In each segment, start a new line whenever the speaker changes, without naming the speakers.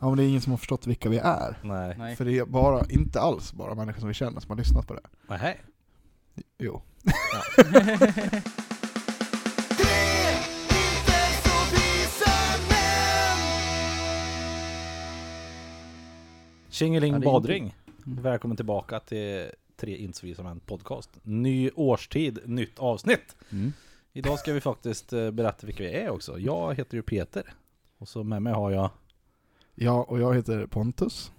Ja men det är ingen som har förstått vilka vi är.
Nej.
Nej.
För det är bara, inte alls bara människor som vi känner som har lyssnat på det.
Nej.
Jo.
Tjingeling
Ja, det är
badring.
Mm.
Välkommen tillbaka till Tre inte så visa män podcast. Ny årstid, nytt avsnitt.
Mm.
Idag ska vi faktiskt eh, berätta vilka vi är också. Jag heter ju Peter. Och så med mig har jag...
Ja, och jag heter Pontus.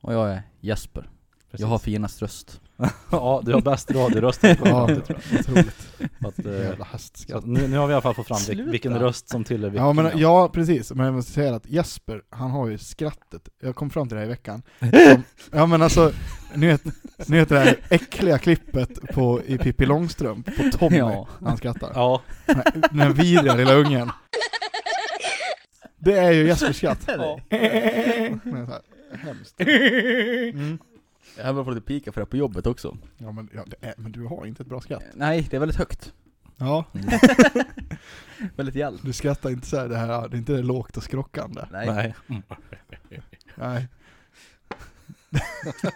Och jag är Jesper. Jag har finast röst.
ja, du har bäst radioröst. i
Ja,
programmet, tror
otroligt.
jag. Att, eh,
Jävla
så att
hästskatt.
nu, nu har vi i alla fall fått fram vil-
Sluta.
vilken röst som tillhör vilken.
Ja men ja, precis. Men jag måste säga att Jesper, han har ju skrattet. Jag kom fram till det här i veckan. Som, ja men alltså, ni vet, ni vet det här äckliga klippet på, i Pippi Långstrump på Tommy
Ja.
när han skrattar.
Ja,
Den här vidriga lilla ungen. Det är ju Jespers skratt.
Ja.
Men så här, Mm. Hemskt.
Jag har fått lite pika för det på jobbet också.
Ja, men, ja, det är, men du har inte ett bra skratt.
Nej, det är väldigt högt.
Ja.
Mm. Väldigt gällt.
Du skrattar inte så här, det här, det är inte det lågt och skrockande.
Nej.
nej.
Nej.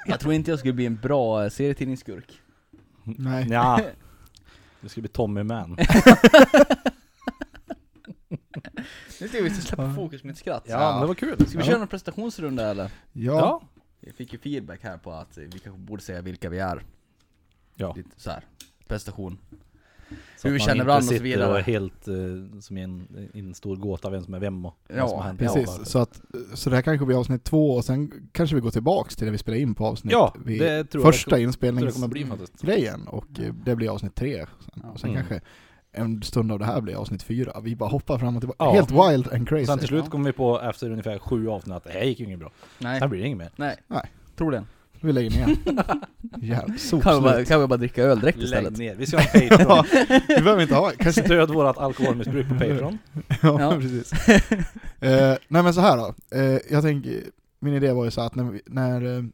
Jag tror inte jag skulle bli en bra eh, serietidningsskurk.
Nej.
Ja. Du ska bli Tommy Man.
Nu ska vi släppa fokus med ett skratt.
Ja, men det var kul.
Ska vi köra någon presentationsrunda eller?
Ja.
Ja.
Jag fick ju feedback här på att vi kanske borde säga vilka vi är.
Ja.
Lite så här. Prestation.
Så
Hur
att
vi
man
känner
inte
varandra och så
sitter
vidare.
är helt eh, som i en, i en stor gåta vem som är vem och
Ja,
vad som har hänt.
Precis, så, att, så det här kanske blir avsnitt två och sen kanske vi går tillbaks till det vi spelade in på avsnitt
Ja,
vid
det tror jag
första
det kommer- tror jag kommer
inspelningsgrejen
bli faktiskt.
och eh, det blir avsnitt tre. Sen.
Ja.
Och sen
Mm.
kanske en stund av det här blir avsnitt fyra. Vi bara hoppar fram och tillbaka.
Ja.
Helt wild and crazy.
Sen till slut kom vi på efter ungefär sju avsnitt att det här gick ju inget bra.
Nej.
Sen blir det inget mer.
Nej.
Nej.
Tror det.
Vi lägger ner. Jävla
Kan vi, bara,
sopslut.
kan vi bara dricka öl direkt istället?
ner. Vi ska ha en Patreon.
Vi behöver inte ha kanske
Stöd vårat alkoholmissbruk på
Mm.
Patreon.
ja,
Ja.
precis. Eh, nej men så här då. Eh, jag tänker, min idé var ju så att när, vi- när, eh,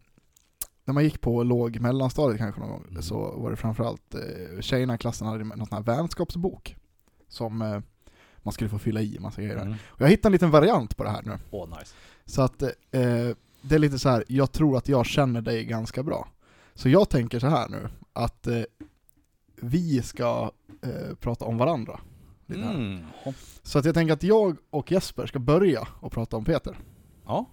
när man gick på låg mellanstadiet kanske någon gång,
Mm.
så var det framförallt eh, tjejerna i klassen hade någon sån här vänskapsbok som eh, man skulle få fylla i massa grejer.
Mm.
Och jag hittade en liten variant på det här nu.
Åh, nice.
Så att eh, det är lite så här, jag tror att jag känner dig ganska bra. Så jag tänker så här nu, att eh, vi ska eh, prata om varandra. Lite här.
Mm.
Så att jag tänker att jag och Jesper ska börja och prata om Peter.
Ja.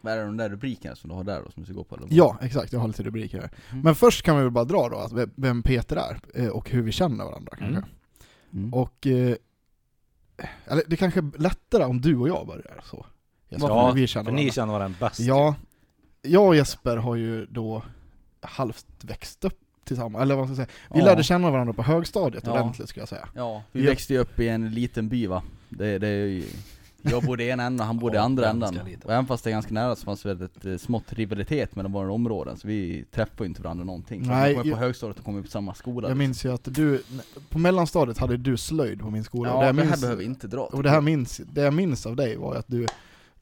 Vad är det de där rubrikerna som du har där då som du ska gå på? Eller?
Ja, exakt. Jag har lite rubriker här.
Mm.
Men först kan vi väl bara dra då att ve- vem Peter är eh, och hur vi känner varandra kanske.
Mm.
Mm.
Och... eh, Eller det kanske är lättare om du och jag börjar så. Jesper,
Ja,
hur vi känner
För
varandra.
ni känner varandra bäst.
Ja. Jag och Jesper har ju då halvt växt upp tillsammans, eller vad ska jag säga. Vi
Ja.
lärde känna varandra på högstadiet
Ja.
ordentligt skulle jag säga.
Ja, vi
Ja.
växte ju upp i en liten by va. Det, det är ju, jag bodde i ena änden och han bodde i
Ja,
andra
ganska
änden.
liten.
Och även fast det är ganska nära så fanns det väldigt eh, smått rivalitet mellan våra områden, så vi träffade ju inte varandra någonting. Så
Nej,
vi kom ju på
jag-
högstadiet och kom ju på samma skola.
Jag
liksom.
minns ju att du, på mellanstadiet hade du slöjd på min skola. och
ja, liksom. det här
minns-
behöver vi inte dra.
Och det här minns, det jag minns av dig var ju att du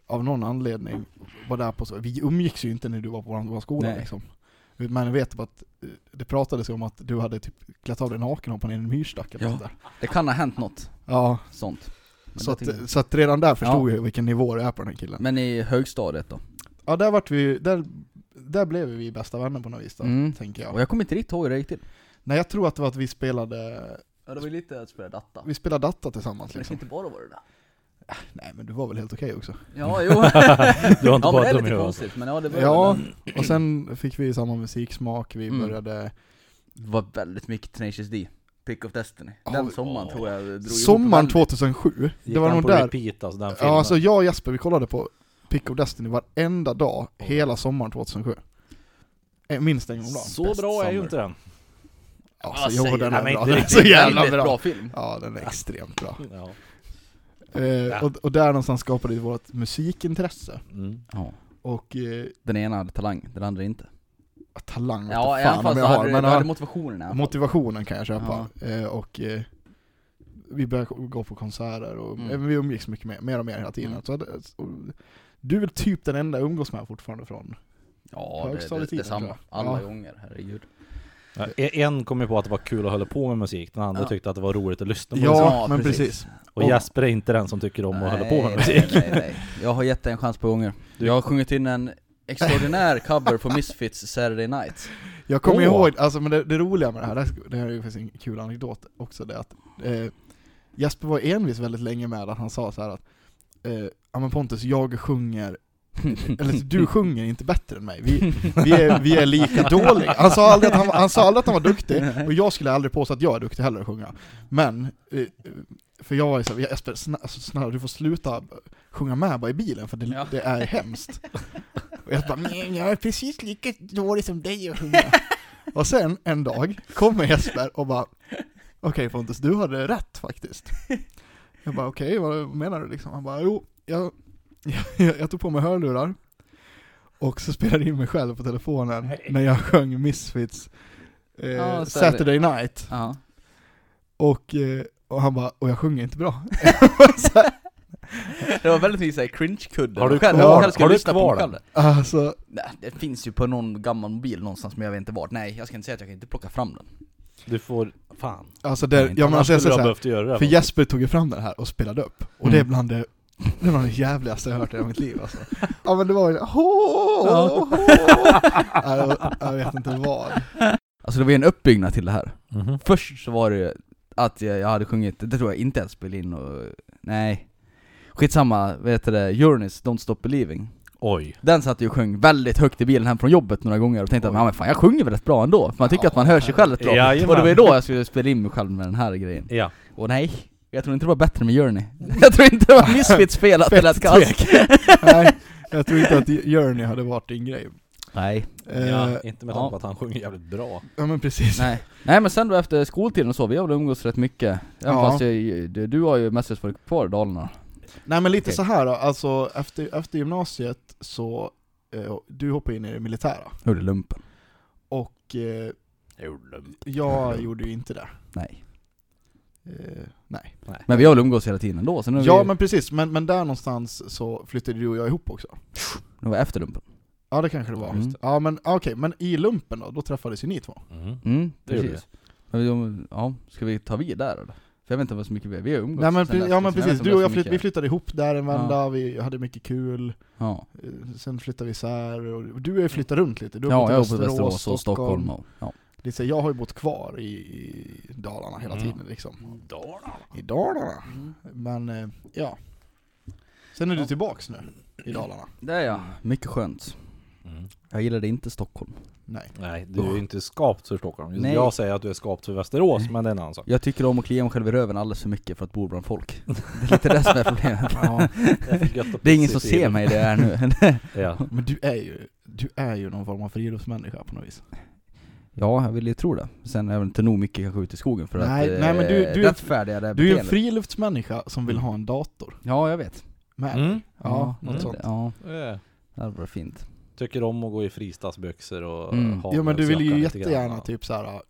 av någon anledning var där på så, vi umgicks ju inte när du var på vår vår skola
Nej.
liksom. Men jag vet bara att eh, det pratades ju om att du hade typ klätt av dig naken och hoppat ner i en myrstack eller
Ja.
något där.
Det kan ha hänt något
Ja,
sånt. Men,
så
det
att, eh,
tycker jag-
så att redan där förstod jag vilken nivå det är på den här killen.
men i högstadiet då.
Ja, där vart vi ju- där, där blev vi bästa vänner på något vis då,
Mm.
tänker
Och
jag.
jag kommer inte riktigt ihåg hur det gick till.
Nej, jag tror att det var att vi spelade,
Ja, det var ju lite att spela datta.
vi spelade Datta tillsammans
Men det kan
liksom.
inte bara vara det där.
Nej men du var väl helt okej också?
Ja, jo.
Du har inte
ja, men det
bara
är
dum i
lite
huvudet.
konstigt, men ja det var
Ja,
väl-
och sen fick vi samma musiksmak, vi
Mm.
började
Det var väldigt mycket Tenacious D. Pick of Destiny.
Ja,
Den sommaren tror jag drog ihop
Sommaren
väldigt-
2007, det
Gick
var
han
nog
på
där.
repeat alltså den filmen?
Ja, alltså jag och Jesper, vi kollade på Pick of Destiny varenda dag, hela sommaren 2007. Eh, Minst en gång om dagen.
Så
Best
bra är ju
summer.
inte den.
Alltså,
vad
jo,
säger
den
du?
är
Nej,
bra.
men inte
Den är
riktigt.
så jävla
Väldigt
bra.
film.
Ja, den är extremt bra.
Ja.
Eh, och, och där någonstans skapade vi vårt musikintresse.
Mm.
Ja.
Och eh,
Den ena hade talang, den andra inte.
talang vet
Ja,
jag
även
fan om
fast du
jag har,
hade,
men
du hade
ja,
motivationen i alla fall.
motivationen kan jag köpa. Eh, och eh, vi började gå på konserter och
Mm.
eh, vi umgicks mycket mer, mer och mer hela tiden.
Mm.
Så, hade- och, du är väl typ den enda jag umgås med fortfarande från
Ja, det, det, det,
Högstadietiden,
detsamma.
tror jag.
Alla
Ja.
gånger, herregud.
Ja, En kom ju på att det var kul att hålla på med musik, den andra
Ja.
tyckte att det var roligt att lyssna på musik.
Ja,
Ja,
men
precis.
precis.
Och Jesper är inte den som tycker om att hålla på med musik.
Nej, nej, nej. Jag har gett dig en chans på gånger.
Du-
Jag har sjungit in en extraordinär cover på Misfits Saturday Night.
Jag kommer
Åh.
ihåg, alltså men det, det roliga med det här, det här, det här är ju faktiskt en kul anekdot också, det är att eh, Jesper var envis väldigt länge med att han sa så här att eh, Ja men Pontus, jag sjunger, eller du sjunger inte bättre än mig, vi, vi, är, vi är lika dåliga. Han sa, aldrig att han, var- han sa aldrig att han var duktig, och jag skulle aldrig påstå att jag är duktig heller att sjunga. Men, eh, för jag var ju såhär, Jesper snälla, alltså, snälla du får sluta sjunga med bara i bilen för det,
Ja.
det är hemskt. Och jag bara, "Nej, jag är precis lika dålig som dig att sjunga. Och sen en dag kommer Jesper och bara Okej Pontus, du hade rätt faktiskt. Jag bara okej, vad menar du liksom? Han bara jo, jag, jag, jag tog på mig hörlurar och så spelade jag in mig själv på telefonen när jag sjöng Misfits eh,
Ja, så är det.
Saturday Night.
Ja.
Och, eh, och han bara, och jag sjunger inte bra.
Det var väldigt mycket såhär cringe-kudde.
Har du
Jag själv-
kvar-
jag själv skulle
har du
lyssna på
kvar
mig själv.
den?
Alltså,
Nej, det finns ju på någon gammal mobil någonstans men jag vet inte vart. Nej, jag ska inte säga att jag kan inte plocka fram den.
Du får... Fan.
alltså det, jag menar,
Annars
alltså, jag säger
skulle du
så
ha
här,
behövt göra det.
för Jesper tog ju fram den här och spelade upp. Och det är
Mm.
bland det, det är bland det jävligaste jag hört i hela mitt liv alltså. Ja men det var ju hå, hå, hå. Ja, jag, jag vet inte vad.
Alltså det var ju en uppbyggnad till det här.
Mhm.
Först så var det ju att jag, jag hade sjungit, det tror jag inte ens spelade in och... Nej. Skitsamma, vad heter det? Uranus, Don't Stop Believing.
Oj.
Den satt ju och sjöng väldigt högt i bilen hem från jobbet några gånger och tänkte att
Oj.
"Ja, men fan jag sjunger väl rätt bra ändå? För man tycker
Ja,
att man hör sig själv rätt bra.
Jajamän.
Och det var ju då jag skulle spela in mig själv med den här grejen.
Ja.
Och nej, jag tror inte det var bättre med Journey. Jag tror inte det var Misfits fel att det lät kass.
Nej, jag tror inte att Journey hade varit din grej.
Nej.
Eh,
ja. Inte med tanke
ja.
på att han sjunger jävligt bra.
ja men precis.
Nej. Nej men sen då efter skoltiden och så, vi har väl umgåtts rätt mycket. Även
Ja.
fast jag, du, du har ju mestadels varit kvar i Dalarna.
Nej men lite
Okej.
så här då, alltså efter, efter gymnasiet så, eh, du hoppade in i det militära,
Hur är lumpen?
och eh, jag gjorde ju inte det.
Nej.
Eh, nej.
Men vi har väl umgåtts hela tiden ändå, så nu, är
Ja
vi,
men precis, men, men där någonstans så flyttade du och jag ihop också.
nu var det efter lumpen.
Ja det kanske det var.
Mm.
Ja men okej, men i lumpen då, då träffades ju ni två.
Mm.
Mm,
Det gjorde
precis. Men vi- ja, ska vi ta vid där eller? För jag vet inte vad så mycket vi har, vi har umgåtts
Nej men,
sen
pre-
dess,
ja, men
liksom. Jag
precis,
vet inte
du och
vad
jag
så
flytt,
mycket-
vi flyttade ihop där en vända, vi hade mycket kul,
Ja,
eh, sen flyttade vi isär, och du har ju flyttat runt lite, du har
ja jag har
bott
bott i Västerås och Stockholm och, ja.
Lite så, jag har ju bott kvar i, i Dalarna hela
Mm.
tiden liksom. I Dalarna. Men eh, ja. Sen är du
Ja.
tillbaks nu i Dalarna.
Det är jag, mycket skönt.
Mm.
Jag gillade inte Stockholm.
Nej.
Nej, du är ju inte skapt för Stockholm.
Nej.
Jag säger att du är skapt för Västerås, men det är en annan sak.
Jag tycker om att klia mig själv i röven alldeles för mycket för att bo bland folk. Det är lite det som är problemet. Det är ingen som ser mig det är nu.
Ja.
Men du är ju, du är ju någon form av friluftsmänniska på något vis.
Ja, jag vill ju tro det. Sen är jag väl inte nog mycket kanske ute i skogen för
Nej,
att
nej, men du- du är-
rättfärdiga det här
Du är ju en
beteendet.
friluftsmänniska som vill ha en dator.
Ja, jag vet.
Med.
Mm.
Ja,
ja,
något
det-
sånt.
Ja,
Eh,
det hade varit fint.
Tycker om att gå i fristadsbyxor och
Mm.
ha
Ja men du vill ju
lite grann.
jättegärna typ så här.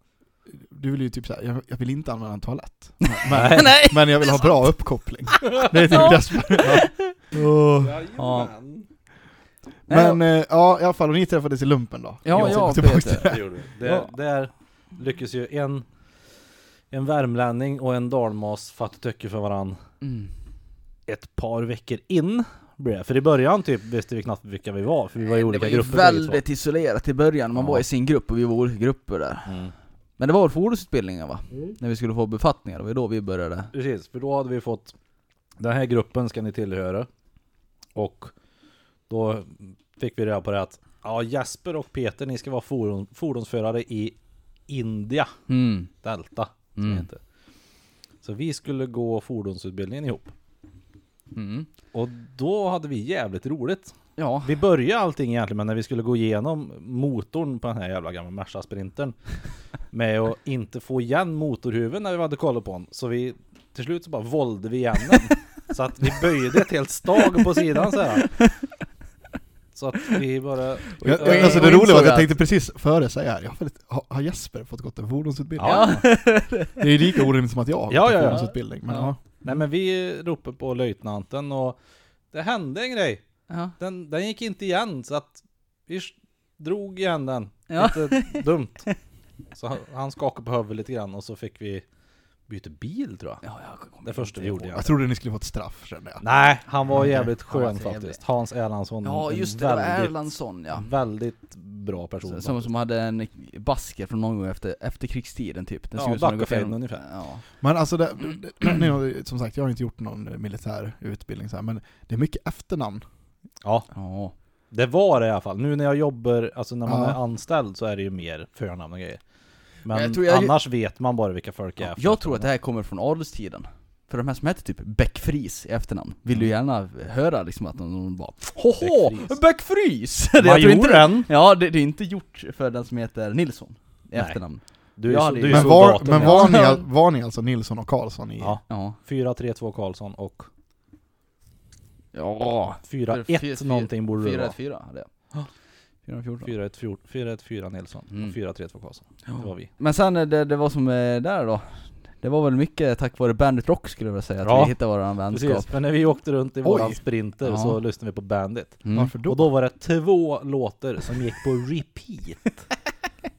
du vill ju typ så här, jag, jag vill inte använda en toalett. Men,
Nej.
men, men jag vill ha bra uppkoppling. Det är typ det som ja. Åh.
Ja.
Men eh, ja, i alla fall, och ni träffades i lumpen då?
Ja,
Jag
ja,
går tillbaka
Peter.
till det.
Det gjorde vi. Där,
Ja.
där lyckas ju en, en värmlänning och en dalmas fatta tycke för varann
Mm.
ett par veckor in. blir det. För i början typ visste vi knappt vilka vi var, för vi var i olika
det var ju
grupper bägge två.
väldigt isolerat i början, man
Ja.
var i sin grupp och vi var i olika grupper där.
Mm.
Men det var väl fordonsutbildningen va? När vi skulle få befattningar, det var ju då vi började.
Precis, för då hade vi fått Den här gruppen ska ni tillhöra Och då fick vi reda på det att Ja Jesper och Peter ni ska vara fordon, fordonsförare i India
Mm.
Delta som
Mm.
det heter. Så vi skulle gå fordonsutbildningen ihop
Mm.
Och då hade vi jävligt roligt
Ja.
Vi började allting egentligen men när vi skulle gå igenom motorn på den här jävla gamla Merca Sprintern Med att inte få igen motorhuven när vi hade kollat på den Så vi till slut så bara vålde vi igen den Så att vi böjde ett helt stag på sidan så här. Så att vi bara
Jag,
Och- och-
alltså det
och
roliga var att jag
insåg
tänkte precis före säga här, jag har, väldigt, har- har Jesper fått gått en fordonsutbildning?
Ja.
Det är ju lika orimligt som att jag har gått
Ja, ja,
en
ja.
fordonsutbildning. Men, ja.
Ja.
Nej men vi ropade på löjtnanten och Det hände en grej
Ja.
Den, den gick inte igen så att Vi drog igen den
Ja.
Lite dumt Så han, han skakade på huvudet lite grann och så fick vi byter bil tror jag.
Ja, jag kommer
Det första vi
inte
gjorde,
ihåg.
ja.
Jag trodde ni skulle få ett straff kände jag.
Nej, han var
Nej,
jävligt
han var
skön
trevlig.
faktiskt. Hans Erlandsson.
Ja
en
just det, det var
väldigt-
Erlandsson ja.
Väldigt bra person.
Som, som hade en basker från någon gång efter, efter krigstiden typ. Den
Ja,
såg ut som den gått
Backafejden
igenom-
ungefär.
Ja.
Men alltså, det, det, nu har vi- som sagt, jag har inte gjort någon militär utbildning så här, men det är mycket efternamn.
Ja,
ja.
det var det i alla fall. Nu när jag jobbar, alltså när man
Ja.
är anställd så är det ju mer förnamn och grejer. Men
Jag tror jag-
annars vet man bara vilka folk är.
Jag tror att det här kommer från adelstiden. För de här som hette typ Bäckfries i efternamn, vill du
Mm.
gärna höra liksom att någon bara Hoho!
Bäckfries."
Bäckfries! Det- jag tror inte det-
Majoren!
Ja, det, det är inte gjort för den som heter Nilsson i
Nej.
efternamn.
Du är,
Jag
så,
hade
du
ju-
är
Men var,
soldaten.
men
ja.
var, ni, al- var ni alltså Nilsson och Karlsson i...
Ja,
Ja.
432 Karlsson och
Ja.
41 någonting borde det vara.
414 hade jag. 414.
414 414 Nilsson
Mm.
och 432 Karlsson. Det var vi.
Men sen eh, det, det var som eh, där då. Det var väl mycket tack vare Bandit Rock skulle jag vilja säga, att
Ja.
vi hittade våran vänskap.
Precis, men när vi åkte runt i våran sprinter
Ja.
så lyssnade vi på Bandit.
Mm.
Varför då?
Och då var det två låtar som gick på repeat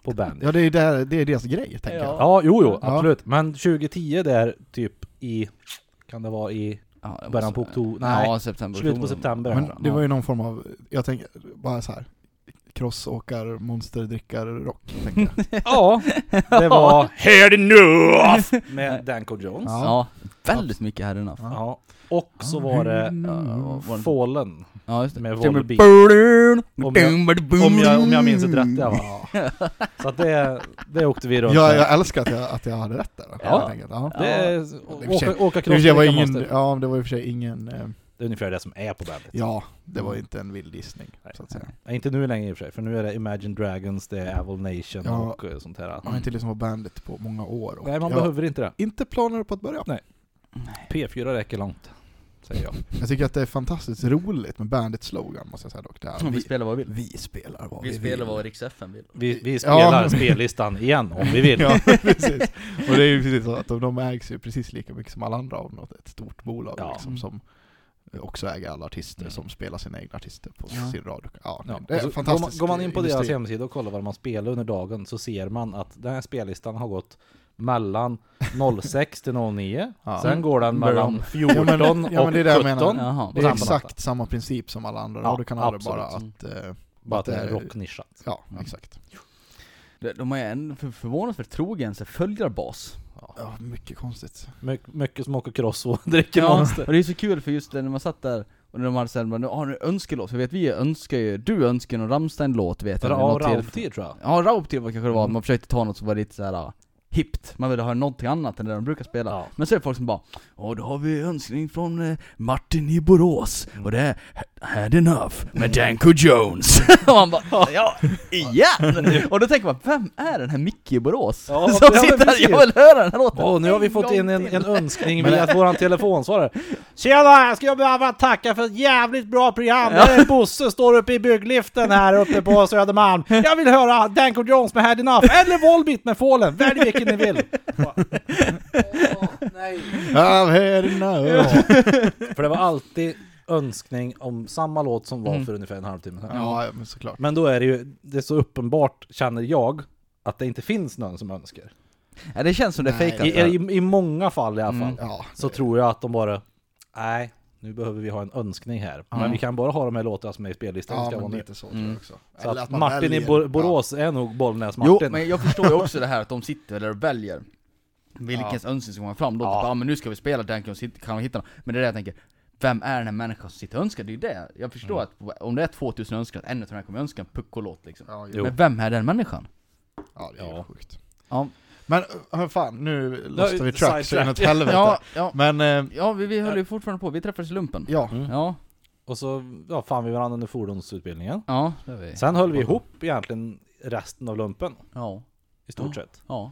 på bandet.
Ja, det är, ju där, det är deras grej, tänker jag.
Ja, jo, jo,
Ja.
absolut. Men 2010 där, typ i, kan det vara i
Ja, det
början
måste-
på oktober? Nej,
ja, september,
slutet på
oktober.
september.
Men det
Ja.
var ju någon form av, jag tänker, bara så här crossåkar, monsterdrickar, rock, tänker jag.
Ja, det var Head Enough med Danko Jones.
Ja.
Ja, väldigt mycket här inne.
Ja.
Ja. Och så var det
Mm. Ja, var det-
Fallen
Ja, just det.
med
Jimmy
Volbeat. Om jag-
Mm.
Om jag,
jag,
om jag minns det rätt, ja. va? Så att det, det åkte vi runt
Jag,
med.
jag älskar att jag, att jag hade rätt där. helt
Ja.
enkelt. ja.
Det är,
och för sig-
åka, åka
Det var i och för sig var
crossdricka
ingen,
monster.
ja, det var i och för sig ingen, eh,
Det är ungefär det som är på bandet.
ja, det var ju inte en vild gissning.
Nej.
Så att säga.
Nej, inte nu längre i och för sig, för nu är det Imagine Dragons, det är Avil Nation
Ja.
och eh, sånt här.
Man har inte lyssnat på bandet på många år. Och
Nej, man
jag har
behöver inte det.
Inte planer på att börja.
P4 räcker långt, säger jag.
Jag tycker att det är fantastiskt roligt med bandets slogan, måste jag säga dock. Det här,
Vi
vi,
spelar vad vi vill.
vi spelar vad vi,
Vi spelar
vill.
vad Rix FM vill.
Vi, vi
Ja,
spelar
men-
spellistan igen om vi vill.
Ja, precis. Och det är ju precis så att de, de ägs ju precis lika mycket som alla andra av något, ett stort bolag
Ja.
liksom, som också äger alla artister
Mm.
som spelar sina egna artister på
Ja.
sin radio. Ja,
Ja,
det är
och så går, man,
fantastiskt.
går man in på deras
industri.
hemsida och kollar vad man spelar under dagen så ser man att den här spellistan har gått mellan 06 till 09,
Ja. Mm.
sen går den mellan
Början.
14
Ja, men- ja, men
och
det är det jag
17.
menar.
Jaha.
Det
Och
är
samma
exakt samma princip som alla andra
Ja,
radiokanaler, bara att...
absolut.
Eh,
Bara att det
Det
är
är-
rocknischat.
ja,
Mm.
exakt.
De, de har ju en för, förvånansvärt trogen sig följarbas.
Ja, mycket konstigt.
My- mycket som åker cross och dricker
Ja,
monster.
och det är så kul för just det, när man satt där och när de hade såhär, men har ni önskelåt? För jag vet vi önskar ju, du önskar ju någon Rammstein-låt vet jag. vid
Ja,
något
och
tillfälle.
Raubtier tror jag.
Ja, Raubtier var kanske det var,
Mm.
man försökte ta något som var lite såhär hippt. Man ville ha någonting annat än det de brukar spela.
Ja.
Men så är det folk som bara Åh, då har vi önskning från eh, Martin i Borås
Mm.
och det är Had Enough med Danko Jones. och man bara ja, igen! och då tänker man, vem är den här Micke i Borås?
Ja,
Som
ja, men
sitter här,
precis.
jag vill höra den här låten!
Åh, nu har vi fått
gång
in en,
till.
en önskning via våran telefonsvarare. Tjena! Jag skulle behöva tacka för ett jävligt bra program. Det är Bosse står uppe i byggliften här uppe på Södermalm. Jag vill höra Danko Jones med Had Enough eller Volbeat med Fallen. Välj vilken ni vill.
I've had enough.
För det var alltid önskning om samma låt som var för ungefär en halvtimme sedan.
Ja, ja, men såklart.
Men då är det ju, det är så uppenbart känner jag, att det inte finns någon som önskar.
Ja, det känns som det är
Nej.
fejkat.
I,
där.
i, I många fall i alla fall.
Mm.
Ja,
så tror jag att de bara, nej, nu behöver vi ha en önskning här. Men vi kan bara ha de här låtarna som är i spellistan.
ja
ska vara
men
med.
lite så tror jag också.
Så
Eller
att,
att man
Martin i
väljer-
Bor- Borås är nog Bollnäs-Martin.
Jo, men jag förstår ju också det här att de sitter där och väljer vilken önskning som kommer fram. Då
Ja.
typ, ja men nu ska vi spela Danko och kan vi hitta någon. Men det är det jag tänker, vem är den här människan som sitter och önskar? Det är ju det. Jag
Mm.
förstår att om det är 2000 önskningar, att en utav de här kommer önska en puckolåt liksom.
Ja, ja.
Jo.
Men vem är den människan?
ja, det är
Ja.
ju sjukt.
Ja,
Men hur fan, nu låste vi track så
sidetrack.
inåt helvete.
ja, ja.
Men, eh,
ja vi, vi höll ju fortfarande på, vi träffades i lumpen.
ja.
Mm.
Ja,
Och så ja, fann vi varandra under fordonsutbildningen.
ja, det är vi.
Sen höll vi ihop egentligen resten av lumpen,
Ja,
i stort
Ja.
sett.
ja,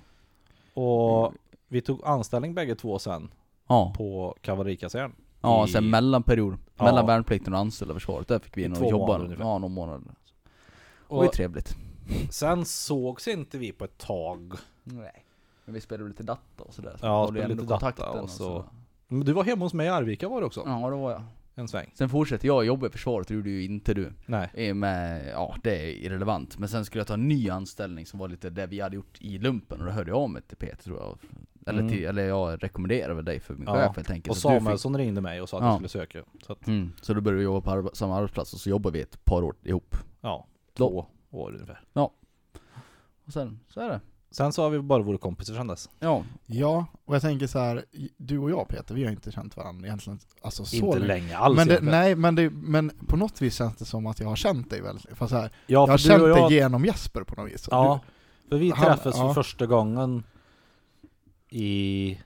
Och vi tog anställning bägge två sen
ja.
på kavallerikasern.
Ja,
I-
sen mellanperiod.
Ja.
Mellan värnplikten och anställda försvaret, där fick vi
I
in
två
och jobba
månader ungefär.
ja, någon månad. Det var ju
Och
trevligt.
sen sågs inte vi på ett tag.
Nej. Men vi spelade lite datta och sådär.
Ja,
Håller ju
spelade
ändå
lite datta
kontakten
och så.
sådär.
Men Du var hemma hos mig i Arvika var det också,
Ja, det var jag.
en sväng.
Sen fortsätter jag jobba i försvaret, det gjorde ju inte du.
Nej.
I och Med, ja, det är irrelevant. Men sen skulle jag ta en ny anställning som var lite det vi hade gjort i lumpen och då hörde jag av mig till Peter tror jag. Eller,
Mm.
till, eller jag rekommenderar väl dig för min
Ja.
chef helt enkelt.
Och
så att du fick-
Samuelsson ringde mig och sa att
Ja.
jag skulle söka. Så att,
Mm, så då började vi jobba på arbe- samma arbetsplats och så jobbade vi ett par år ihop.
ja,
Då.
två år ungefär.
Och sen, så är det.
Sen så har vi bara varit kompisar sedan dess.
Ja.
Ja, och jag tänker så här, du och jag Peter, vi har inte känt varandra egentligen alltså, så
inte
länge.
länge alls
Men det,
egentligen.
nej, men, det, men på något vis känns det som att jag har känt dig väldigt, fast så här,
ja,
jag har
för du
känt
och jag,
dig genom Jesper på något vis.
Ja, för vi
han-
träffades
ja.
för första gången i...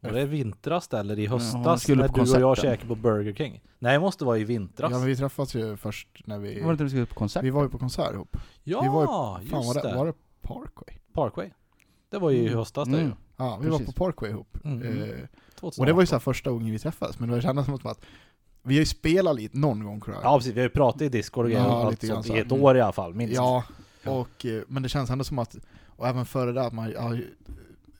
Var det vintras eller i
han
höstas?
skulle
när
på
du och jag
konserten.
käkade på Burger King. Nej, det måste vara i
Du, ja,
vintras.
men vi träffades ju först när vi,
Eh,
Var det inte vi skulle på konsert?
vi var ju på konsert ihop.
Ja,
vi var ju- Fan,
just
var
det.
det, var det Parkway?
Parkway. Det var ju i
Mm.
höstas det
Mm.
ju.
Ja, vi var
Precis.
på Parkway ihop.
Mm.
Eh,
2018.
Och det var ju så här första gången vi träffades, men det kändes som att vi har ju spelat lite någon gång tror jag.
Ja precis, vi har ju pratat i Discord och
Ja,
grejer och allt
lite grann
sånt
så
i
här.
ett år i alla fall, minst.
Ja, och, eh, men det känns ändå som att, och även före det att man, ja,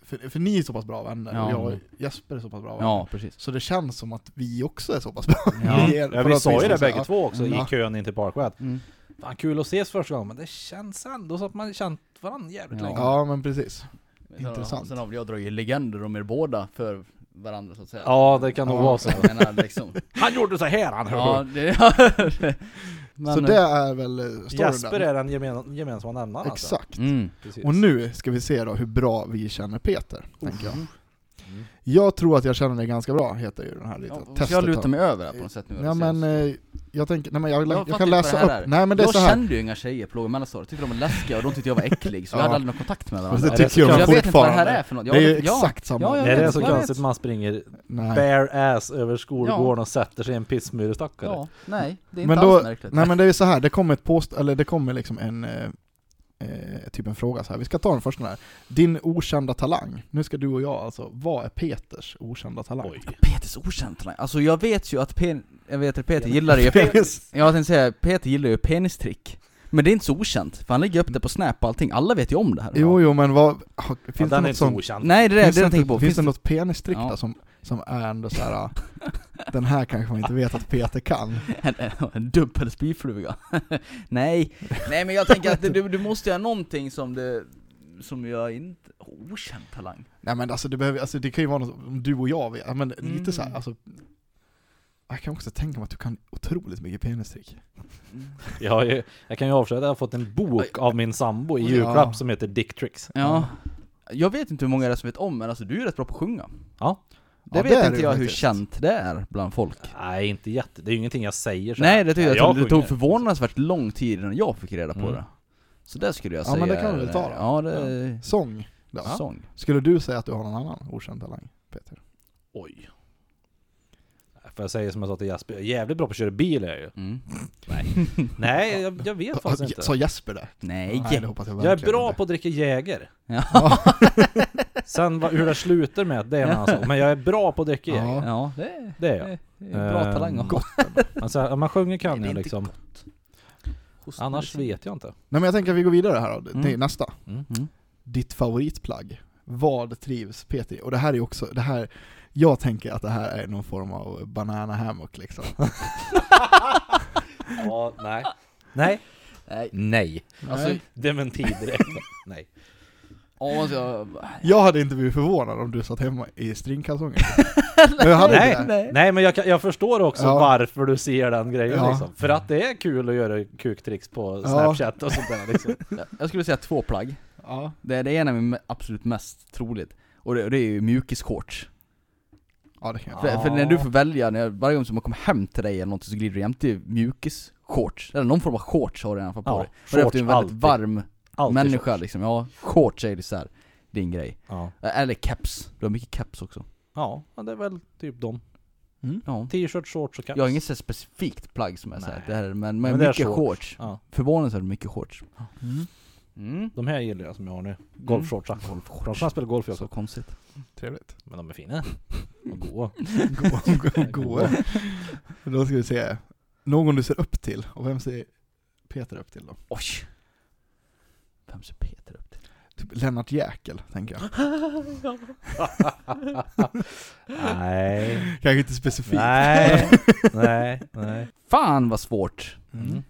för, för ni är så pass bra vänner,
Ja.
och jag och Jesper är så pass bra vänner.
Ja, precis.
Så det känns som att vi också är så pass bra.
Ja,
Vi är- på
vi
något
sa
vis
ju det
så här,
bägge två också i
Ja.
kön in till Parkway att
Mm.
fan kul att ses första gången men det känns ändå som att man känt varandra jävligt
Ja.
länge.
Ja, men precis.
Intressant.
Intressant.
Sen har väl jag dragit legender om er båda för varandra så att säga.
Ja, det kan nog
Ja.
vara så.
Jag menar liksom.
Han gjorde så här han
ja,
hörde
det... Men,
så det är väl eh,
du.
storyn
Jesper är den gemen, gemensamma nämnaren alltså.
Exakt.
Mm.
Precis.
Och nu ska vi se då hur bra vi känner Peter, tänker jag.
Mm.
Jag tror att jag känner dig ganska bra, heter ju den här lilla
Ja,
testet.
jag
här.
lutar mig över här på något sätt nu.
Ja men eh, jag tänker, nej men jag,
Jag
jag,
fattar
kan
inte vad det
läsa
här
upp,
är.
nej men det är
jag
så här.
kände ju inga tjejer på låg och mellanstadiet, tyckte de var läskiga och de tyckte jag var äcklig, så vi
Ja.
hade aldrig någon kontakt med
Fast
varandra.
det
Nej,
tycker
det-
jag
jag vet
fortfarande.
inte vad det här är för något. Jag
Det är ju
vet- ja.
exakt samma.
Ja, jag
Det är
vet,
det så
jag vet.
konstigt man springer
Nej.
bare ass över skolgården och sätter sig i en pissmyrestackare.
Ja, nej, det är inte
Men då-
alls märkligt.
Nej men det är så här, det kommer ett post, eller det kommer liksom en, eh, eh, typ en fråga så här. vi ska ta den första här. Din okända talang, nu ska du och jag alltså, vad är Peters okända talang?
Oj.
Peters okänd talang. Alltså jag vet ju att Pen... jag vet att Peter gillar ju... Jag tänkte säga, Peter gillar ju penistrick. Men det är inte så okänt, för han lägger upp det på Snap och allting, alla vet ju om det här.
Jo jo men vad, ha,
Ja,
finns det
den är
något
inte så
som,
okänd.
Nej det är det,
finns
det
det,
jag tänker på.
finns det något penistrick
Ja.
där som, som är ändå så här. den här kanske man inte vet att Peter kan?
En, en dubbel spyfluga. Nej, nej men jag tänker att du, du måste göra någonting som det, som jag inte, okänd talang.
Nej men alltså det, behöver, alltså det kan ju vara något som du och jag vet, Ja, men
Mm.
lite så här, alltså Jag kan också tänka mig att du kan otroligt mycket penistrick
Mm.
Jag, har ju, jag kan ju avslöja att jag har fått en bok av min sambo i
Ja.
julklapp som heter Dick Tricks.
Ja. Jag vet inte hur många det är som vet om, men alltså du är rätt bra på att sjunga.
Ja.
Det
Ja,
vet
det är
inte
du
jag hur
faktiskt.
känt det är bland folk.
Nej, inte jätte. Det är ju ingenting jag säger så här.
Nej det tycker jag,
Ja,
jag det tog
sjunger.
förvånansvärt lång tid innan jag fick reda på
Mm.
det. Så det skulle jag
Ja,
säga.
men det kan vi väl ta då.
Ja det är
Sång där.
sång.
Skulle du säga att du har någon annan okänd talang Peter?
Oj. För jag säger som jag sa till Jasper, jag är jävligt bra på att köra bil är jag ju.
Mm.
Nej, jag, jag vet faktiskt
Ja, Sa
inte.
Jesper det?
Nej!
det hoppas jag
Jag är
verkligen
bra
inte.
på att dricka Jäger.
Ja,
Sen vad- hur det slutar med, det är en annan sak. Men jag är bra på att dricka
Ja. Eh,
Jäger.
ja det är,
Det är jag.
det är bra
Ehm,
talang att ha.
gott
Men så här, om man sjunger
Nej,
kan
det är
jag
inte
liksom. Annars vet jag inte.
Nej men jag tänker att vi går vidare här då,
Mm.
till nästa
Mm.
Mm.
Ditt favoritplagg Vad trivs Peter i? Och det här är också, det här Jag tänker att det här är någon form av banana hammock liksom
Ja, nej. Nej.
Nej.
Nej.
Alltså,
Nej.
Dementi direkt. Nej.
ja, så,
Jag hade inte blivit förvånad om du satt hemma i stringkalsonger Jag hade inte det
nej.
Nej men jag, kan- jag förstår också
Ja.
varför du ser den grejen
Ja.
liksom. För att det är kul att göra kuktricks på snapchat och sånt där liksom.
Jag skulle säga två plagg.
Ja,
Det, det ena är me- absolut mest troligt. Och det, det är ju mjukisshorts.
ja det kan jag
För,
Ja.
för när du får välja, när jag, varje gång som man kommer hem till dig eller någonting så glider du jämt mjukisshorts. Eller någon form av shorts har du i alla fall på
Ja,
dig. För du är en
shorts
väldigt
alltid.
varm
Alltid
människa
shorts.
liksom. Ja, shorts är ju så här, din grej.
Ja.
Eh, Eller caps. Du har mycket caps också.
Ja, men det är väl typ dem.
Ja.
T-shirt, shorts och caps.
Jag har inget så här specifikt plagg som är såhär,
Nej.
det här, är- men, men,
Men det är
mycket
shorts.
shorts.
Ja.
Förvånansvärt mycket shorts.
Mm.
Mm.
De här gillar jag som jag har nu. Golfshorts. Mm. Golfshorts. De kan spela golf jag
Så
också.
konstigt.
Trevligt.
Men de är fina. Och goa.
Gå, gå, gå. Då ska vi se. Någon du ser upp till, och vem ser Peter upp till då?
Oj! Vem ser Peter upp till?
Typ Lennart Jäkel, tänker jag.
Nej.
Kanske inte specifikt.
Nej. Nej. Nej. Mm.
Mm. Fan vad svårt!
Mm.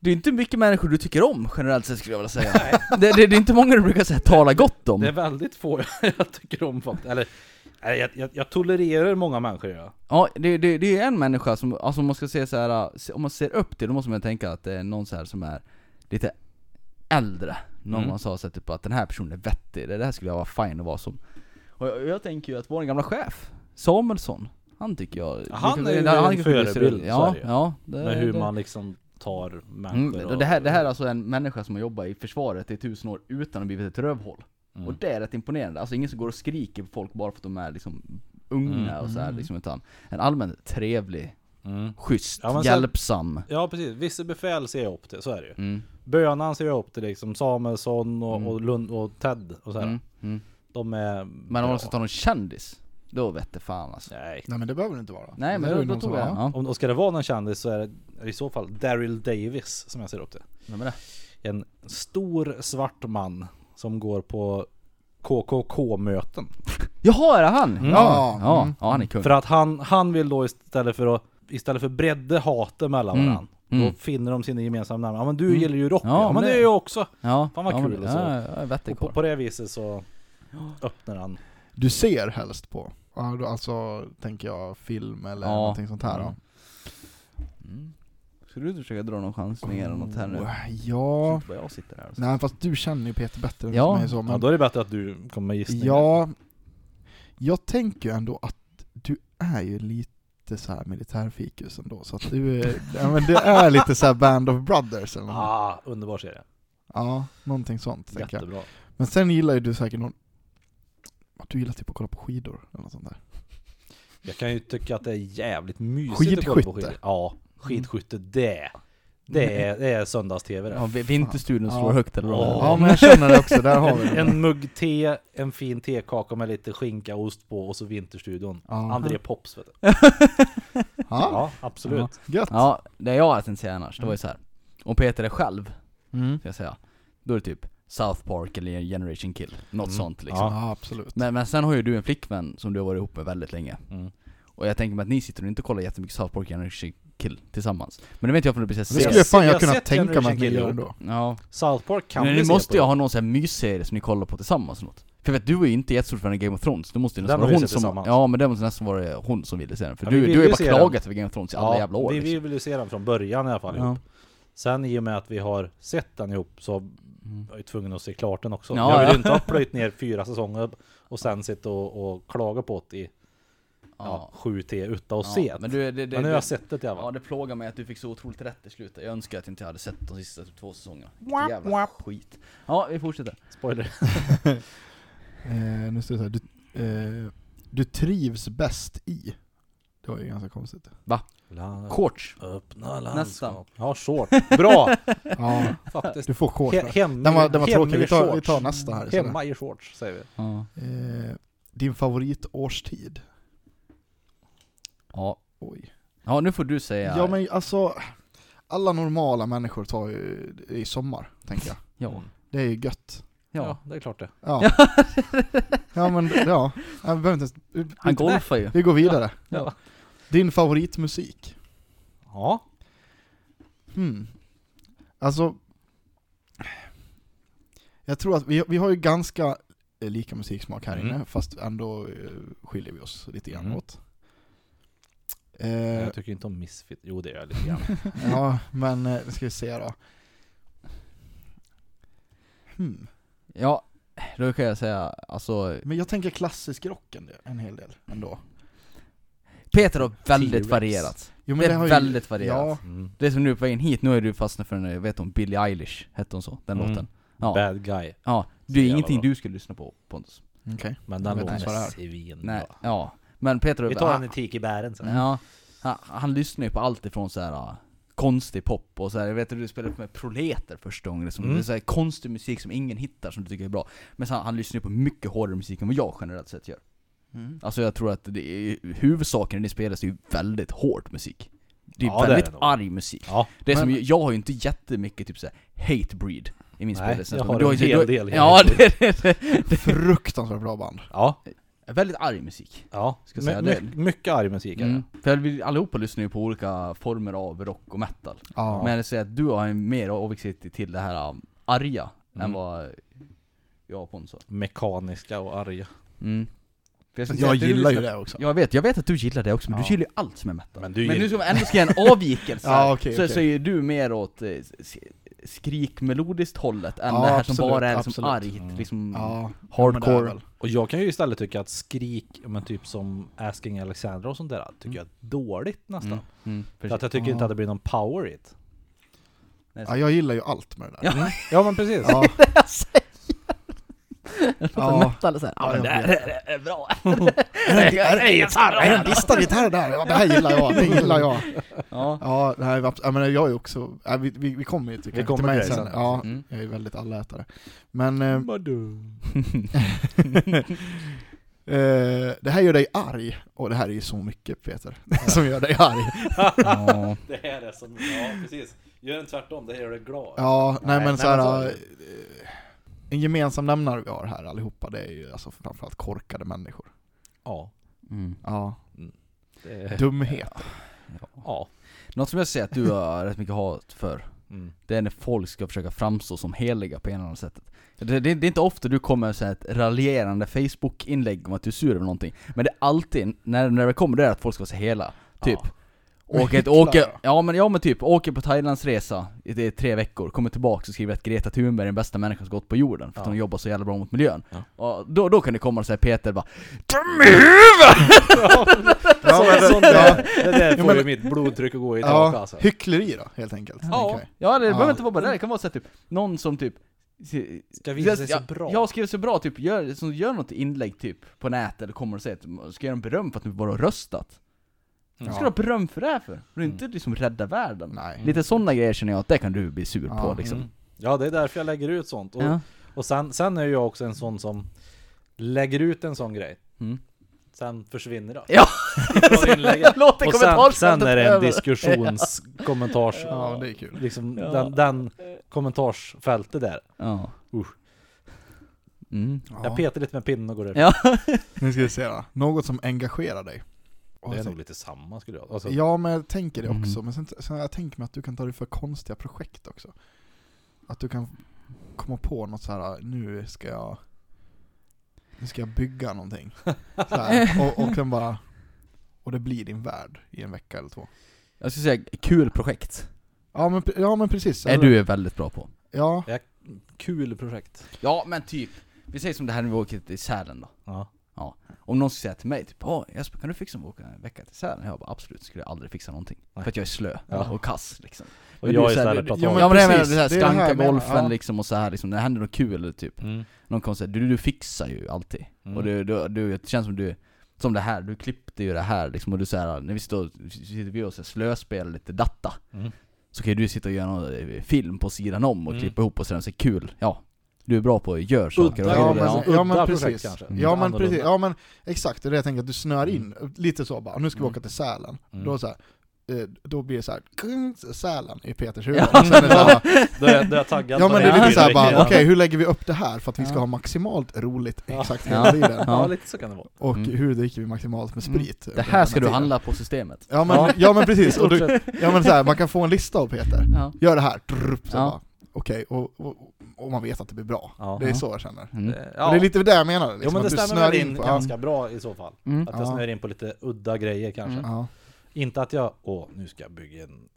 Det är inte mycket människor du tycker om generellt sett skulle jag vilja säga. det, det, det är inte många du brukar säga tala gott om.
Det är väldigt få jag tycker om faktiskt. Eller, nej, jag, jag, jag tolererar många människor ja.
Ja, det, det, det är en människa som, alltså om man ska se så här, se- om man ser upp till, då måste man tänka att det är någon så här som är lite äldre. Någon
Mm.
man sa så här, typ att den här personen är vettig, det där skulle jag vara fin att vara som. Och jag, jag tänker ju att vår gamla chef, Samuelsson, han tycker jag...
Han är ju
han-
en
han-
förebild, så är
ja,
det ju.
ja, det,
Med hur
det-
man liksom tar människor
Mm, och det, här, det här är alltså en människa som har jobbat i försvaret i tusen år utan att blivit ett rövhål.
Mm.
Och det är rätt imponerande, alltså ingen som går och skriker på folk bara för att de är liksom unga
Mm.
och så här, liksom, utan en allmänt trevlig,
Mm.
schysst,
Ja, men sen-
hjälpsam.
Ja precis, vissa befäl ser jag upp till, så är det ju.
Mm.
Bönan ser jag upp till liksom, Samuelsson och,
Mm.
och Lund och Ted och så här.
Mm. Mm.
De är...
Men om
bra.
man ska ta någon kändis, då vette fan alltså.
Nej.
Nej men det behöver det inte vara.
Nej
Det
men
är
då,
ju
då
någon
tog
som-
jag den. Ja.
Om, och ska det vara någon kändis så är det i så fall Daryl Davis som jag ser upp till.
Vem är det?
En stor svart man som går på KKK-möten.
Jaha är det han?
Mm.
Ja, ja,
Mm.
ja han är kung.
För att han, han vill då istället för att Istället för bredde hatet mellan
Mm.
varandra
Mm.
Då finner de sina gemensamma nämnare. Ja men du
Mm.
gillar ju rock
Ja,
ja, men
men
det
det-
gör jag också!
Ja,
Fan, vad
ja, men-
kul, alltså.
Ja, ja, vette
Och på,
karl.
på det viset så öppnar han
Du ser helst på? Ja, då Alltså, tänker jag film eller
Ja.
någonting sånt här då.
Mm. Ska du inte försöka dra någon chansning eller något här nu?
Oh,
Så
Ja,
inte bara jag sitter här alltså. och så.
nej fast du känner ju Peter bättre
Ja.
än mig så men...
Ja då är det bättre att du kommer med gissningar
Ja, jag tänker ju ändå att du är ju lite så här militärfikus ändå, så att du är, ja, men du är lite så här Band of Brothers eller något.
Ah, underbar serie
Ja, någonting sånt tänker jag.
Jättebra
Men sen gillar ju du säkert någon du gillar typ att kolla på skidor eller något sånt där.
Jag kan ju tycka att det är jävligt mysigt att kolla på
Skidskytte.
skidor Ja, skidskytte det Det är, det är söndags-tv det
Ja, vi- vinterstudion
Fan.
slår
Ja.
högt eller
Ja.
vad?
Ja men jag känner det också, där har vi
en,
det.
en mugg te, en fin tekaka med lite skinka och ost på och så Vinterstudion
Ja,
André Pops vet du
ja
Ja, absolut
gött.
Ja, det jag hade tänkt säga annars, det var ju så här. Om Peter är själv,
Mm.
ska jag säga, då är det typ South Park eller Generation Kill, något
Mm.
sånt liksom.
Ja.
Ja, absolut.
Men, men sen har ju du en flickvän som du har varit ihop med väldigt länge.
Mm.
Och jag tänker mig att ni sitter och inte kollar jättemycket South Park och Generation Kill tillsammans. Men det vet jag för det blir
Det
såhär
skulle
jag-
ses.
fan
jag
jag
har
kunna
sett
tänka mig att ni
Generation
gör
Kill.
då.
Ja.
South Park kan
Men
vi
ni
se
måste
på
ju ha någon sån här mysserie som ni kollar på tillsammans eller något. För jag vet, du var ju inte jättestort fan av Game of Thrones, det måste ju nästan
Den har
vara
vi
hon
sett
som...
tillsammans.
Ja men det måste nästan vara hon som ville se den, för
Ja, vi
du,
ville
du har ju
ju
bara
se den.
klagat över Game of Thrones i alla
Ja,
jävla år
vi, vi
liksom.
vill ju se den från början i alla fall ihop. Sen i och med att vi har sett den ihop så
liksom. Mm.
var jag ju tvungen att se klart den också
Ja,
Jag vill
ja.
ju inte ha plöjt ner fyra säsonger och sen sitta och, och klaga på det i ja,
Ja.
sju till utan att
Ja,
se det.
Men,
Men,
du, det, det,
nu
det,
har jag sett det i alla
Ja
fall
det plågar mig att du fick så otroligt rätt i slutet, jag önskar att jag inte hade sett de sista typ två säsongerna. Vilket jävla skit. Ja, vi fortsätter.
Spoiler.
Eh, nu står det så här, du, eh, du trivs bäst i. Det var ju ganska konstigt.
Shorts.
Öppna
landskap.
Ja, short. Bra!
Ja,
Faktiskt.
du får shorts.
He-
där.
hem,
Den var- den var
hem
tråkig.
i
Vi tar- vi
shorts.
tar nästa här istället.
Hemma i shorts säger vi.
Ja.
Eh, din favoritårstid?
Ja.
Oj.
ja, nu får du säga.
Ja. men alltså, alla normala människor tar ju i sommar, tänker jag.
Ja.
Det är ju gött.
Mm. Ja.
ja.
det är klart det.
Ja. ja men, ja. Jag behöver inte ens,
Han golfar ju.
vi går vidare.
Ja.
Din favoritmusik?
Ja.
Hmm. Alltså, jag tror att vi, vi har ju ganska eh, lika musiksmak här
Mm.
inne, fast ändå eh, skiljer vi oss lite grann
Mm.
åt. Eh,
Jag tycker inte om Misfit. Jo, det gör jag lite grann.
ja, men eh, nu ska vi se då. Hmm.
Ja, då kan jag säga, alltså
Men jag tänker klassisk rocken det- en hel del ändå.
Peter har väldigt
T-Rex.
varierat.
Jo,
Det är
har ju-
väldigt varierat.
Ja,
Mm.
Det är som nu på vägen hit, nu är du fastnat för en, vet hon, Billie Eilish, hette hon så? Den
Mm.
låten. Ja.
Bad guy.
ja. Det är
Jävla
ingenting
bra.
du skulle lyssna på Pontus.
okej. Jag
Men den
vet
låten
inte vad det
är
är.
svinbra.
Nej, ja. Men Peter har-
Vi tar den i tikibären sen.
Ja, han, han lyssnar ju på allt ifrån så här ah, konstig pop och så här, jag vet att du spelade upp med proleter första gången, liksom.
Mm.
det är så här konstig musik som ingen hittar som du tycker är bra. Men sen, han lyssnar ju på mycket hårdare musik än vad jag generellt sett gör. Alltså jag tror att det är, huvudsaken i det spelet är ju väldigt hård musik. Det är
Ja, det är
väldigt
det nog.
arg musik.
Ja.
Det är som,
Men-
ju- jag har ju inte jättemycket typ så här, hate breed i min
Nej,
spellista.
jag
Men
har
du
en
ju-
hel
du-
del hate
Ja, det, det, det,
Fruktansvärt bra band.
Ja.
Väldigt arg musik.
Ja,
Ska säga
my-
det.
my- mycket arg musik är det.
Mm. För vi allihopa lyssnar ju på olika former av rock och metal.
Ja.
Men jag säger att du har en mer avvikt till det här um, arga
Mm.
än vad jag och Pontus har.
Mekaniska och arga.
Mm. För ska säga
jag
att du
gillar ju
lyssnar-
det också.
Jag vet, jag vet att du gillar det också, men
Ja.
du gillar ju allt som är metal.
Men du
Men nu
gillar-
ska man ändå ska göra en avvikelse,
Ja, okej,
så,
okej.
så är ju du mer åt eh, s- skrikmelodiskt hållet än
Ja,
det här som
absolut,
bara är liksom
absolut.
argt,
Mm.
liksom
Ja, men det är
hardcore.
väl.
Och jag kan ju istället tycka att skrik, men typ som Asking Alexandra och sånt där, tycker jag är dåligt nästan.
Mm. Mm.
För att jag tycker inte
Mm. Ja.
att det blir någon power i det.
ja, jag gillar ju allt med det där.
Ja.
Ja men precis.
Ja. Ja.
Metal är såhär, ja
Ja,
men det
jag
här är- är bra.
Är det en gitarr? Är det en distargitarr där? Ja, Det här gillar jag, det gillar jag.
Ja.
Ja, det här är abs- ja, men jag är också, ja, vi, vi, vi kommer ju till,
Vi kommer
till mig
till det
sen.
sen.
Ja,
Mm.
jag är väldigt allätare. Men eh, eh, det här gör dig arg, och det här är ju så mycket Peter, som gör dig arg.
ja.
Det här är som, ja precis. Gör en tvärtom, det här gör dig glad.
Ja, nej,
Nej,
men
nej,
så här,
men så-
eh, en gemensam nämnare vi har här allihopa, det är ju alltså framförallt korkade människor.
Ja.
Mm.
Ja,
Det är,
dumhet.
ja.
Något som jag ser att du har rätt mycket hat för,
Mm.
det är när folk ska försöka framstå som heliga på ena eller andra sättet. Det, det, det är inte ofta du kommer med så här ett raljerande Facebook-inlägg om att du är sur över någonting. Men det är alltid, när, när det kommer det är att folk ska vara så hela. Typ.
Ja.
Åker, ett,
Hitler,
åker,
ja.
ja, men, ja men typ, åker på Thailandsresa i det är tre veckor, kommer tillbaka och skriver att Greta Thunberg är den bästa människan som gått på jorden för att
Ja.
hon jobbar så jävla bra mot miljön.
Ja.
Och då, då kan det komma och säga Peter bara Dum i huvudet!
Ja, men
Sånt
det-
där, det där
Jo,
får ju
men-
mitt blodtryck att gå i tak
Ja,
alltså.
hyckleri då, helt enkelt.
Ja,
tänker jag.
ja det
Ja.
behöver inte vara bara det, det kan vara så här, typ någon som typ
Ska visa sig så bra.
Jag skriver så bra, typ gör, som gör något inlägg typ på nätet eller kommer och säger att ska göra en beröm för att du bara har röstat.
Mm.
Ska du ha beröm för det här för? Du är inte liksom rädda världen.
Nej.
Lite sådana grejer känner jag att det kan du bli sur på
Ja.
liksom.
Mm. Ja det är därför jag lägger ut sånt. Och,
Ja.
och sen, sen är ju jag också en sån som lägger ut en sån grej.
Mm.
Sen försvinner det.
Ja.
Från inlägget.
Låt
Och sen, sen är det en
över.
diskussions kommentars
Ja, det är kul.
liksom
Ja.
den, den kommentarsfältet där.
Ja.
Usch.
Mm.
Jag
Ja.
petar lite med pinnen och går över.
Ja.
Nu ska vi se då. Något som engagerar dig. Och
Det är
jag
nog lite samma skulle jag alltså,
Ja, men jag tänker det också.
Mhm.
Men sen, sen jag tänker mig att du kan ta dig för konstiga projekt också. Att du kan komma på något så här. nu ska jag nu ska jag bygga någonting. Så här, och, och sen bara, och det blir din värld i en vecka eller två.
Jag skulle säga kul projekt.
Ja men, pre- ja, men precis.
Är
Eller-
du är väldigt bra på.
Ja,
Kul projekt.
Ja men typ, vi säger som det här när vi åker till Sälen då.
Ja.
Om någon skulle säga till mig typ "Åh, Jesper kan du fixa en åka en vecka till Sälen? Jag bara absolut, skulle jag aldrig fixa någonting.
Nej.
För att jag är slå
Ja.
och kass liksom.
Och
Men
jag
du, så här,
istället
du-
tar
ja,
tag
men
i
ja men det är väl
precis,
det här
det är det här
skanka
jag menar,
golfen
ja.
liksom och så här liksom, när det händer något kul typ.
Mm.
Någon kommer säga du, du fixar ju alltid.
Mm.
Och du, du, du, det känns som du, som det här, du klippte ju det här liksom och du såhär, när vi står, sitter vi och så här slöspelar lite datta
Mm.
Så kan ju du sitta och göra någon eh, film på sidan om och
Mm.
klippa ihop och sådär, så kul, ja Du är bra på att göra saker och
Udda,
ja,
gör
men,
det, ja.
ja, men
Udda projekt
precis.
kanske.
Ja men
Annorlunda.
precis, ja men exakt, det är det jag tänker att du snör in,
Mm.
lite så bara, nu ska vi åka till Sälen.
Mm.
Då så här, eh, då blir det så här, kung, Sälen i Peters huvud. Och sen är det så här,
Då är, då är jag taggad.
Ja
på
men det
den
är lite
bilden.
såhär bara,
Ja.
okej hur lägger vi upp det här för att vi ska
Ja.
ha maximalt roligt
Ja.
exakt
Ja.
hela tiden?
Ja
Ja.
lite så kan det vara.
Och
Mm.
hur dricker vi maximalt med
Mm.
sprit?
Det
under
här
den
ska du
tiden?
handla på systemet
Ja men,
Ja.
ja. men precis, och du, ja, men så här, man kan få en lista av Peter.
Ja.
Gör det här, drupp, så
Ja.
bara, okej, och, och, och man vet att det blir bra.
Ja. Eh,
Det är
Ja.
så jag känner.
Mm.
Och det är lite det jag menar, liksom,
jo men det
att du
stämmer
snör
väl
in
in
på...
ganska bra i så fall.
Mm.
Att jag
Ja.
snör in på lite udda grejer kanske.
Mm.
Ja.
Inte att jag, åh nu ska jag bygga en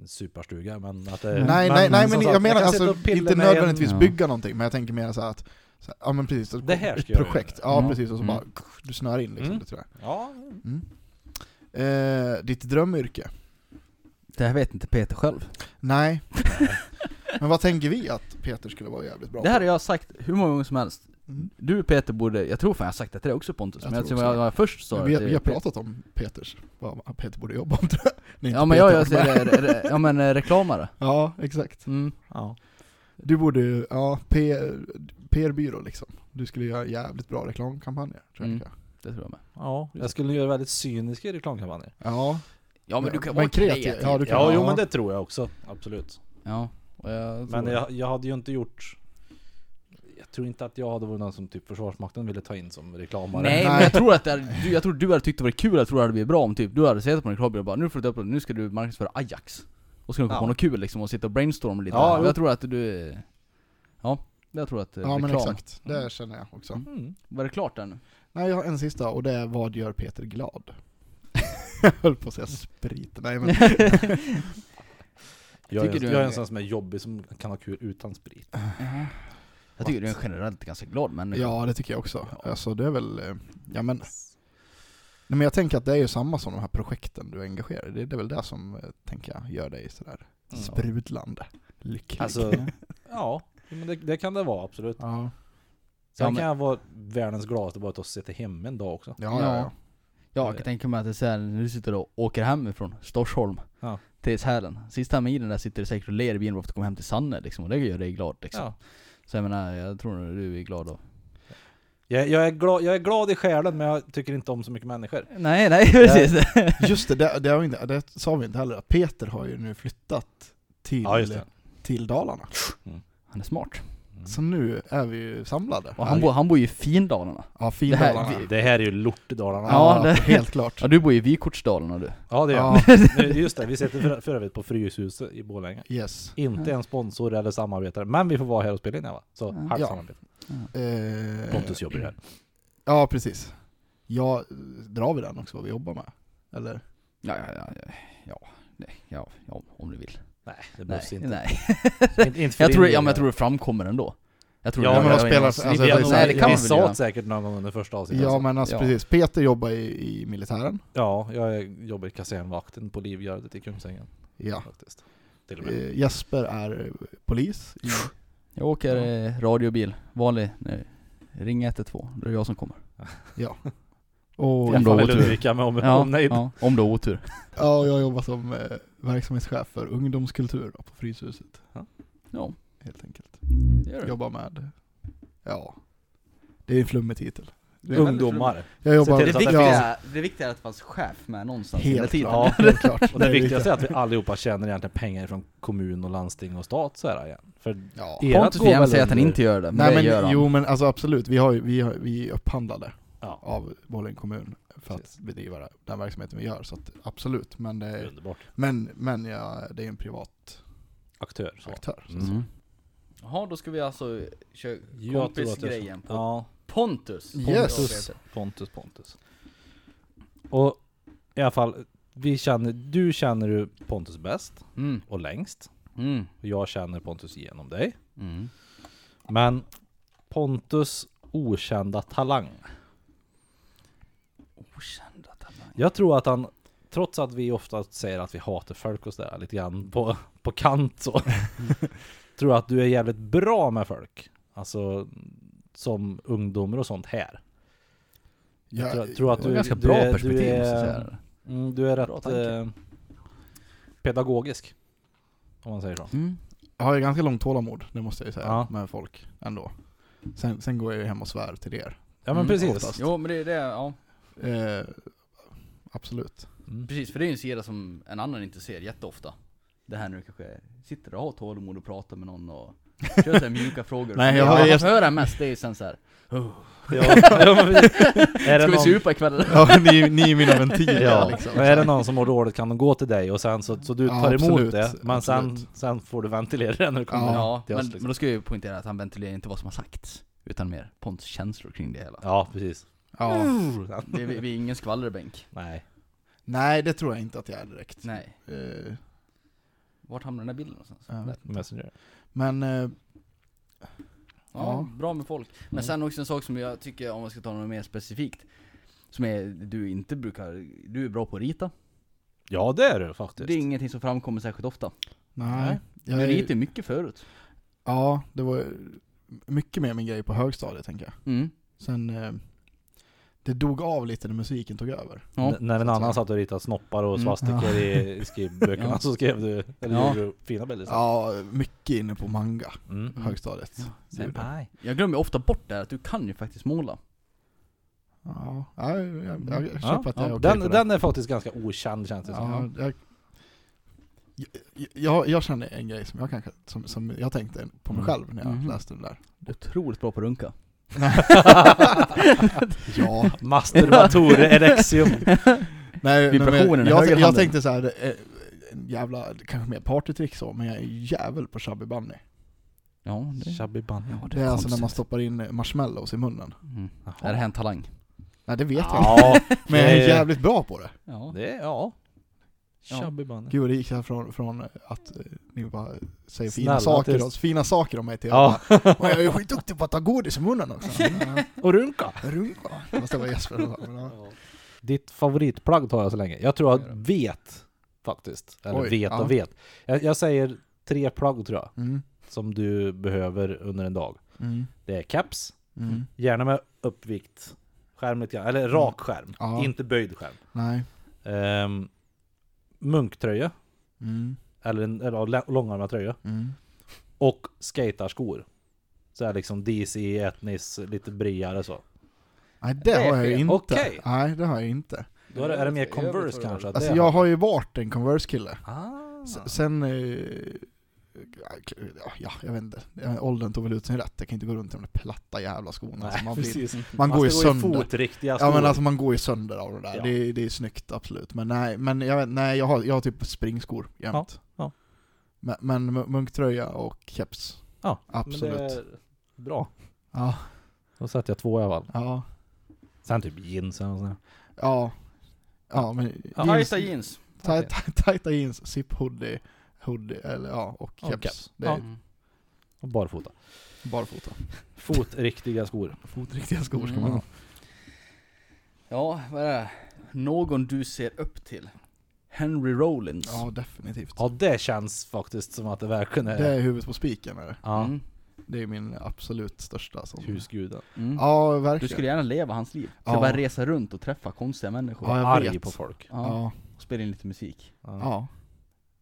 en superstuga Mm. men att det,
Nej, nej, nej, men
som sagt,
jag menar
kan sitta
alltså
och pilla
inte
med
nödvändigtvis
Ja.
bygga någonting, men jag tänker mer så här att, så här, ja men precis, alltså,
Det här ska
ett
jag
projekt,
göra.
ja
Mm.
precis, och så
Mm.
bara, du snör in liksom,
Mm.
det tror jag.
En, ja,
Mm. Eh, ditt drömyrke?
Det här vet inte Peter själv
Nej. Men vad tänker vi att Peter skulle vara jävligt bra
Det här
på?
har jag sagt hur många gånger som helst
Mm.
Du Peter borde, jag tror fan jag har sagt det till dig också Pontus,
Jag
men jag
tror
tror jag,
också
jag, först sa
Men
det
Vi,
till
vi har
Peter.
pratat om Peters, vad Peter borde jobba om tror jag. Nej,
Ja
inte
men jag,
Peter,
jag säger det, re, re, ja men eh, reklamare
Ja, exakt.
mm.
ja.
Du borde ju, ja, P- PR-byrå liksom. Du skulle göra jävligt bra reklamkampanjer, tror jag.
Mm. Det tror jag med
ja, jag skulle göra väldigt cyniska reklamkampanjer.
Ja,
Ja men du
Men
kan vara
kreativ-
kreativ,
ja, du kan-
Ja, jo men det tror jag också, absolut.
Ja, och jag tror
Men
det.
jag, jag hade ju inte gjort... Jag tror inte att jag hade varit någon som typ Försvarsmakten ville ta in som reklamare.
Nej men
Nej.
jag tror att det hade, du, jag tror du hade tyckt det var kul, jag tror det hade blivit bra om typ du hade sett på en reklambyrå och bara nu får du ta upp det, nu ska du marknadsföra Ajax. Och ska du komma
Ja.
på något kul liksom och sitta och brainstorma lite.
Ja,
Ja,
jo.
jag tror att du... Ja, jag tror att eh,
Ja men
reklam.
exakt, det känner jag också.
Mm.
Var det klart där nu?
Nej jag har en sista och det är Vad gör Peter glad? jag höll på att säga sprit, nej men
Jag, är,
Tycker du-
jag är en sån som är jobbig som kan ha kul utan sprit.
Mm. jag tycker du är generellt ganska glad men
ja det tycker jag också. Alltså det är väl, eh, ja men Nej men jag tänker att det är ju samma som de här projekten du engagerar dig i, det, det är väl det som, eh, tänker jag, gör dig sådär
Mm.
sprudlande lycklig.
Alltså, ja, men det, det kan det vara absolut.
ja.
Sen
Ja, men-
kan jag vara världens gladaste bara att sitta hemma en dag också.
Ja, ja, ja.
Ja, jag kan tänka mig att det är såhär, när du sitter och åker hemifrån Storsholm
Ja.
till Sälen. Sista milen där sitter du säkert och ler i bilen för att du kommer hem till Sanne liksom, och det gör dig glad liksom.
Ja.
Så jag menar, jag tror nog du är glad och...
Jag, jag, är glad, jag är glad i själen men jag tycker inte om så mycket människor.
Nej, nej precis!
Just det, det, det, har vi inte, det sa vi inte heller, att Peter har ju nu flyttat till,
Ja, just det.
till Dalarna.
Han är smart.
Så nu är vi ju samlade.
Och han, bor, han bor ju i Findalarna.
Ja,
det här-
Findalarna.
vi-
Det här är ju lortdalarna. Ja.
Ja,
Ja, det-
helt klart.
Ja du bor ju i Vykortsdalarna du.
ja det är
Ja,
jag. Just det, vi sitter för, för övrigt på Fryshuset i Borlänge.
yes.
Inte en sponsor eller samarbetare, men vi får vara här och spela in här va? Så
Ja.
halvt
Ja.
samarbete.
Eh,
Pontus jobbar ju här.
Ja, precis. Ja, drar vi den också, vad vi jobbar med? Eller?
Ja, ja, ja, ja, ja, nej, ja, ja om du vill.
Nej, det
Nej,
behövs inte.
nej.
inte, inte för
Jag tror,
din
ja, men
del.
jag tror det framkommer ändå. Jag tror
Ja,
det-
men
vad
jag- jag-
spelar-
jag-
alltså,
vi,
det är
vi,
så-
nej, det kan
vi
man väl
sa
göra.
det säkert någon gång under första avsnittet.
Ja,
alltså.
men alltså
ja.
precis. Peter jobbar i, i militären.
ja, jag är- jobbar i kasernvakten på Livgardet i Kungsängen
Ja.
faktiskt. Till och med.
Eh, Jesper är eh, polis i
Jag åker eh, radiobil, vanlig, nej, ring 112, det är jag som kommer.
Och,
Om
Jag
du
får
har
väl
otur.
undvika mig om,
Ja,
om nej.
ja, om du har otur.
ja, jag jobbar som eh, verksamhetschef för ungdomskultur då, på Fryshuset,
Ja,
helt enkelt.
det gör du.
Jobbar med, ja, det är en flummig titel. Det är-
Ungdomar.
Jag jobbar,
Se till att det
ja,
det viktiga är att det fanns chef med någonstans
helt
Ja.
klart. helt klart.
Och det
är
viktigaste är att vi allihopa tjänar egentligen pengar från kommun och landsting och stat så här igen. För
Ja.
Ert
Pontus
går
får gärna
väl
säga att han
under-
inte gör det, men
Nej
det gör
men
han.
jo men alltså absolut, vi, har, ju- vi, har, vi är upphandlade
Ja.
av Borlänge kommun för att bedriva det- den verksamheten vi gör, så att absolut. Men,
det är
det,
underbart.
men, men ja, det är en privat
Aktör. Så.
aktör. Så.
Mm. Jaha, då ska vi alltså köra
Jag tror att jag-
kompisgrejen på
Ja,
Pontus.
Yes.
Pontus.
Pontus, Pontus. Och i alla fall, vi känner, du känner ju Pontus bäst
Mm.
och längst.
Mm.
Och jag känner Pontus genom dig.
Mm.
Men Pontus okända talang.
Okända talanger.
Jag tror att han, trots att vi ofta säger att vi hatar folk och sådär lite grann på, på kant så, tror jag att du är jävligt bra med folk. Alltså som ungdomar och sånt här. Jag tror- tror att
Det var
du-
ganska bra
är-
perspektiv
du är-
måste jag säga.
Mm, du är
Bra
rätt
tanke.
eh, pedagogisk. Om man säger så.
Mm.
Jag har ju ganska långt tålamod, det måste jag ju säga,
Ja.
med folk ändå. Sen, sen går jag ju hem och svär till er.
Ja men
Mm,
precis.
oftast.
Jo men det är det, ja.
Eh, absolut.
Mm.
Precis, för det är ju en sida som en annan inte ser jätteofta. Det här nu kanske, sitter och har tålamod och pratar med någon och kör såhär mjuka frågor.
Nej,
Det
jag har
man
ju-
får höra mest det är ju sen såhär,
Ja, ja, men precis. Är det
ska vi
någon-
supa ikväll?
Ja, ni, ni är mina ventiler
Ja,
liksom.
men är det någon som mår dåligt kan de gå till dig och sen så, så du
Ja,
tar emot
absolut,
det men sen,
absolut.
sen får du ventilera det när du kommer
Ja,
Ja,
till
men,
oss.
men
liksom.
då ska jag ju poängtera att han ventilerar inte vad som har sagts. Utan mer Pontus känslor kring det hela.
Ja, precis.
Ja.
Det, vi, vi är ingen skvallerbänk.
Nej.
Nej, det tror jag inte att jag är direkt.
Nej.
Eh,
Vart hamnar den här bilden någonstans?
jag
Där.
vet inte.
Messenger.
Men, eh,
Ja,
Ja.
bra med folk. Men
Mm.
sen också en sak som jag tycker, om man ska ta något mer specifikt. Som är, du inte brukar, du är bra på att rita.
Ja, det är du faktiskt.
Det är ingenting som framkommer särskilt ofta.
nej.
Du
Jag,
ritar
är-
ju mycket förut.
ja, det var mycket mer min grej på högstadiet, tänker jag.
Mm.
Sen, eh, det dog av lite när musiken tog över.
Ja.
N- när en annan satt och ritade snoppar och
Mm.
svastikor i, i skrivböckerna
Ja.
så skrev du, eller
Ja.
gjorde du fina bilder sen.
Ja, mycket inne på manga,
Mm.
Mm.
högstadiet.
Ja,
Gjorde.
Senpai.
Jag glömmer ju ofta bort det här att du kan ju faktiskt måla.
Ja, jag, jag, jag, jag köper
Ja,
att jag
ja.
är okej
Den,
på det.
den är faktiskt ganska okänd känns det
Ja,
som.
jag, jag, jag, jag känner en grej som jag kanske, som, som jag tänkte på mig
Mm.
själv när jag
Mhm.
läste den där.
otroligt bra på att runka.
ja.
Masturbatore erexium.
Nej, nej,
Vibrationen
men
i
jag, jag,
högerhanden.
tänkte så här, eh, en jävla, kanske mer partytrick så, men jag är jävel på chubby bunny.
Ja, det, ja,
Chubby bunny.
det är,
Det är alltså när man
konstigt.
stoppar in marshmallows i munnen.
Mm. Är det här en talang?
Nej det vet jag inte,
Ja,
men jag
det-
är jävligt bra på det.
Ja.
det är, ja.
Ja.
Chubby bunny.
Gud vad det gick här från, från att eh, ni bara säger
Snälla,
fina saker,
tyst.
och, fina saker om mig till
Ja.
ja. bara, "Åh, jag är skitduktig på att ta godis i munnen också. Ja,
Och runka.
Runka. Fast det var Jesper som sa, men ja.
Ditt favoritplagg tar jag så länge. Jag tror jag
Gör
vet faktiskt. Eller
Oj,
vet
ja.
och vet. Jag, jag säger tre plagg tror jag.
Mm.
Som du behöver under en dag.
Mm.
Det är caps.
Mm.
Gärna med uppvikt. Skärm lite grann. Eller rak skärm.
Ja.
Inte böjd skärm.
Nej.
Ehm, munktröja.
Mm.
Eller, en- eller lä- långärmad tröja.
Mm.
Och skatarskor. Så här liksom DC, etnis, lite bredare så.
Nej det,
Det är
har jag ju
fel.
inte.
Okej.
Nej det har jag inte.
Då är det, är det mer
I övrigt
Converse
har du-
kanske? att
Alltså
det-
jag har ju varit en Converse-kille.
Ah.
S- alltså, Sen, eh, ja jag vet inte, Eh, åldern tog väl ut sin rätt. Jag kan inte gå runt i de där platta jävla skorna.
Nej,
Alltså, man, blir,
precis.
man går ju
ska gå i
sönder.
fotriktiga skor.
Ja men alltså man går ju sönder av det där.
Ja.
Det, det är snyggt absolut. Men nej, men jag, vet, nej, jag, har, jag har typ springskor jämt.
ja.
Men, men mu- munktröja och keps.
Ja,
Absolut.
Men det är bra.
Ja,
Då satte jag två i alla fall.
ja,
Sen typ jeans eller nåt sånt där.
ja. Ja men
Ja,
Tajta jeans.
taj-
Okej.
taj- tajta jeans, zip hoodie, hoodie eller ja, och
Och
keps.
keps.
Det är
Mm.
Och barfota.
barfota.
Fotriktiga skor.
Fotriktiga skor ska
Mm.
man ha.
Ja, vad är det? Någon du ser upp till? Henry Rollins.
Ja definitivt.
Ja det känns faktiskt som att det verkligen är...
Det är huvudet på spiken är det.
Ja.
Mm.
Det är min absolut största sån.
Husguden.
Mm.
Ja
Du
verkligen.
skulle gärna leva hans liv. Ska
Ja.
bara resa runt och träffa konstiga människor.
Ja, jag
Arg
vet.
på folk.
Ja.
Ja,
Och spela in lite musik.
ja.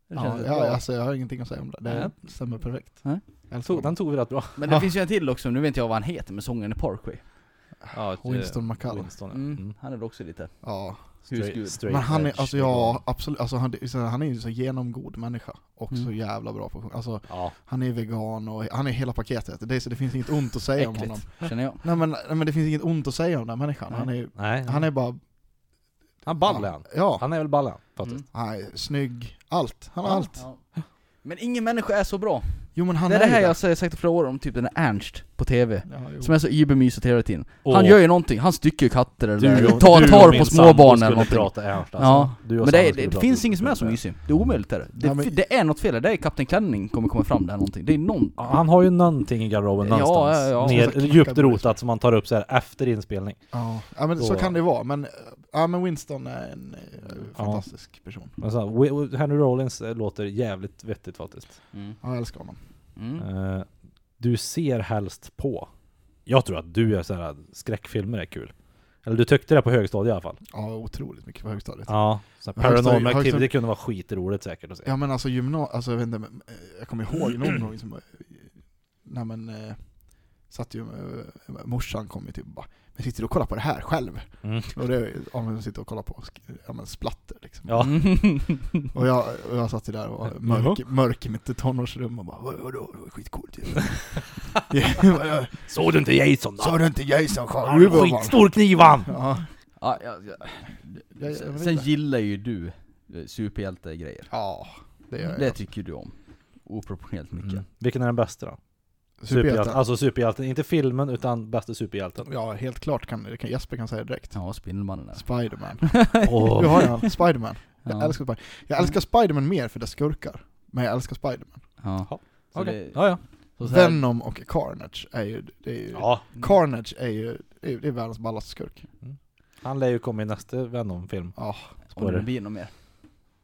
Det
Ja,
känns
ja,
bra.
alltså jag har ingenting att säga om det. Det stämmer perfekt.
Nej.
Jag älskar
Tog, den
honom.
tog vi rätt bra.
Men det
Ja.
finns ju en till också, nu vet inte jag vad han heter, men sångaren i Parkway.
Ja, ett, eh,
Winston McCallum.
Winston, ja.
Mm.
Mm.
Han är väl också lite
Ja.
husgud.
Straight, straight
Men han
edge.
är, alltså ja, absolut, alltså han, det är så här, han är ju så genomgod människa. Och så
Mm.
jävla bra på Alltså
Ja.
han är vegan och han är hela paketet. Det, är, så- det finns inget ont att säga om
Äckligt.
honom.
känner jag.
Nej men, nej men det finns inget ont att säga om den här människan. Han är,
Nej.
han är bara...
han ballar han.
Ja.
Han är väl ballan faktiskt.
Han är snygg. Allt. Han har allt.
Mm. Ja. Men ingen människa är så bra.
Jo men han
det är det här
ju
jag har sagt i flera år om typ den där Ernst på TV.
Ja, jo.
Som är så übermysig hela tiden. Han
Åh,
gör ju någonting, han stycker ju katter eller
du och-
tar,
du och
tar
min
på
sambo
småbarn
skulle
eller någonting.
prata ernst alltså.
Ja,
Du och
Men det,
sambo
är,
skulle
det
prata
finns ingen som är
ernst.
så mysig. Det är omöjligt där. Det,
Ja, men-
det är något fel där, det är Kapten Klänning kommer komma fram där någonting. Det är någon...
Ja, Han har ju någonting i garderoben
Ja,
någonstans.
ja, ja.
Ner,
Som sagt,
djupt
knackar på
rotat som man tar upp så här efter inspelning.
Ja, ja men så
Då-
kan det vara. Men, eh, ja, men Winston är en eh, fantastisk person.
Men så här, Wi- Wi- Henry Rollins eh, låter jävligt vettigt faktiskt.
Mm.
Ja, jag älskar honom.
Mm.
Eh, Du ser helst på. Jag tror att du är så här, skräckfilmer är kul. Eller du tyckte det på högstadiet i alla fall.
Ja, otroligt mycket på högstadiet.
Ja, så här,
Högstadiet-
Paranormal
högstadiet-
Activity kunde vara skitroligt säkert att se.
Ja men alltså gymnasiet, alltså jag vet inte, men, eh, jag kommer ihåg någon gång som, eh, när man eh, satt ju, eh, morsan kom ju typ och bara Men sitter du och kollar på det här själv?
Mm.
Och det, ja men sitter och kollar på, sk- ja men splatter liksom.
Ja.
Och jag, och jag satt ju där och var mörk, mörk i mitt tonårsrum och bara "Vad- vadå, det var skitcoolt ju. Ja,
Såg du inte Jason då?
Sa du inte Jason
Han har en
Sjögren?
skitstor kniv han!
Ja,
Ja, ja, ja.
jag, jag
Sen,
vet
sen
inte.
gillar ju du eh, superhjältegrejer.
ja, det gör
Det typ
jag.
tycker du om. Oproportionerligt mycket.
Mm. Vilken är den bästa då? Superhjälten.
Superhjältar.
Alltså superhjälten, inte filmen utan bästa superhjälten.
Ja, helt klart kan, det kan Jesper kan säga direkt.
Alltså- Ja, Spindelmannen där.
Spiderman.
Åh.
Du har jag, Spiderman. Jag
Ja.
älskar Spiderman. Jag älskar Spiderman mer för det är skurkar. Men jag älskar Spiderman.
Ja. Så
Okej.
det-
Ja, ja.
så så här-
Venom och Carnage är ju... Det är ju
ja.
Carnage är ju det är, det är världens ballaste skurk.
Han lär ju komma i nästa Venom-film.
Ja,
Om det blir något mer.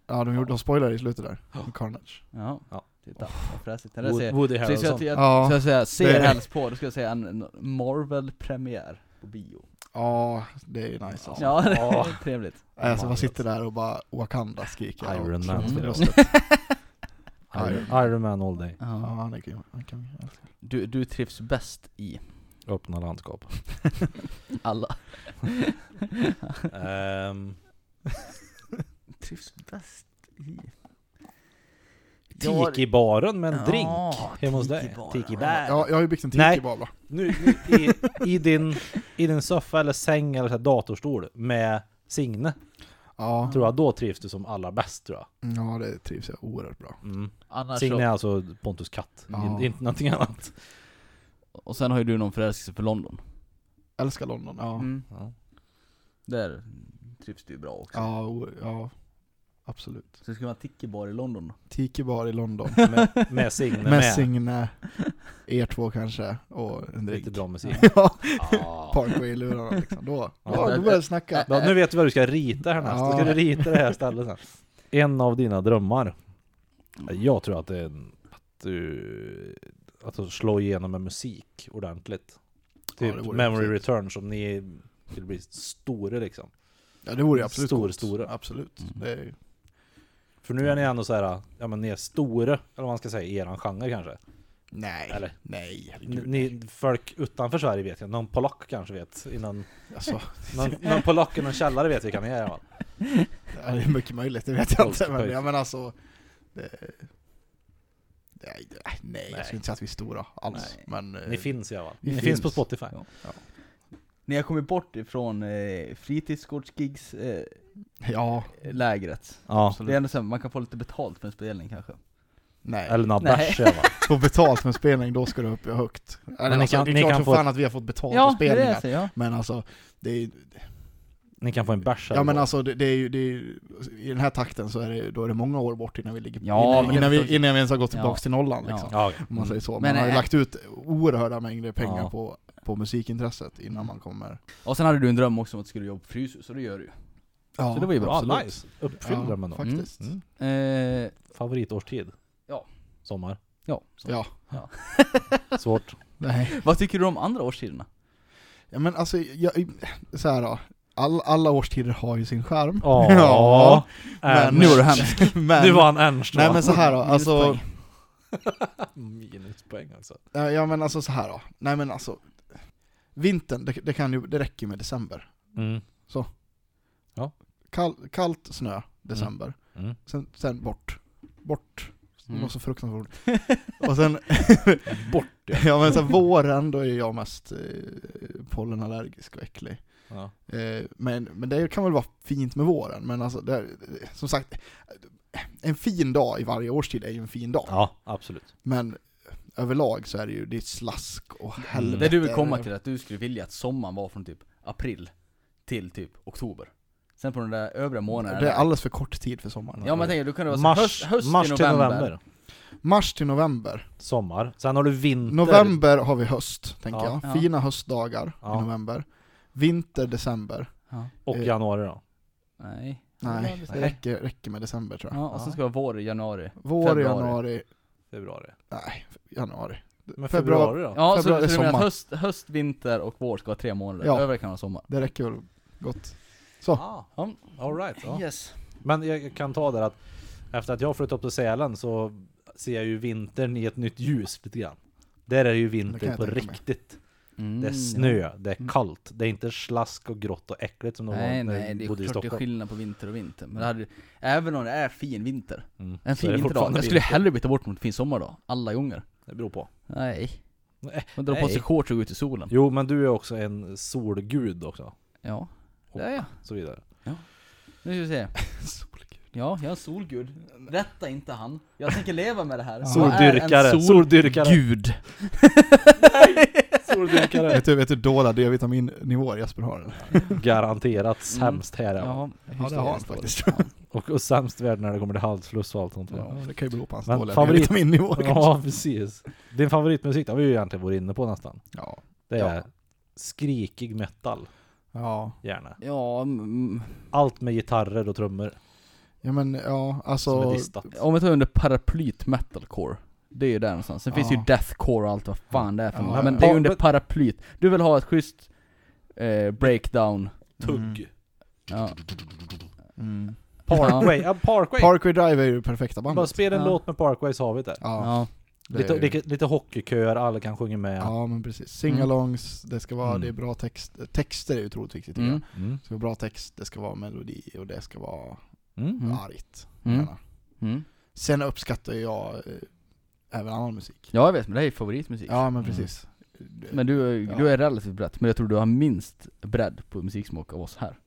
ja de, gjorde, de spoilade i slutet där. med Carnage.
Ja.
Ja.
Titta, vad fräsigt. Den där
Wood-
ser-
Woody
så jag- så jag-
Harrelson.
jag-
Ja.
så jag säger, ser
Det-
helst på, då ska jag säga en en Marvel-premiär på bio.
Ja, det är ju nice alltså.
Ja, det
Ja.
är trevligt.
Alltså man sitter där och bara Wakanda skriker.
Iron
och-
Man
Mm.
från
spelar.
bröstet.
Iron, Iron Man all day.
Ja, han är grym. Han kan- jag älskar honom.
Du, du trivs bäst i
Öppna landskap.
alla.
Ehm,
trivs bäst i... Jag-
Tiki-baren med en
Ja,
drink hemma hos dig.
tiki-baren.
Tiki-bar.
Ja, jag har ju byggt en
Nej.
tiki-baba.
Nu, nu i, i, din, I din soffa eller säng eller så här datorstol med Signe,
Ja, Mm,
tror jag, då trivs du som allra bäst tror jag.
ja, det trivs jag oerhört bra.
Mm.
Annars
Signe är
så,
alltså Pontus katt,
Ja.
In, inte någonting annat.
och sen har ju du någon förälskelse för London.
Älskar London, ja.
Mm.
Ja.
Där trivs du ju bra också.
Ja, o- ja, absolut.
Så ska man ha tiki-bar i London då?
Tiki-bar i London.
Med, med Signe
Med
med.
Signe, er två kanske, och en drink.
Riktigt bra musik.
Ja,
Ja.
Parkway i lurarna liksom. Då,
Ja.
ja, då börjar vi snacka.
Ja, nu vet du vad du ska rita härnäst. Då ska
Ja.
du rita det här stället sen. En av dina drömmar. Jag tror att det är en, att du... Att slå igenom med musik ordentligt. Typ
det vore
Memory
häftigt.
Return som ni skulle bli stora liksom.
Ja, det vore ju absolut
Stor,
coolt.
stora.
Absolut.
Mm.
Det är ju...
För nu är ni ändå så här, ja men ni är stora, eller vad man ska säga, i eran genre kanske.
Nej,
Eller?
nej, herregud.
Ni, folk utanför Sverige vet jag, någon polack kanske vet. Innan,
Alltså,
någon, någon polack i någon källare vet vilka ni är i alla fall.
det är mycket möjligt, det vet jag inte. Men,
Pojk.
ja, men alltså, det... Nej, det- nej, jag skulle inte säga att vi är stora alls.
Nej.
Men, eh,
Ni finns i alla fall. Ni
Vi
finns, på
finns.
Spotify.
Ja. Ni har kommit bort ifrån eh, fritidsgårdsgigs eh,
Ja,
lägret.
Ja.
absolut.
Det är ändå så här, man kan få lite betalt för en spelning kanske.
Nej.
Eller några
Nej.
bärs i alla fall.
Få betalt med spelning, då ska du upp i högt. Eller,
ni
alltså,
kan-
det är
ni
klart
kan
för
få
fan att vi har fått betalt för
det är
spelningar.
det, säger jag.
Men alltså, det är,
Ni kan få en bärs här
ja
i
men
år.
alltså det, det är ju, det är ju, i den här takten så är det, då är det många år bort innan vi ligger,
Ja,
innan,
men-
innan, vi, innan vi ens har gått tillbaka
Ja.
till nollan
Ja.
liksom.
Ja, okej.
Om man säger så. Man
Men,
har ju
eh,
lagt ut oerhörda mängder pengar
Ja.
på, på musikintresset
Mm.
innan man kommer...
Och sen hade du en dröm också om att du skulle jobba på Fryshuset, så det gör du ju.
Ja,
Så det var ju bra.
Ja, nice. Uppfyllde
Ja,
den ändå.
faktiskt.
Mm.
Eh,
Favoritårstid?
Ja.
Sommar?
ja. Så.
Ja.
Svårt.
Nej.
Vad tycker du om andra årstiderna?
Ja, men alltså, jag, så här då. All, alla årstider har ju sin charm.
Ja.
Men-
Ernst.
Nu är du hemsk.
men,
Nu var han Ernst
Nej
va?
men så här då,
Mm.
alltså...
Minuspoäng.
Minuspoäng alltså.
eh, Ja men alltså så här då. Nej men alltså... Vintern, det, det, kan ju, det räcker ju med december.
Mm.
Kall, kallt snö, december.
Mm.
Sen, sen bort. Bort. Det
Mm.
var så fruktansvärt ord. Och sen,
Bort ja.
ja men sen våren, då är jag mest eh, pollenallergisk och äcklig.
ja.
Eh, Men, men det kan väl vara fint med våren, men alltså, det, som sagt, en fin dag i varje årstid är ju en fin dag.
Ja, absolut.
Men överlag så är det ju, det är slask och helvete.
Mm. Det du vill komma till är att du skulle vilja att sommaren var från typ april till typ oktober. Sen på den där övriga månaden
Det är alldeles för kort tid för sommaren.
Ja men jag tänker, då kan det vara så
Mars,
höst, höst
mars
till november.
Mars till november.
Sommar. Sen har du vinter.
November har vi höst, tänker
Ja.
jag.
Ja.
Fina höstdagar
Ja.
i november. Vinter, december.
Ja.
Och
eh,
januari då.
Nej. Ja,
Nej,
visst är
det
det.
räcker, räcker med december tror jag.
Ja, och sen ska det vara vår i januari.
Vår,
februari.
januari,
Februari.
nej, januari.
Men
Februari-
februari då?
Ja, så, så
Februari,
du menar att
sommar.
höst, höst, vinter och vår ska vara tre månader?
Ja.
Övriga kan vara sommar.
Det räcker väl gott. Så.
Ah, all right. Ja.
Yes.
Men jag kan ta där att efter att jag flyttat upp till Sälen så ser jag ju vintern i ett nytt ljus lite grann. Där är det ju
Det kan
vinter
jag
på
tänka mig.
riktigt.
Mm,
Det är snö, det är kallt, det är inte slask och grått och äckligt som de
Nej
var när
nej, det
jag
är
bodde i
klart det är
Stockholm.
skillnad på vinter och vinter. Men det hade, även om det är fin vinter,
Mm.
en
Så är
fin
det
vinterdag.
fortfarande
Jag skulle
vinter.
hellre byta bort mot en fin sommardag, alla gånger.
Det beror på.
Nej.
Nej,
Man drar på
nej.
sig shorts och går ut i solen.
Jo, men du är också en solgud också.
Ja,
Och
det är jag.
så vidare.
Nu ska vi se. Ja, jag är en solgud. Rätta inte han. Jag tänker leva med det här. Vad är en
Soldyrkare,
sol-
soldyrkare,
Gud.
soldyrkare.
Vet du, vet du dåliga D-vitaminnivåer Jesper har? Eller?
Garanterat sämst här. Ja.
Mm. Ja,
Ja det har han
hysteriskt
faktiskt.
Och, och sämst värd när det kommer till halsfluss och allt sånt.
Ja, det kan ju bero på hans
Men
dåliga
favorit-
D-vitaminnivåer kanske.
Ja, precis. Din favoritmusik, det har vi ju egentligen varit inne på nästan.
Ja.
Det
Ja.
är skrikig metal,
ja.
gärna.
Ja, mm,
Allt med gitarrer och trummor
Ja men ja,
som är
alltså...
distat.
om vi tar under paraplyt metalcore. Det är ju där någonstans. Sen
Ja.
finns ju deathcore och allt vad fan det är för
Ja,
något.
men-
Men det är ju under
men-
paraplyt. Du vill ha ett schysst eh, breakdown.
Mm,
Tugg.
Ja.
mm.
Parkway. Ja, Parkway.
Parkway Drive är ju det perfekta
Bara
bandet.
spela en
Ja.
låt med Parkway så har vi det.
Ja,
Ja.
det
lite,
är ju-
lite, lite hockeyköer, alla kan sjunga med.
ja men precis. Singalongs, det ska vara,
Mm.
det är bra text. Texter är ju otroligt viktigt tycker
Mm.
jag.
Mm.
Det ska vara bra text, det ska vara melodi och det ska vara
Mm.
Mm.
argt.
Mm.
gärna.
Mm.
Sen uppskattar jag eh, även annan musik.
Ja jag vet, men det här är favoritmusik.
Ja men
Mm.
precis.
Men du,
Ja.
du är relativt brett, men jag tror du har minst bredd på musiksmak av oss här.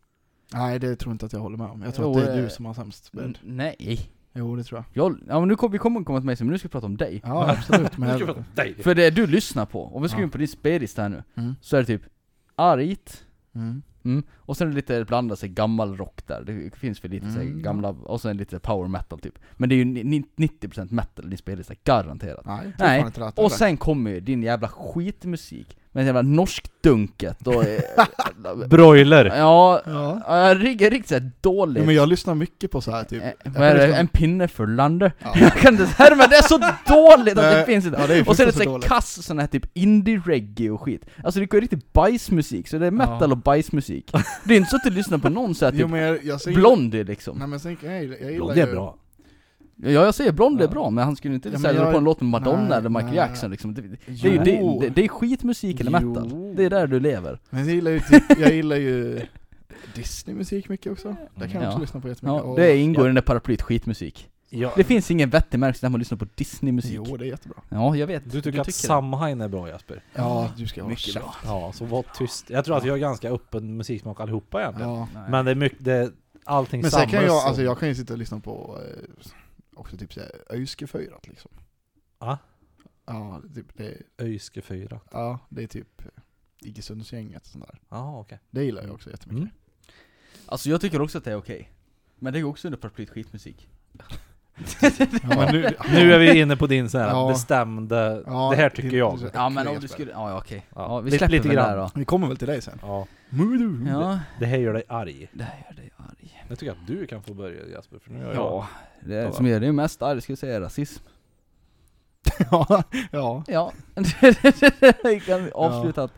Nej det tror jag inte att jag håller med om. Jag tror
Jo,
att det är
eh,
du som har sämst bredd.
nej.
Jo det tror jag.
Jag, ja men nu kom, vi kommer komma till mig sen, men nu ska vi prata om dig.
Ja absolut. Men
Nu ska vi
jag,
prata om dig!
För det du lyssnar på, om vi ska
Ja.
in på din spellista här nu,
mm,
så är det typ argt,
mm,
och sen är det lite blandat sig gammal rock där, det finns för lite så här
Mm.
gamla, och sen lite power metal typ. Men det är ju ni- 90% metal i din spellista, garanterat.
nej, jag tror
Nej,
fan inte det att det är
Och
det.
sen kommer ju din jävla skitmusik, med jävla norskdunket och... eh,
Broiler!
ja,
Ja.
ja, riktigt, riktigt såhär dåligt.
Jo, men jag lyssnar mycket på så här typ.
Eh,
Jag
vad är
lyssnar-
det? En pinne för lander?
Ja.
Jag kan inte säga men det är så dåligt att det
Nej,
finns inte!
Ja, det är
Och så är det
fruktansvärt
så här
dåligt.
kass sån här typ indie-reggae och skit Alltså det går ju riktigt bajsmusik, så det är metal
Ja.
och bajsmusik Det är inte så att du lyssnar på någon såhär
Jo
typ
men jag, jag ser
Blondie liksom
Nej men sen, jag, gillar- jag gillar
Blondie är
ju-
bra.
Ja jag säger Blondie är
Ja.
bra, men han skulle inte
Ja, men
säga
jag-
dra på en låt med Madonna
Nej,
eller Michael
nej.
Jackson liksom det, det, är ju,
Jo.
det, det, det är skitmusik eller
Jo.
metal, det är där du lever
Oh. Men jag gillar ju, typ, jag gillar ju Disney-musik mycket också. Det kan jag också
Ja.
lyssna på jättemycket.
ja,
Och-
Det ingår
Ja.
i den där paraplyet skitmusik
Ja.
Det finns ingen vettig märkning där man lyssnar på Disney-musik
Jo, det är jättebra.
Ja, jag vet
Du tycker att
det.
Samhain är bra Jasper?
Ja, du ska hålla
Mycket
käften.
bra
Ja, så var tyst. Jag tror att vi har ganska öppen musiksmak allihopa egentligen.
Ja.
Nej.
Men det är mycket, det, allting
Men sen kan jag,
samlas och-
alltså jag kan ju sitta och lyssna på eh, också typ såhär Öiskeföjrat liksom.
Ja.
Ja, typ det,
Öjske 4.
ja, det är typ Iggesundsgänget och sånt där.
Ja, okej.
Det gillar jag också jättemycket.
Mm.
Alltså jag tycker också att det är okej. Men det är också under paraplyet skitmusik.
Ja, men nu,
Mm. Nu är vi inne på din sån här
Ja.
bestämda,
Ja,
det här tycker
det-
jag.
det-
Ja men om du
Jesper.
skulle, ja ja, okej.
Ja,
Ja, vi
lite-
släpper
lite
lite grann. Mm.
grann.
där då.
Vi kommer väl till dig sen.
Ja,
Ja,
det här gör dig arg.
det här gör dig arg.
Jag tycker att du kan få börja Jasper, för nu är jag...
Ja, det är,
Ja.
som gör dig mest arg skulle jag säga är rasism.
ja. ja.
Ja. Vi kan avsluta att,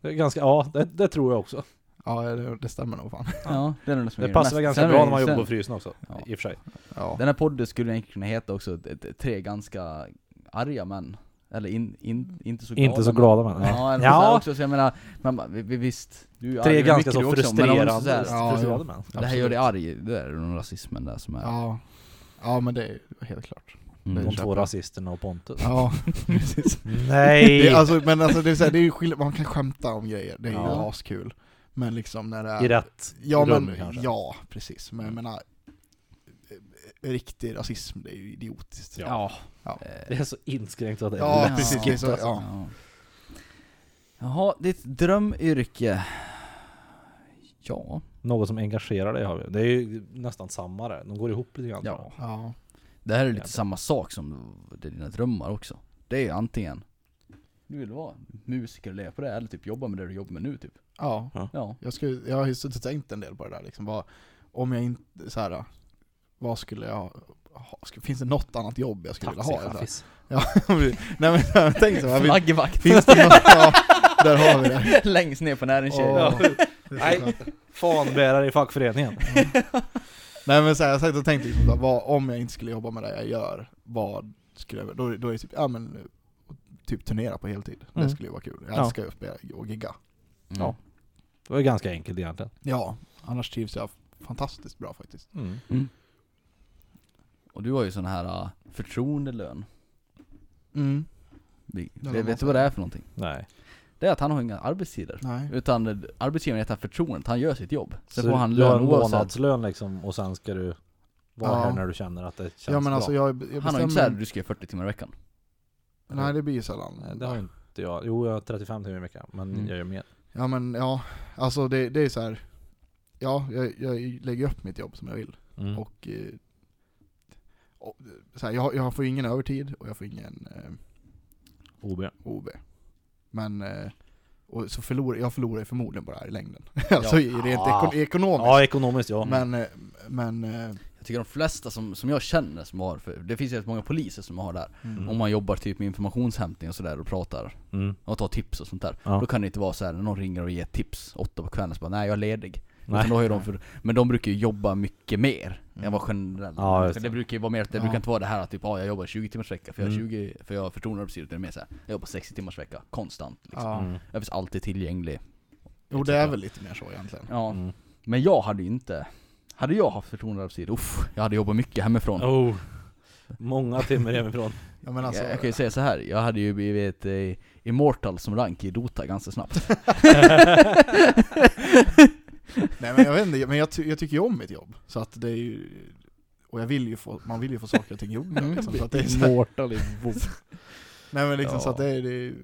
Det är ganska, ja det, det tror jag också.
Ja, det, det stämmer nog fan.
ja det är den som
Det
gör
passar
mest.
väl ganska
Sen är
bra
det-
när man jobbar
sen-
på frysen också,
Ja.
i och för sig.
Ja.
Den här podden skulle egentligen kunna heta också ett- ett- tre ganska arga män. Eller in, in, inte så glada.
Inte så glada men.
Ja, eller ja.
ja
också, så jag menar, man, bara, vi- vi- visst, du är ju arg,
tre
men
ganska
mycket du
så
också, men om du
frustrerande,
så här-
Ja,
frustrerade män.
Det här gör dig arg, det är nog rasismen där som är...
Ja. ja, men det är helt klart.
Mm.
De två
Köper.
rasisterna och Pontus.
Ja, precis.
Nej!
Det, är alltså, men alltså det är, så här, det är ju skillnad, man kan skämta om grejer, det är
Ja.
ju askul. Men liksom när det
I
är...
rätt
ja,
rum
men,
kanske.
ja, precis. Men jag menar, eh, riktig rasism, det är ju idiotiskt.
Ja.
Ja.
Ja.
Det
Eh,
är så inskränkt att det är
Ja,
lätt
precis.
skit,
Det är så-
alltså.
ja.
Jaha, ditt drömyrke? Ja,
Något som engagerar dig har vi. Det är ju nästan samma där. De går ihop lite grann. tror jag.
ja.
Ja.
Det här är lite
Jävlar.
samma sak som det är dina drömmar också. Det är ju antingen du vill vara musiker och leva på det, eller typ jobba med det du jobbar med nu typ.
ja.
Ja.
Jag, skulle, jag har ju suttit och tänkt en del på det där liksom. Vad, om jag inte, så här, vad skulle jag ha? Sk- Finns det något annat jobb jag skulle vilja ha? Eller?
Taxichaffis.
Nej men jag har tänkt så här, vi-
Flaggvakt
finns det något, ja, där har vi det.
längst ner på näringskedjan.
Åh, det är så
Nej.
skönt.
Fanbärare i fackföreningen.
Nej men så här, jag satt och tänkte liksom, så här, vad, om jag inte skulle jobba med det jag gör, vad skulle jag, då, då är det typ, ja men, typ turnera på heltid.
Mm.
Det skulle ju vara kul. Jag
Ja.
älskar ju att spela och gigga.
Mm.
Ja. Det var ju ganska enkelt egentligen.
Ja, annars trivs jag fantastiskt bra faktiskt.
Mm. Och du har ju sån här uh, förtroendelön.
Mm.
Vi-
Ja,
Vet
vad
vet du vad det är för någonting?
Nej.
Det är att han har inga arbetstider.
Nej.
Utan eh, arbetsgivaren heter förtroendet, han gör sitt jobb. Sen
Så
får han
du har
lön
en
oavsett.
månadslön liksom och sen ska du vara
Ja.
här när du känner att det känns
Ja men alltså
bra.
jag, jag bestämmer,
Han har ju inte såhär, du ska göra 40 timmar i veckan.
Nej det blir ju
Nej,
sällan.
Det har ju inte jag. Jo, jag har 35 timmar i veckan, men
Mm.
jag gör mer.
Ja men ja, alltså det, det är så här. ja jag, jag lägger upp mitt jobb som jag vill.
Mm.
Och, eh, och så här, jag, jag får ju ingen övertid och jag får ingen eh,
OB.
OB. Men, eh, och så förlorar, jag förlorar ju förmodligen på det här i längden. alltså i- rent
Ja. Ah.
eko, ekonomiskt.
Ja, ekonomiskt ja. Mm.
men, eh, men, eh,
Jag tycker de flesta som, som jag känner som har, för det finns ju rätt många poliser som har där.
mm.
Om man jobbar typ med informationshämtning och sådär och pratar
Mm.
och tar tips och sånt där.
Ja.
Då kan det inte vara så här när någon ringer och ger tips åtta på kvällen så bara nej jag är ledig.
Nej.
Utan då har ju de för, men de brukar ju jobba mycket mer än
Mm.
vad generellt.
Ja, just
För
det.
det brukar ju vara mer att det
Ja.
brukar inte vara det här att typ ah, jag jobbar 20 timmars vecka för jag har
Mm.
20, för jag har förtroendearbetstid. Utan det är mer så här, jag jobbar 60 timmars vecka konstant. Liksom.
ja.
Mm.
Jag finns alltid tillgänglig.
Jo det är väl lite mer så egentligen.
Ja.
Mm.
Men jag hade ju inte, hade jag haft förtroendearbetstid, uff, jag hade jobbat mycket hemifrån.
Oh. Många timmar hemifrån.
Ja, men alltså,
jag, jag kan ju säga så här. jag hade ju blivit eh, immortal som rank i Dota ganska snabbt.
nej, men jag vet inte, men jag, ty- jag tycker ju om mitt jobb. Så att det är ju, och jag vill ju få, man vill ju få saker och ting gjorda. Liksom, så att det är så här,
Immortal i
nej men liksom så att det är, det är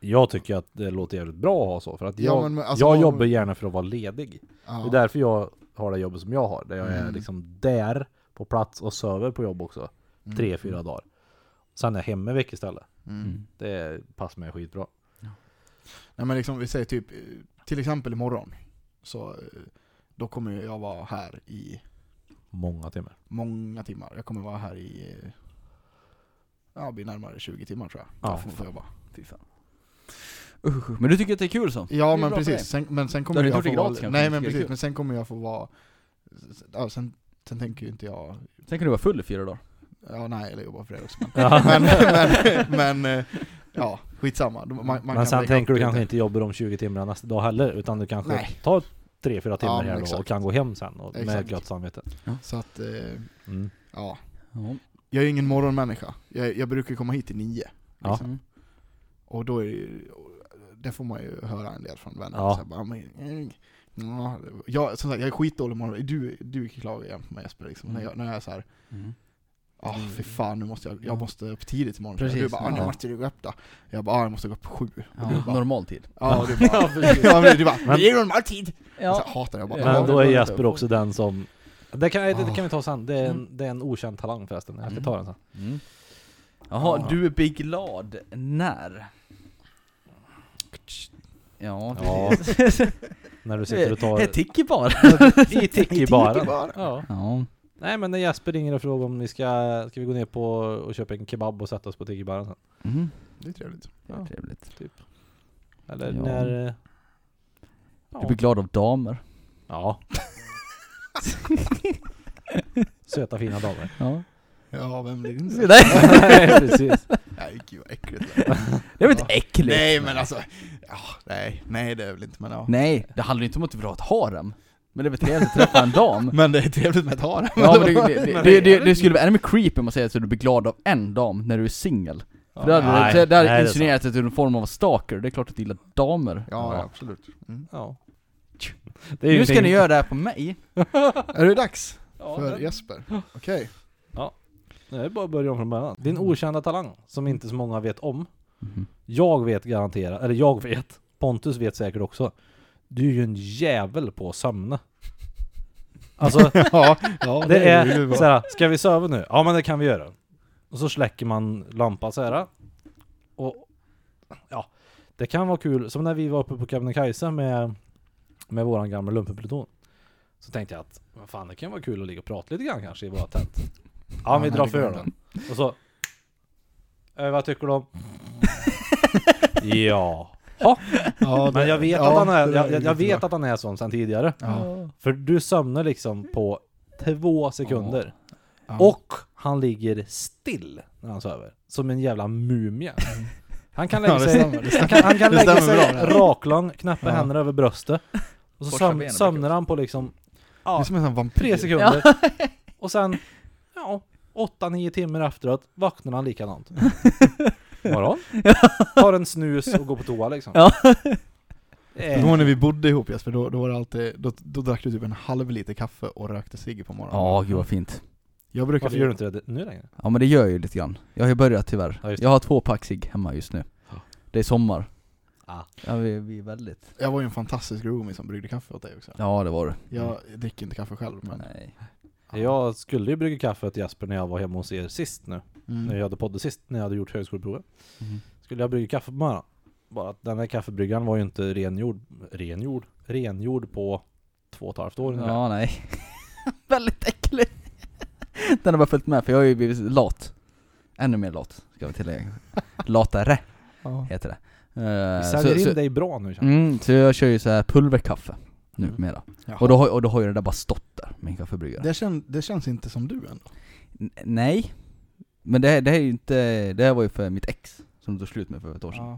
Jag tycker att det låter jävligt bra att ha så, för att
Ja,
jag,
men, men, alltså,
jag
man-
jobbar gärna för att vara ledig.
ja.
Det är därför jag har det jobbet som jag har, där jag är
Mm.
liksom där på plats och söver på jobb också,
Mm.
tre, fyra dagar. Sen är jag hemma en vecka istället.
Mm.
Det passar mig skitbra.
Nej men liksom, vi säger typ, eh, till exempel imorgon, så eh, då kommer ju jag vara här i
Många timmar.
många timmar. Jag kommer vara här i, eh, ja det blir närmare 20 timmar tror jag.
Ja,
Får- får jag jobba.
Fy fan. Usch, men du tycker att det är kul så?
Ja
Det är
men
bra för dig.
precis, sen, men sen
Ja,
kommer
det
jag
gjorde
få
gratis
vara,
kanske,
nej
men
men
det är
precis,
kul.
men sen kommer jag få vara, ja, sen, sen tänker ju inte jag,
Sen kan du vara full i fyra dagar.
ja nej eller jobba för det också men,
Ja.
men, men, men eh, ja skitsamma. Man, man
Men
kan
sen
lägga
tänker
upp
du
det.
kanske inte jobba de 20 timmarna nästa dag heller, utan du kanske
Nej.
tar tre, fyra timmar
men
här då och
exakt.
kan gå hem sen och med
Exakt.
gott samvete.
Så att, eh,
Mm.
ja.
Ja.
Jag är ju ingen morgonmänniska, jag, jag brukar komma hit till nio.
Ja.
Mm.
Och då är det ju, det får man ju höra en del från vänner.
Ja.
Så här, bara, men, eh, ja, jag, som sagt, jag är skitdålig morgon. Du, du klagar jämt på mig Jesper, liksom. när, jag, när jag är såhär,
Mm.
ah fy fan nu måste jag, jag måste upp tidigt imorgon.
Precis.
Du bara, ah, nu
Ja.
måste du gå upp då. Jag bara, ah, jag måste gå upp sju. Och du
Ja.
bara,
Normal tid.
ja, och du bara, ja, men du bara,
Men-
det är normal tid! Jag så
Ja.
här, hatar det, jag bara,
Ja,
Men
"Ja,
då är
det-
Jesper också den som... Det kan, det,
Ah.
det kan vi ta sen, det är en,
Mm.
det är en okänd talang förresten. Jag ska
Mm.
ta den sen.
Mm. Jaha,
Ja.
du blir glad när? Ja,
Ja.
precis.
När du sitter och tar...
Jag ticker bara.
I tiki-baren.
bara.
Ja.
Ja.
Nej men när Jesper ringer och frågar om vi ska, ska vi gå ner på och köpa en kebab och sätta oss på tiki-baren sen.
Mm.
Det är trevligt.
Det är
Ja.
trevligt.
Eller
Ja.
när... eh,
Du
Ja.
blir glad av damer.
ja. Söta fina damer.
Ja.
Ja, vem blir
Nej.
inte?
Nej precis.
Nej, gud vad äckligt.
Det var inte äckligt.
Nej men alltså, ja, nej, nej det är väl inte men ja.
Nej, det handlar ju inte om att du vill ha ett harem. Men det är väl trevligt att träffa en dam.
Men det är trevligt med ett harem.
Ja men det, det, det, det, det, det skulle vara ännu mer creepy om man säger att du blir glad av en dam när du är singel. För det hade,
Nej,
det, det hade
nej, det är
insinuerat att du är någon form av stalker, det är klart att du gillar damer.
Ja,
Ja.
absolut.
Ja. Det är ju
Nu ska
ingenting-
ni göra det här på mig.
Är det dags för
Ja,
Jesper? Okej.
det är bara att börja om från början. Din okända talang, som inte så många vet om.
Mhm.
Jag vet garanterat, eller jag vet, Pontus vet säkert också. Du är ju en jävel på att sömna. Alltså,
Ja, ja,
det
ju
är
bra.
såhär, ska vi söva nu? Ja men det kan vi göra. Och så släcker man lampan såhär. Och ja, det kan vara kul. Som när vi var uppe på Kebnekaise med, med våran gamla lumpenpluton. Så tänkte jag att, vad fan det kan vara kul att ligga och prata lite grann kanske i våra tält. Ja,
Ja,
vi
nej,
drar
det
för
går
den. Och så, eh, vad tycker du om? ja.
Ja,
Men
det-
jag vet,
ja,
att, han är,
det där
jag, jag, jag
jättebra.
vet att han är sån sen tidigare.
Ja.
För du sömnar liksom på två sekunder.
Ja.
Och han ligger still när han sover. Som en jävla mumie. Han kan lägga
Ja, det
sig,
stämmer, det
han kan, han kan
Det
lägga
stämmer
sig
bra det här.
raklång, knäppa
Ja.
händerna över bröstet. Och så
Korsa
söm,
benen
sömnar han på liksom
Det är
ja,
som en sån vampyr.
tre sekunder. Och sen, ja, åtta, nio timmar efteråt vaknar han likadant. Morgon. Tar en snus och går på toa liksom. Eh,
Ja.
Det
Jag kommer
är-
ihåg när vi bodde ihop Jesper, då, då var det alltid, då, då drack du typ en halv liter kaffe och rökte cigg på morgonen.
Ja, gud vad fint.
Jag brukar
Varför gör du inte det nu längre?
Ja men det gör jag ju lite grann. Jag har ju börjat tyvärr.
Ja, just det.
jag har två pack cigg hemma just nu.
Ja.
Det är sommar.
Ah.
Ja vi, vi är väldigt...
Jag var ju en fantastisk roomie som bryggde kaffe åt dig också.
Ja det var det.
Jag dricker inte kaffe själv men...
Nej.
Jag skulle ju brygga kaffe åt Jasper när jag var hemma hos er sist nu.
Mm.
när jag hade poddat sist, när jag hade gjort högskoleprovet.
Mhm.
Skulle jag brygga kaffe på morgonen. Bara att den här kaffebryggaren var ju inte rengjord, rengjord, rengjord på två och ett halvt år
Eh,
ungefär.
Ja nej. väldigt äcklig. Den har bara följt med för jag har ju blivit lat. Ännu mer lat, ska vi tillägga. Latare
Ja.
heter det. Eh,
Vi säljer
så,
in
så,
dig bra nu känner
Mm, så jag kör ju så här pulverkaffe
Mm.
numera.
Jaha.
Och, då har, och då har ju det där bara stått där, min kaffebryggare.
Det, kän, det känns inte som du ändå.
N- Nej. Men det, här- det här är ju inte, det här var ju för mitt ex som tog slut med för ett år sedan.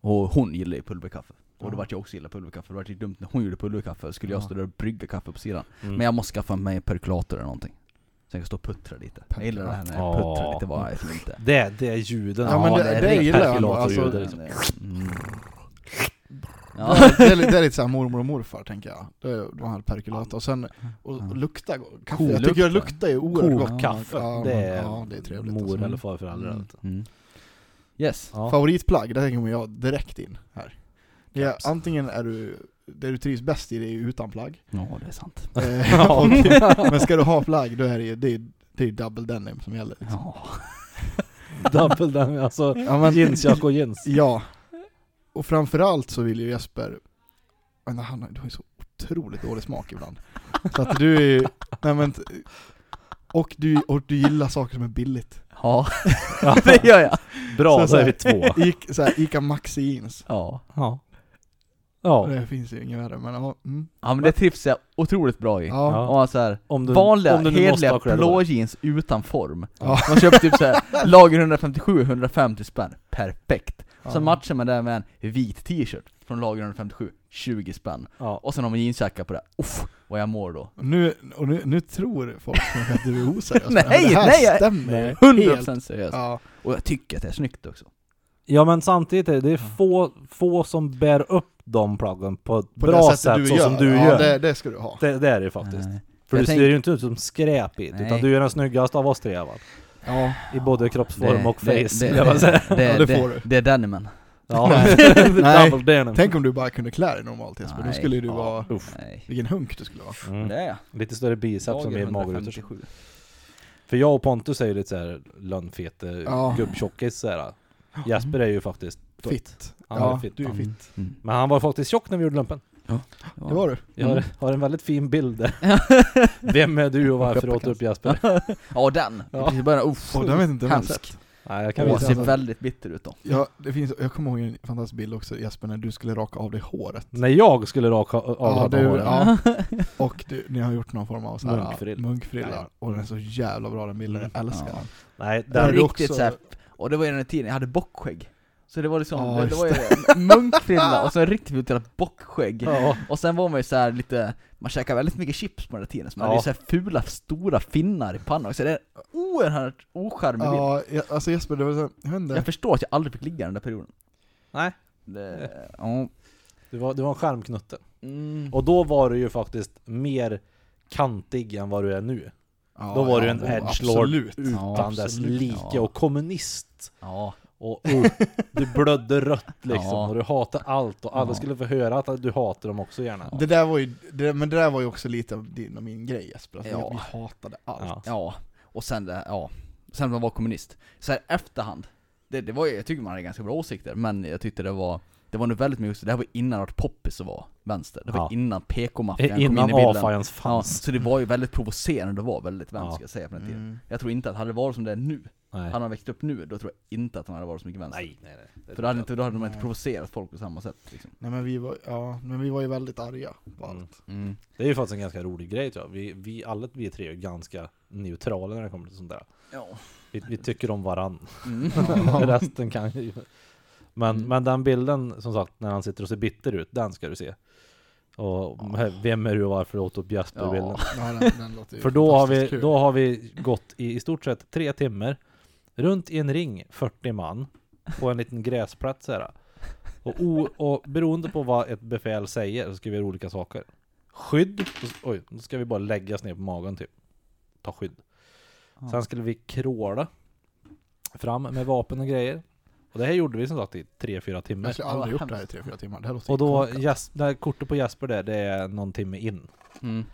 Och hon gillar ju pulverkaffe. Och då
Ja.
vart jag också gilla pulverkaffe, det vart ju dumt när hon gjorde pulverkaffe, skulle jag
Ja.
stå där och brygga kaffe på sidan.
jag. Mm.
Men jag måste skaffa mig en perkulator eller någonting. Så Tänk att stå och puttra lite. Jag gillar det här när
Ja.
jag puttrar lite, vad är fint det?
Det, det är ljuden.
Ja, men det- det
riktigt
gillar jag ändå,
perfilatorljud,
alltså.
det är liksom- Mm.
Ja.
Ja.
Det, är, li- det är lite såhär mormor och morfar tänker jag. Det är, de hade perkulator. Och sen, och, och lukta go- kaffe. Jag tycker jag lukta är oerhört gott.
Kokande.
Kokt kaffe.
Ja,
det
men-
är,
ja, det är trevligt
mor
alltså.
eller farföräldrar.
Mm.
vet du.
Mm. Yes.
Ja.
Favoritplagg, där tänker jag direkt in här. Det är,
Caps.
antingen är du, det du trivs bäst i det är ju utan plagg.
Ja, det är sant.
Eh, och, men ska du ha plagg då är det ju, det är, det är double denim som gäller. liksom.
Ja.
Double den, alltså
Ja, men-
jeansjacka och jeans.
Ja. Och framförallt så vill ju Jesper, men han har- du har ju så otroligt dålig smak ibland. Så att du är ju, nej men, t- och du, och du gillar saker som är billigt.
Ja, det gör jag.
Bra,
Så-
så,
så
är
här-
vi två.
Ica, så här, Ica Maxi jeans.
Ja.
Ja. Ja,
Det finns ju inget värre men ja, mm,
ja, men det trivs jag otroligt bra i.
ja.
Ja.
ja.
Om man så här,
om du,
vanliga,
om du nu måste
hederliga
ha cred för
blå
det.
jeans utan form.
Ja.
Man köper typ såhär, lager 157, 150 spänn. Perfekt.
Ja.
Sen matchar man det med en vit t-shirt från lager 157, 20 spänn.
Ja.
Och sen har man jeansjacka på det. Uff, vad jag mår då.
Nu, och nu, nu tror folk att du är oseriös.
Nej,
men det här
nej, jag-
stämmer ju
100% seriöst.
Ja,
Och jag tycker att det är snyggt också.
ja, men samtidigt är det, det är få, få som bär upp de plaggen på ett
på
bra
det sättet
sätt
du
så
gör.
som du
ja,
gör.
Det, det ska du ha.
Det, det är det ju faktiskt.
Nej.
För
Jag
du
tänk-
ser ju inte ut som skräp i det,
Nej.
utan du är den snyggaste av oss tre va?
Ja.
I både kroppsform
Det-
och face,
det- det-
vill jag bara säga.
Det,
Ja,
det,
det
det,
får
det,
du.
är Denimen.
Ja.
Nej. Nej.
Double denim.
Tänk om du bara kunde klä dig normalt Jesper, då
Nej.
skulle du
Ja,
vara,
uff.
Nej.
vilken hunk du skulle vara.
Mm.
Det är jag.
Lite större biceps som
Lager
mer magrutor.
157.
För jag och Pontus är ju lite såhär lönnfete
Ja.
gubbtjockis såhär. Jesper är ju faktiskt...
mm. Fitt.
Han är
Ja,
fit.
du är
Mm.
fitt.
Mm.
Men han var faktiskt tjock när vi gjorde lumpen.
Det var du.
Jag
Mm.
har, har en väldigt fin bild där. Vem är du och varför åt du upp Jesper?
Ja den!
Ja.
Ja. I början, uff,
Och den vet inte om jag har
Hemskt.
sett.
Nej, jag kan
Åh,
Åh,
visa.
ser
alltså.
väldigt bitter ut då.
Ja, det finns, jag kommer ihåg en fantastisk bild också Jesper, när du skulle raka av dig håret.
När jag skulle raka av
Ja,
honom
du-
håret.
ja. Och du, ni har gjort någon form av så här,
Munkfrill. Mm.
munkfrilla.
Ja.
Och den är så jävla bra den bilden, jag älskar
Ja.
den.
Nej,
Där är
den,
du
riktigt
också-
så här- Och det var ju den tiden jag hade bockskägg. Så det var liksom,
Ja,
det, det
just
var ju munkfrilla och så en riktigt utdelat bockskägg.
ja.
Och sen var man ju så här lite, man käkade väldigt mycket chips på den här tiden, så man
Ja.
hade ju så här fula, stora finnar i pannan. Så det är en oerhört ocharmig bild.
Ja, jag- alltså Jesper, det var så, här- jag vet inte.
Jag förstår att jag aldrig fick ligga den där perioden.
Nej.
Det, ja.
Du, var, du var en skärmknutte.
Mm.
Och då var du ju faktiskt mer kantig än vad du är nu.
Ja,
Då var du
ja,
en
oh,
edgelord.
Absolut.
Ja,
Utan dess
absolut.
like
Ja.
och kommunist.
Ja.
Och uh, du blödde rött liksom.
Ja.
Och du hatade allt. Och alla
Ja.
skulle få höra att du hatar dem också gärna.
Det där var ju, det, men det där var ju också lite av din och min grej Jesper, alltså,
Ja.
vi hatade allt.
Ja.
Ja, och sen det, ja. Sen man var kommunist. Så här efterhand, det, det var ju, jag tycker man hade ganska bra åsikter, men jag tyckte det var det var nog väldigt mycket, det här var innan det var poppis att vara vänster. Det var
Ja.
innan PK-maffian kom in i
Innan
bilden.
AFA ens
Ja,
fanns.
så det var ju väldigt provocerande att vara väldigt vänster,
Ja.
ska jag säga på den tiden.
Mm.
Jag tror inte att, hade det varit som det är nu,
Nej.
hade han växt upp nu, då tror jag inte att han hade varit så mycket vänster.
Nej, nej, nej. Det-
För då hade, inte, då hade de inte
Nej.
provocerat folk på samma sätt liksom.
Nej men vi var, ja, men vi var ju väldigt arga på allt.
Mm. Det är ju faktiskt en ganska rolig grej tror jag. Vi, vi alla vi tre är ju ganska neutrala när det kommer till sånt där.
Ja.
Vi, vi tycker om varann.
Mm.
Resten kan ju... Men,
Mm.
men den bilden, som sagt, när han sitter och ser bitter ut, den ska du se. Och vem är du och varför åt upp Jasper-bilden?
Ja,
Ja.
den, den låter ju
För då har, vi,
fantastiskt kul.
då har vi gått i, i stort sett tre timmar runt i en ring, 40 man, på en liten gräsplätt så här. Och, o, och beroende på vad ett befäl säger så ska vi göra olika saker. Skydd, och s- oj, då ska vi bara läggas ner på magen typ. Ta skydd.
Ja.
Sen skulle vi kråla fram med vapen och grejer. Och det här gjorde vi som sagt i 3-4 timmar.
Alltså,
Jag skulle aldrig gjort det här i 3-4 timmar, det här låter
Och då,
korkat.
jas, det här kortet på Jesper där, det är någon timme in.
Mm.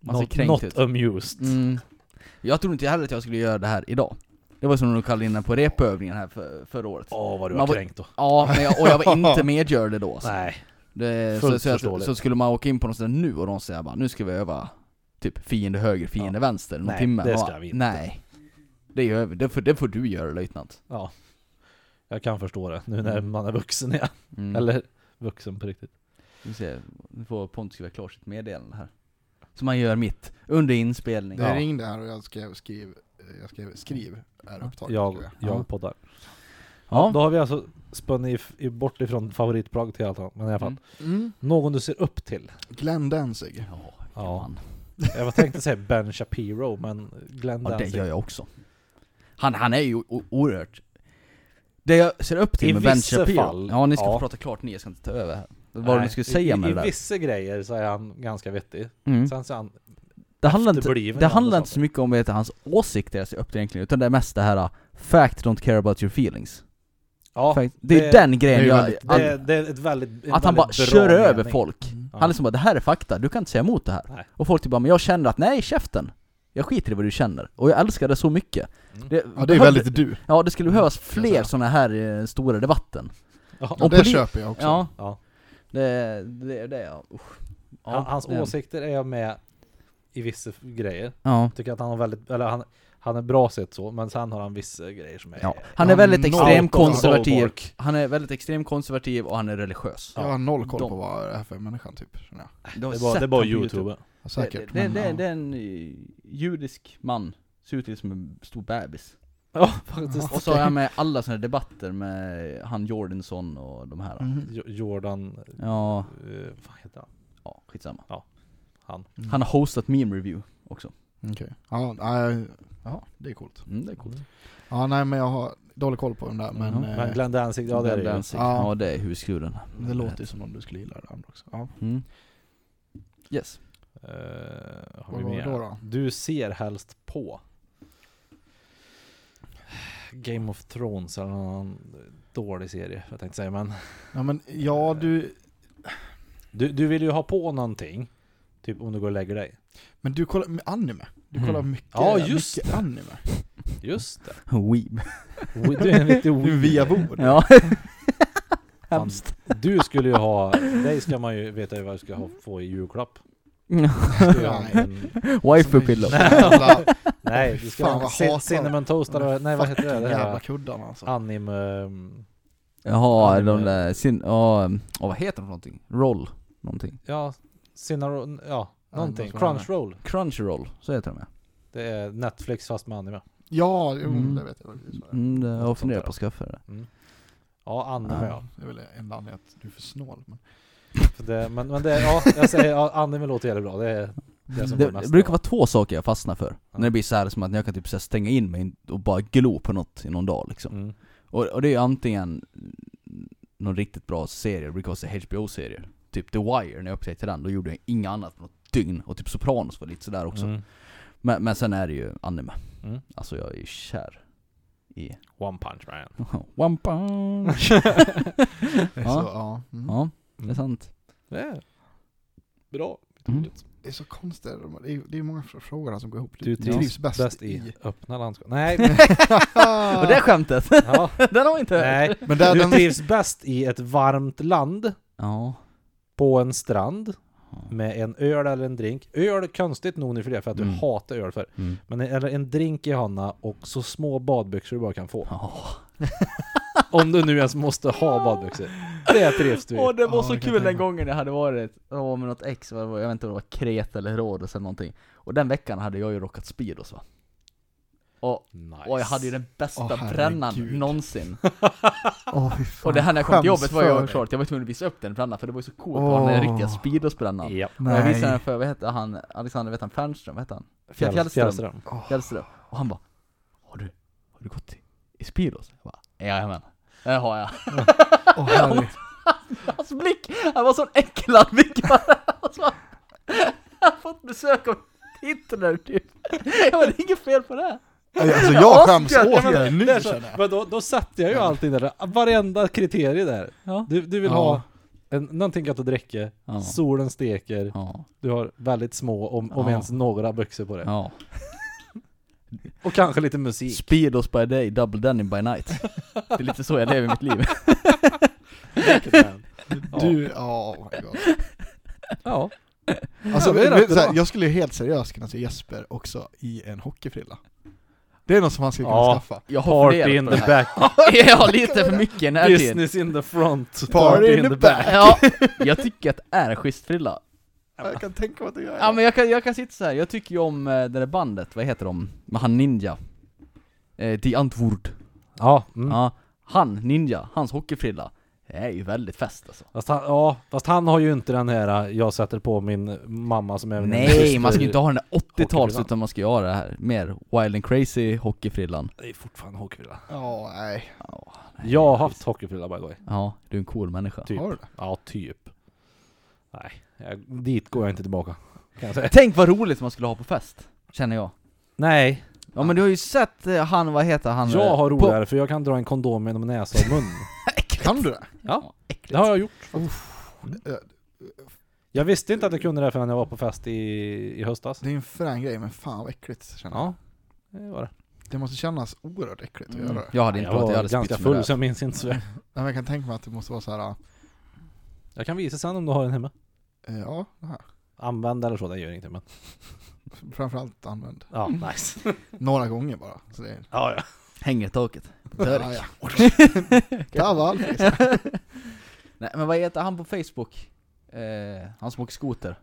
Man ser
Not,
kränkt ut.
not amused.
Mm. Jag tror inte heller att jag skulle göra det här idag. Det var som de kallade in den på repövningen här för, förra året.
Åh vad du
Man
var
var-
kränkt då.
Ja, men jag, och jag var inte medgörlig då. alltså.
Nej.
Det,
fullt
så, så, jag,
förståeligt.
så skulle man åka in på något ställe nu och de säger bara nu ska vi öva typ fiende höger, fiende vänster någon
Nej,
timme.
det
Man
ska
bara,
vi inte.
Nej, det gör vi. Det får, det får du göra löjtnant.
Ja, jag kan förstå det nu när
Mm.
man är vuxen igen.
Mm.
Eller vuxen på riktigt.
Vi ser, nu får Pontus skriva klart sitt meddelande här. Som han gör mitt, under inspelning.
Det
Ja.
ringde här och jag skrev skriv, eh, jag skrev skriv är upptaget.
Jag,
skrev
jag
Ja.
poddar.
Ja.
Då har vi alltså spunnit if- i- bort ifrån favoritplagg till allt annat. Men i alla fall.
Mm.
jag. Mm.
Någon du ser upp till.
Glenn Danzig.
Ja,
Ja.
fan.
Jag var tänkte säga Ben Shapiro, men Glenn
Ja, det
Danzig.
gör jag också. Han, han är ju o- o- oerhört... Det jag ser upp till
I
med Ben
vissa
Shapiro...
fall,
ja, ni ska
ja.
få prata klart ni, jag ska inte ta över här. Vad var det
Nej,
du skulle
i-
säga med
i,
det
I
där?
vissa grejer så är han ganska vettig.
Mm.
Sen så är han
Det handlar inte,
efterbliven i
det
andra
handlar inte
saker.
så mycket om vet, du, hans åsikter jag ser upp till egentligen, utan det är mest det här uh, 'Fact don't care about your feelings'
Ja,
Fact, Det är
det-
den grejen
det är
jag...
väldigt-
att,
det, det är ett väldigt en
att han
väldigt bra
bara kör över
mening.
folk.
Mm.
Ja.
Han liksom bara 'Det här är fakta, du kan inte säga emot det här'
Nej.
Och folk typ bara 'Men jag känner att, nej käften' Jag skiter i vad du känner, och jag älskar det så mycket
Mm.
Ja det är väldigt du.
Ja, det skulle behövas
jag
fler
säga.
sådana här eh, stora debatten.
Ja.
Ja,
Och
det
politi-
köper jag också.
Ja.
Ja.
Det, det, det, ja. Usch. ja
Han- Hans
det-
åsikter är jag med i vissa grejer.
Ja.
Jag tycker att han har väldigt, eller han, han är bra sett så, men sen har han vissa grejer som är...
ja. Han är
Han
väldigt
noll-
extremt
noll-
konservativ.
Bork.
Han är väldigt extremt konservativ och han är religiös.
Jag har noll koll
De-
på vad det är för människan typ, känner jag.
Du har
Det är bara,
sett
det är bara
han på
youtube.
Ja, Säkert.
Det, det, det,
men,
det
ja.
är en eh, judisk man, ser ut lite som en stor bebis.
Ja, faktiskt.
Och så är han med i alla såna här debatter med han Jordansson och de här.
Mhm.
Jo- Jordan...
Ja,
eh, Vad heter han?
ja, skitsamma.
Han.
Mm.
Han har hostat meme review också.
Okej. Ja, nej, ja, det är coolt.
Mm, det är coolt.
Ja, nej men jag har dålig koll på den där, men,
Mhm.
eh,
Men Glenn Danzig, ja det är det ju.
Danzig.
Ja.
Ja, det är huskudden.
det låter ju som om du skulle gilla det andra också. Ja.
Mm. Yes.
Eh, har
Vad
vi
var det
mer?
då då?
Du ser helst på Game of Thrones eller någon annan dålig serie, jag tänkte säga men
ja men, ja du,
du, du vill ju ha på någonting, typ om du går och lägger dig.
men du kollar med anime. Du kollar
Mm.
mycket,
Ja, just
mycket anime.
Just det.
Weeb.
Wi- Du är en riktig
Du är
wi-
via bord.
Ja.
Fan, Du skulle ju ha, dig ska man ju veta vad du ska ha, få i julklapp. Du ska ju ha en-
Wifi pillow.
Jävla,
Nej, du ska
Fan,
ha
vad
cin-
hatar-
cinnamon toastar och, nej vad heter det? det?
jävla
här
kuddarna alltså.
Anime... um,
Jaha,
Anime.
de där sin... Ja, um, åh, vad heter de för någonting? Roll. Någonting.
Ja, cinnamon, ja, någonting.
något sånt där.
Crunchyroll.
Crunchyroll, så heter de ja.
Det är Netflix fast med anime.
Ja, jo,
Mm.
det vet jag. Det är så.
Mm, det- jag har
Något sånt
funderat
där.
på att skaffa det.
Ja, anime
Ja.
ja.
Det är väl enda anledningen att du är för snål. Men...
För det, men, men det, ja, jag säger, ja, anime låter jävligt bra. Det är det
Mm.
som
Det,
går
det
mest
brukar
bra.
vara två saker jag fastnar för. När det blir så här som att jag kan typ så här stänga in mig och bara glo på något i någon dag liksom.
Mm.
Och, och det är ju antingen någon riktigt bra serie, det brukar vara så här HBO-serier. Typ The Wire, när jag upptäckte den, då gjorde jag inget annat på något dygn. Och typ Sopranos var lite sådär också.
Mm.
Men, men sen är det ju anime.
Mm.
Alltså jag är ju kär i
One punch man.
One punch!
Det är
Ja.
Så, ja. Mm.
ja, det är
Mm.
sant.
Det är bra.
Mm.
Det är så konstigt, de- det är, det är många fr- frågor här som går ihop.
Du trivs
bäst,
Bäst i öppna landskap. Nej, men-
Och det skämtet,
ja,
den har vi inte hört!
nej.
Men där,
Du
den,
trivs bäst i ett varmt land
Ja.
på en strand med en öl eller en drink. Öl, konstigt nog nu för det, för att du
Mm.
hatar öl för.
Mm.
Men eller en drink i handen och så små badbyxor du bara kan få.
Ja.
Om du nu ens måste ha badbyxor. Det trivs du i.
Åh det var
Ja,
så
jag kan
kul
tänka
den
mig.
gången jag hade varit, jag var med något ex, vad det var, jag vet inte om det var Kreta eller Rhodos eller någonting Och den veckan hade jag ju rockat Speedos va? Och,
Nice.
och jag hade ju den bästa
Åh, herregud.
brännan någonsin
Åh, fy fan.
Och det här när jag kom till
Skäms
jobbet var jag
för
klart, jag var tvungen att visa upp den brännan för det var ju så coolt att ha den
Åh.
riktiga Speedos-brännan
Ja.
Och jag
Nej.
visade den för, vad hette han, Alexander, vet han Fernström, vad hette han? Fjäll-
Fjäll-
Fjällström.
Fjällström.
Fjällström. Och han bara Har du, har du gått i, i Speedos? Jag bara Jajamän, det har jag.
Åh, herregud.
Hans blick, han var sån äcklad blick bara. Han så- han har fått besök av Hitler typ. Jag bara, det är inget fel på det. här."
Alltså jag skäms
Asgött, jag
åt
menar,
dig nu
Det är så,
känner jag.
men då, då sätter jag ju allting där, varenda kriterie där.
Ja.
Du, du vill
Ja.
ha en, någonting gott att dricka,
Ja.
solen steker,
Ja.
du har väldigt små, om, om
Ja.
ens några byxor på dig.
ja.
Och kanske lite musik.
Speedos by day, double denim by night. Det är lite så jag lever mitt liv.
Du, ja oh my god.
Ja.
Alltså,
Ja, det är
men,
rätt
så här,
bra.
jag skulle ju helt seriöst kunna se Jesper också i en hockeyfrilla. Det är något som han skulle kunna
Ja.
skaffa.
Jag har
Party
funderat
in
på det
the
här.
back,
Jag har lite för mycket i den här tiden.
business in the front,
Party in the back.
Ja, jag tycker att det är en schysst frilla.
Jag kan tänka mig att du gör det.
Ja men jag kan, jag kan sitta så här. jag tycker ju om eh, det där bandet, vad heter de? Med han Ninja eh, The Antwoord
Ja, mm.
Ja, han Ninja, hans hockeyfrilla Det är ju väldigt fest alltså.
Fast han, ja, fast han har ju inte den här äh, jag sätter på min mamma som även är min
Nej, man ska ju inte ha den där 80-tals
Hockeyfrillan.
utan man ska ju ha det här mer wild and crazy hockeyfrillan.
Det är fortfarande hockeyfrilla.
Ja, nej.
Ja,
Jag har haft hockeyfrilla by the way.
Ja, du är en cool människa.
Typ.
Har du det?
Ja, typ. Nej, jag, dit går jag inte tillbaka. Kan jag säga.
Tänk vad roligt man skulle ha på fest, känner jag.
Nej,
Ja men du har ju sett eh, han, vad heter han?
jag
eh,
har
på-
roligare för jag kan dra en kondom genom näsa och mun.
Kan du det?
Ja,
Äckligt.
det har jag gjort.
Eh,
Jag visste inte att jag kunde det förrän jag var på fest i, i höstas.
Det är en frän grej, men fan vad äckligt känner jag.
Ja, det var det.
Det måste kännas oerhört äckligt att göra det.
Jag hade inte
jag
pratat,
var
jag hade
ganska
spytt med det
full
här.
så jag minns inte så väl.
Nej, men jag kan tänka mig att det måste vara så här.
Jag kan visa sen om du har den hemma.
eh, ja, det här.
Använd eller så, det gör ingenting men.
Framförallt använd.
Ja,
Mm.
nice.
Några gånger bara. Så det är...
Ja, ja.
Hänger i taket.
Ja,
Dörr.
ja. Kaval!
Nej men vad heter han på Facebook? Eh, han som åker skoter.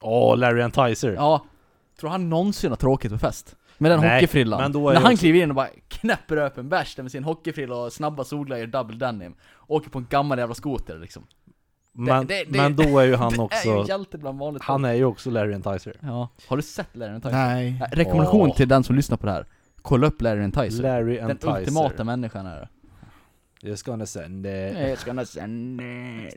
Åh, Larry and Tizer.
Ja, tror han någonsin har tråkigt på fest? Med den
Nej,
hockeyfrillan.
men då är
När
jag
han
också-
kliver in och bara knäpper upp en bärs där med sin hockeyfrilla och snabba solglajjor, double denim. Åker på en gammal jävla skoter liksom.
Men,
det- det-
men då är ju han
Det är ju
också...
en hjälte bland vanligt
Han
folk.
är ju också Larry and Tizer.
Ja. Har du sett Larry and Tyson?
Nej.
Nej, Rekommendation
Åh.
till den som lyssnar på det här. Kolla upp Larry and Tyson.
Larry
den
and Tizer.
ultimata människan är det.
Just gonna send it.
Jag ska nästan...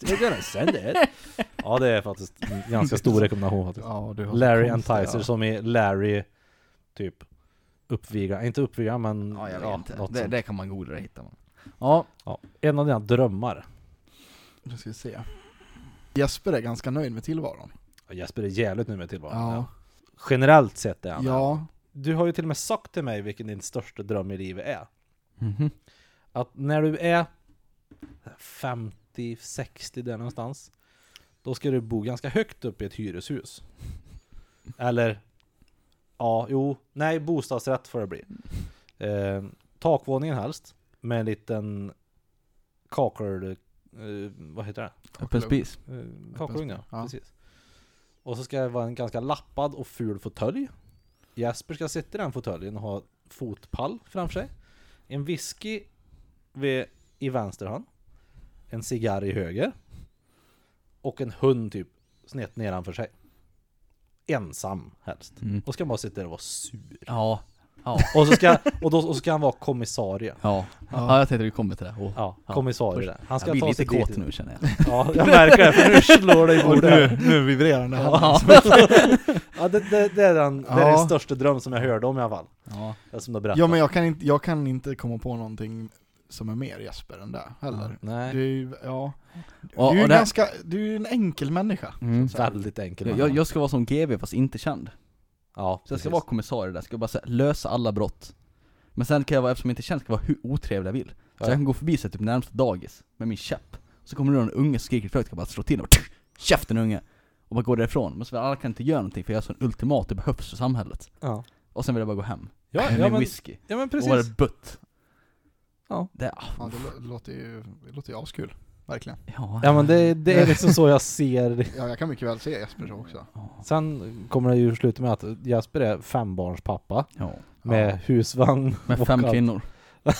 Just gonna send it. ja, det är faktiskt en ganska stor rekommendation faktiskt.
Ja, du har så
Larry and
konstiga-
Tizer som är Larry, typ, uppviga. Inte uppviga, men...
Ja, jag vet inte.
Mm, något
Det,
sånt.
det kan man googla och hitta. Man. Ja,
Ja. En av dina drömmar.
Nu ska vi se. Jesper är ganska nöjd med tillvaron.
Ja, Jesper är jävligt nu med tillvaron.
Ja.
Generellt sett är han
Ja.
Du har ju till och med sagt till mig vilken din största dröm i livet är. Mhm. Att när du är 50-60 där någonstans, då ska du bo ganska högt upp i ett hyreshus. Eller, ja, jo, nej, bostadsrätt får det bli. Eh, takvåningen helst, med en liten kakel... Eh, vad heter det?
öppen spis.
Eh, Kakelugn ja,
Ja.
precis. Och så ska det vara en ganska lappad och ful fåtölj. Jesper ska sitta i den fåtöljen och ha fotpall framför sig. En whisky vid, i vänster hand. En cigarr i höger. Och en hund typ snett nedanför sig. Ensam helst.
Mm.
Och ska man bara sitta där och vara sur.
Ja. Ja.
Och så ska, och då, och så ska han vara kommissarie.
Ja.
Ja.
ja, jag tänkte vi kommer till det. Åh.
Ja,
Ja,
kommissarie där. Han ska
jag blir
ta
lite
sig dit.
kåt nu känner jag.
Ja, jag märker det för nu slår det i
Och
bordet.
nu, nu vibrerar det här.
Ja.
Ja, det, det, det är den, det är
Ja.
den största dröm som jag hörde om i alla fall.
Ja.
Det Som du berättade.
Ja men jag kan, inte, jag kan inte komma på någonting som är mer Jesper än det heller.
Nej,
Du, är ju- ja. du
Och-
är ju
och det-
ganska, du är ju en enkel människa.
Mm.
Så här.
väldigt enkel.
Jag,
människa.
jag ska vara som GB fast inte känd.
ja,
Så jag ska
precis.
vara kommissarie där, ska bara så här, lösa alla brott. Men sen kan jag vara, eftersom jag inte är känd, ska jag vara hur otrevlig jag vill. Så
Ja.
jag kan gå förbi så här, typ närmsta dagis med min käpp. Så kommer det någon unge som skriker högt, ska bara slå till och tch, käften unge! Och bara gå därifrån. Men så alla kan inte göra någonting för jag är så en ultimat, det behövs för samhället.
Ja,
Och sen vill jag bara gå hem.
ja,
Med
ja,
min
men,
whisky.
ja men
Och vara
precis.
butt.
Ja.
Det, ah,
Ja, det lå- låter ju, det låter ju askul. Verkligen.
ja.
Ja men det, det är liksom så jag ser det.
Ja, jag kan mycket väl se Jesper så också.
Sen kommer det ju sluta med att Jasper är fembarnspappa
ja.
med husvagn.
Med
och
fem
allt.
kvinnor.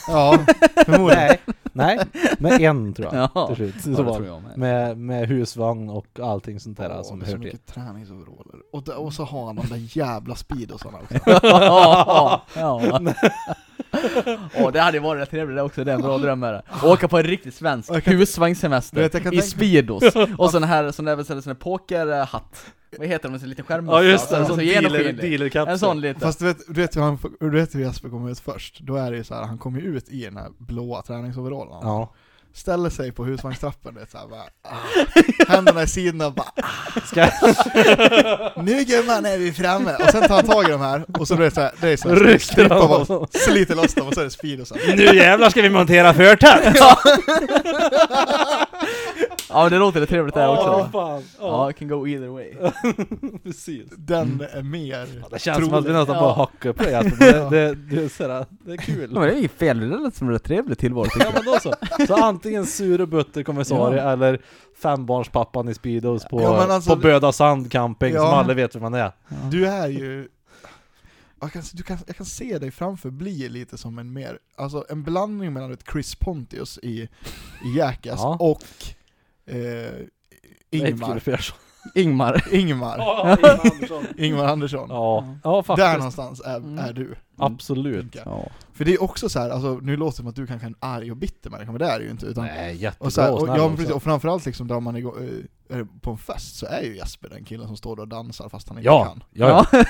Ja, förmodligen.
Nej, nej, med en tror jag.
Ja,
Till slut.
det
Så var
tror
det.
jag med.
Med, med husvagn och allting sånt där
Åh,
som
det är så
hör till.
mycket träningsoveraller. Och, där- och så har han de där jävla speedosarna också.
ja. Åh, det hade ju varit rätt trevligt det också, det är en bra dröm är det. Att Åka på en riktigt svensk
Jag kan-
husvagnssemester
Du vet, jag kan
i
tänka-
Speedos och sån här, sån där, sån där pokerhatt. Vad heter de? En sån liten skärmmössa?
det,
Så-
en
så
sån
genomskinlig.
dealerkapsel.
En sån liten.
Fast du vet, du vet hur han, du vet hur Jesper kommer ut först? Då är det ju så här, han kommer ju ut i den här blåa träningsoverallen.
Ja.
Ställer sig på husvagnstrappan, du vet såhär bara, ah, händerna i sidorna och bara ah.
Ska,
Nu gumman är vi framme! Och sen tar han tag i de här, och så blir det såhär, det är såhär,
Rycker
strippar
av
bara,
honom.
sliter loss dem och så är det speedosar.
nu jävlar ska vi montera förtält!
Ja men det låter lite trevligt det här också.
fan!
Ja, it can go either way.
precis.
Den är mer...
Mm. Det känns som att vi
Troligt.
nästan
Ja.
bara hackar upp det Jasper, men det, det, det, är sådär, det är kul.
Ja, men det är ju fel, det lät som en rätt trevlig tillvaro tycker
Ja men då så. Så antingen sur och butter kommissarie eller fembarnspappan i Speedos på,
Ja, men alltså-
på Böda Sand camping
Ja.
som alla vet vem man är.
Du är ju... jag kan, du kan, jag kan se dig framför bli lite som en mer, alltså en blandning mellan ett Chris Pontius i, i Jackass
Ja.
och eh, Ingmar.
Leif GW Persson.
Ingmar.
Ingmar.
Ja, Ingmar Andersson.
Ingmar Andersson.
Ja, ja
Där
faktiskt.
någonstans är,
Mm.
är du.
Absolut.
tänker jag.
Ja.
För det är också så här, alltså, nu låter det som att du kanske är en arg och bitter människa, men det är du ju inte. Utan,
Nej, jättebra
och, så här, och,
snäll
ja, men
också.
precis, och framförallt liksom, där man är, igång- eh, är på en fest så är ju Jesper den killen som står där och dansar fast han inte
Ja,
kan.
ja, ja.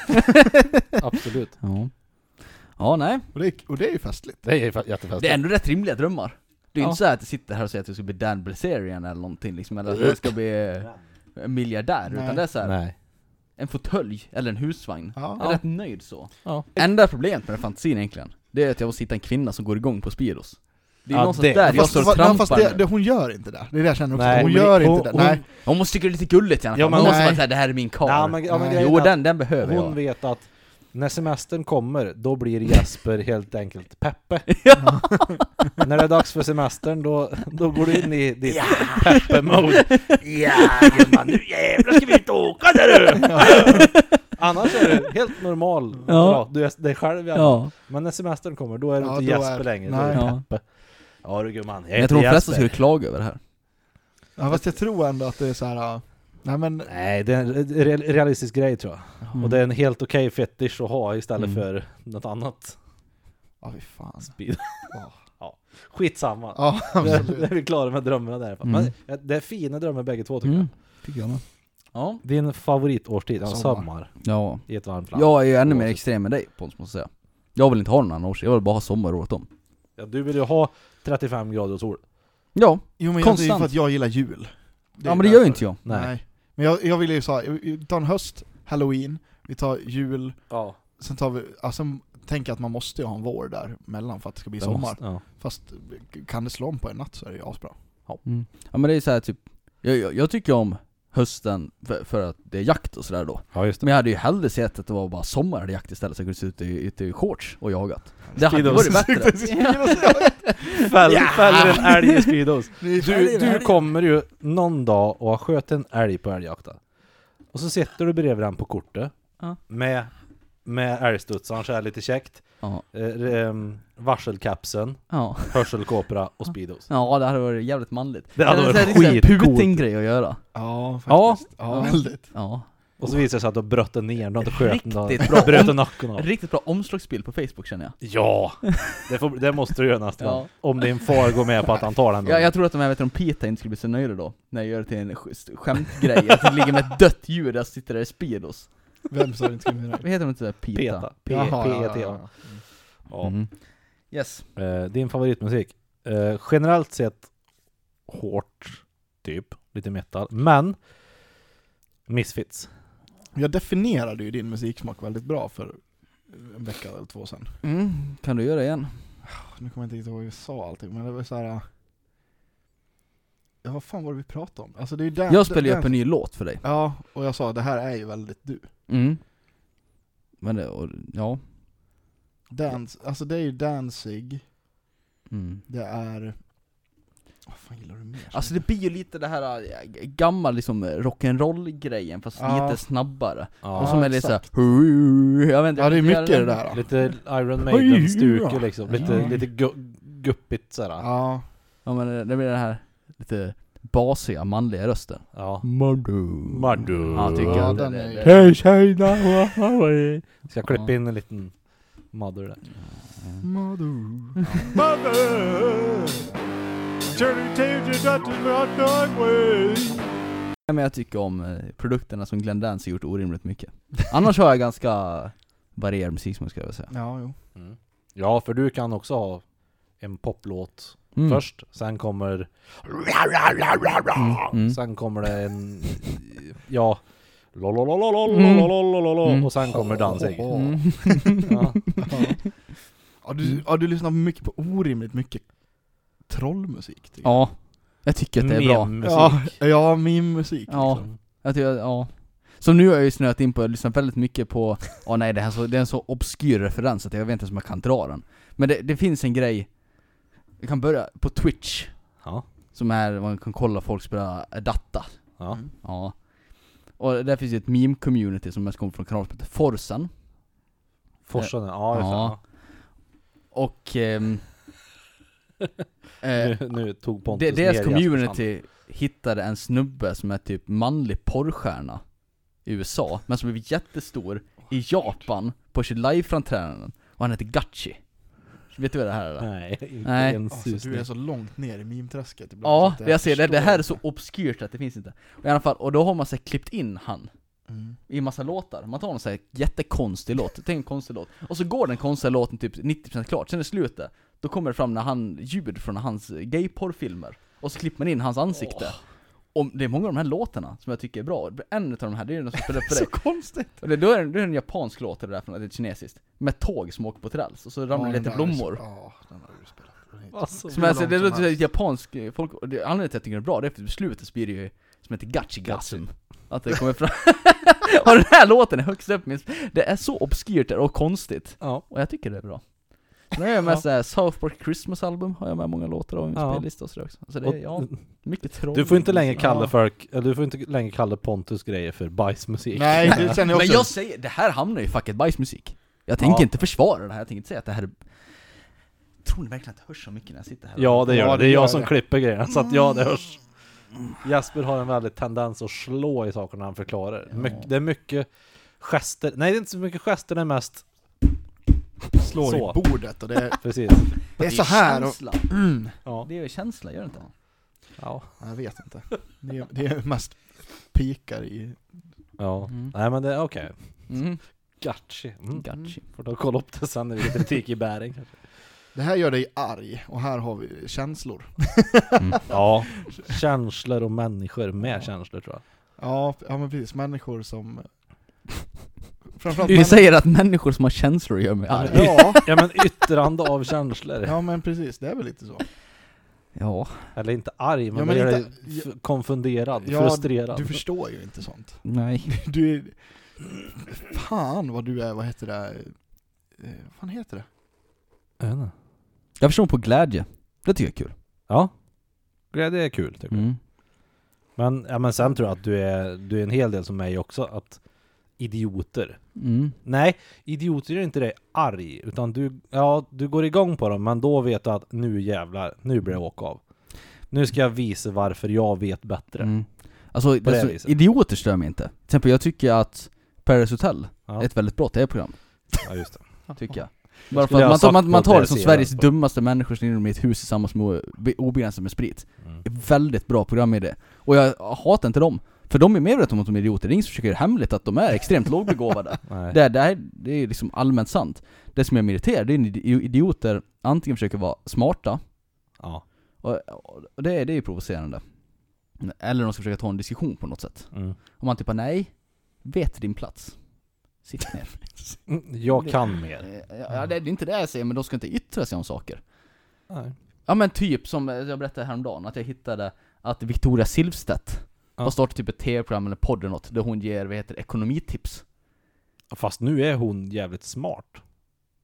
absolut.
ja. Ja, nej.
Och det, är, och det är ju festligt.
Det är fa- jättefest.
Det är ändå rätt rimliga drömmar. Det är
Alltså. Ja.
ju inte så här att jag sitter här och säger att jag ska bli Dan Bilzerian eller någonting liksom, eller att jag ska bli eh, miljardär,
Nej.
utan det är så här,
Nej.
en fåtölj eller en husvagn.
Ja.
Jag är rätt nöjd så.
Ja.
Enda problemet med den fantasin egentligen, det är att jag måste hitta en kvinna som går igång på Speedos. Det är
Ja,
någonstans
det-
där jag står och
fast, fast
trampar
det,
nu.
det, hon gör inte det, det är det jag känner också.
Nej,
hon
men
gör
det-
inte
hon-
det.
hon-
Nej.
Hon måste tycka det är lite gulligt i alla fall,
Ja, men
hon måste
nej.
vara såhär 'det här är min karl'
Ja, men, ja, men
Nej.
grejen
Jo
är att
den, den behöver
Hon
jag.
vet att när semestern kommer, då blir Jesper helt enkelt Peppe. När det är dags för semestern, då, då går du in i ditt Peppe-mode.
Ja gumman, nu jävlar ska vi ut och åka där du!
Annars är du helt normal.
Ja.
Ja. Du är dig själv i alla fall.
Ja,
Men när semestern kommer, då är du
Ja,
inte
då är-
Jesper längre. Då är du
nej.
Peppe. Ja du gumman, jag
jag tror de
heter
flesta skulle
Jesper.
klaga över det här.
Ja, fast jag tror ändå att det är så här. äh, Nej men,
Nej, det är en re- realistisk grej tror jag. Och det är en helt okej fetisch att ha istället
Mm.
för något annat.
ja fy fan.
Speed.
Ja.
Ja. Skitsamma.
Ja
Det, det
absolut.
är vi klara med drömmarna där i alla fall.
Mm.
Men ja, det är fina drömmar bägge två tycker
Mm.
jag.
Tycker jag med.
Ja.
Din favoritårstid? Ja,
Sommar.
sommar.
ja.
I ett varmt land.
Jag är ju ännu mer extrem än dig Pons, måste jag säga. Jag vill inte ha någon annan årstid, jag vill bara ha sommar året om.
Ja, du vill ju ha 35 grader och sol.
Ja,
Jo men jag, det är ju
Konstant.
för att jag gillar jul. är
ja men det gör
därför.
ju inte jag.
Nej.
Nej.
Men jag, jag vill ju så här, vi tar en höst, halloween, vi tar jul,
Ja.
sen tar vi, ja, sen tänker jag att man måste ju ha en vår där mellan för att det ska bli
det
sommar.
måste- Ja.
Fast kan det slå om på en natt så är det ju asbra.
Mm. Ja men det är så här typ, jag, jag, jag tycker om hösten för, för att det är jakt och sådär då.
ja, just det.
Men jag hade ju hellre sett att det var bara sommar hade jakt istället så jag kunde se ut i, ute i shorts och jagat. Det hade
Speedos.
varit bättre.
Fäll,
Ja!
Fäller en älg i Speedos. Du,
du,
du kommer ju någon dag och har sköt en älg på älgjakten. Och så sitter du bredvid den på kortet.
Ja.
Med, med älgstudsaren så här lite käckt.
Ja.
Eh, ehm, varselkapsen,
Ja.
hörselkåpra och Speedos.
ja, det hade varit jävligt manligt.
Det hade
är
varit
en sån här
skitcoolt.
Putin-grej att göra.
Ja,
Ja.
faktiskt. Ja, väldigt.
Ja.
Och så visar det sig att du har bröt den ner, du har inte sköt den, du
Riktigt bra.
har bröt nacken av.
Riktigt bra omslagsbild på Facebook känner jag.
Ja! Det, får, det måste du göra nästa
Ja.
gång. Om din far går med på att han tar den.
Jag, jag tror att de här vet du, om Peter inte skulle bli så nöjda då, när jag gör det till en sch- skämtgrej, att det ligger med ett dött djur där och sitter där i Speedos.
Vem sa det inte skulle bli det?
Vad heter de inte? Peta?
Peta. P-
Jaha, ja,
PETA.
E ja,
Ja.
Mm. Yes.
Eh, din favoritmusik? Eh, generellt sett hårt, typ. Lite metal. Men Misfits.
ja. Jag definierade ju din musiksmak väldigt bra för en vecka eller två sedan.
Mm. Kan du göra det igen?
Nu kommer jag inte riktigt ihåg vad jag sa allting, men det var så här. äh, Ja, vad fan var det vi pratade om? Alltså det är ju den,
Jag spelar ju
den-
upp en ny låt för dig.
Ja, och jag sa det här är ju väldigt du.
Mm. Men det, och, ja.
Dans, alltså det är ju Danzig,
Mm.
det är... Vad fan gillar du mer?
Alltså det blir ju lite det här äh, gamla liksom rock'n'roll-grejen fast
Ja.
lite snabbare. och
Ja.
som är lite
exakt.
såhär... Jag vet inte,
ja det är
jag
mycket
gör
det där. Då.
Lite Iron
Oj,
Maiden-stuk
ja.
liksom. Lite,
Ja.
lite gu- guppigt sådär.
Ja,
Ja men det, det blir den här lite basiga manliga rösten.
Ja.
Madu.
Madu.
Ja, tycker
Ja,
jag.
den
Det-
är ju-
det-
Hej tjejerna! Ska jag klippa in en liten mother där?
Mother.
Nej, men jag tycker om eh, produkterna som Glenn Dance har gjort orimligt mycket. Annars har jag ganska varierad musiksmak ska jag väl säga.
Ja, jo.
Mm. Ja, för du kan också ha en poplåt
Mm.
först, sen kommer...
Mm.
Sen kommer det en... Ja... Och sen kommer Danzig.
Mm.
Ja.
Ja. Ja, du, ja, du lyssnar mycket på orimligt mycket trollmusik. tycker
Ja, jag tycker att det är bra.
jag.
Mem-musik.
Ja, ja, min musik.
Ja,
Liksom.
jag tycker, ja. Som nu har jag ju snöat in på, jag lyssnar väldigt mycket på, åh nej det här så, det är en så obskyr referens att jag vet inte ens om jag kan dra den. Men det, det finns en grej, jag kan börja på Twitch,
Ja.
som är, man kan kolla eh, folk spela datta.
Ja.
Ja. Och där finns ju ett meme-community som mest kommer från kanaler som heter Forsen.
Forsen, ja, just det,
Ja.
ja.
Och... ehm, eh,
Nu, nu tog Pontus
de,
ner
deras
Jespers
community hittade en snubbe som är typ manlig porrstjärna i USA, men som blev jättestor i Japan på sitt liveframträdande. Och han heter Gachi. Vet du vad det här är?
hand.
Då?
Nej, inte
Nej.
en
Alltså, du är
susning.
så långt ner i meme-träsket ibland
Ja,
så att
jag ser det. Det här är så
förstår
obskyrt att det finns inte. Och I alla fall, och då har man så här klippt in han
inte. Mm.
i massa låtar. Man tar någon så här jättekonstig låt, tänk en konstig låt. Och så går den konstiga låten typ 90% klart, sen är det slutet. Då kommer det fram när han, ljud från hans gayporrfilmer. Och så klipper man in hans ansikte. Och det är många av de här låtarna som jag tycker är bra. En av de här, det är den som spelar för
Så
dig.
konstigt!
Och det, då är det, då är det en japansk låt eller därifrån, det är kinesiskt. Med tåg som åker på träls, och så ramlar det
den
lite
där är så-
blommor.
Ja, den har du spelat. Den är inte-
Alltså,
Som alltså,
långt
det
som
låter
helst.
som japansk eh, folk, och det, anledningen till att jag tycker det är bra, det är för att slutet så blir det ju som heter gachigasm.
typ.
Att det kommer fram. och den här låten är högst upp min Det är så obskyrt och konstigt.
Ja.
Och jag tycker det är bra. Nu är jag med
Ja.
såhär South Park Christmas album, har jag med många låtar av min
Ja.
spellista och sådär också. Så det
Och-
är, ja, mycket troll.
Du får inte längre
Ja.
kalla folk, eller du får inte längre kalla Pontus grejer för bajsmusik.
Nej, det känner jag
Men
också.
jag säger, det här hamnar ju i facket bajsmusik. Jag tänker
Ja.
inte försvara det här, jag tänker inte säga att det här är... Tror ni verkligen att det hörs så mycket när jag sitter här?
Ja det gör
Ja,
det,
det
det är
gör
jag som
det. Mm.
klipper grejerna så att ja det hörs. Jesper har en väldig tendens att slå i saker när han förklarar. Myck, det är mycket gester, nej det är inte så mycket gester, det är mest
slår
så.
i bordet och det är,
Precis.
det är så här och...
känsla.
Ja.
Det är ju känsla, gör det inte?
Ja.
Jag vet inte. Det är, det är mest pikar i...
ja.
Mm.
Nej men det, okej.
Mm.
Gachi. Mm.
Gachi.
Får då kolla upp det sen när det är kritik i bäring. kanske.
Det här gör dig arg och här har vi känslor.
Ja. Känslor och människor med känslor tror jag.
Ja, ja men precis. Människor som... Framförallt
Du
män-
säger att människor som har känslor gör mig arg.
Ja,
Ja men yttrande av känslor.
ja men precis. Det är väl lite så.
Ja,
Eller inte arg, men,
Ja,
ja,
men
gör
inte-
dig f- konfunderad,
Ja,
frustrerad.
Du förstår ju inte sånt.
nej.
Du är... Fan vad du är, vad heter det? Eh, Vad fan heter det?
Jag vet inte.
Jag förstår mig på glädje. Det tycker jag är kul.
Ja. Glädje är kul tycker jag.
Mm.
Men, ja, men sen tror jag att du är, du är en hel del som mig också, att idioter.
Mm.
Nej, idioter gör inte dig arg, utan du, ja, du går igång på dem, men då vet du att nu jävlar, nu blir det åka av. Nu ska jag visa varför jag vet bättre.
Mm. Alltså,
det
alltså,
viset.
idioter stör mig inte. Till exempel, jag tycker att Paris Hotel
Ja.
är ett väldigt bra tv-program,
Ja, just det.
tycker jag. Bara för
skulle jag
att man,
ha
tar,
sagt
man, man
något
tar det
jag
som
ser
Sveriges
alltså.
dummaste människor som är inne i ett hus tillsammans med obe- obegränsat med sprit.
Mm.
Väldigt bra program i det. Och jag hatar inte dem. För de är medvetna om att de är idioter, det är ingen som försöker göra hemligt att de är extremt lågbegåvade.
Nej.
Det, det, här, det är liksom allmänt sant. Det som jag mig irriterar, det är när idioter antingen försöker vara smarta,
Ja.
och, och det, är- det är ju provocerande. Eller de ska försöka ta en diskussion på något sätt.
Mm.
Om man typ bara, nej, vet din plats. Sitt ner.
Mm, Jag kan mer.
ja, det är inte det jag säger, men de ska inte yttra sig om saker.
Nej.
Ja men typ som eh, jag berättade häromdagen, att jag hittade att Victoria Silvstedt
Ja.
har startat typ ett tv-program eller podd eller något, där hon ger, vad heter det, ekonomitips.
Fast nu är hon jävligt smart.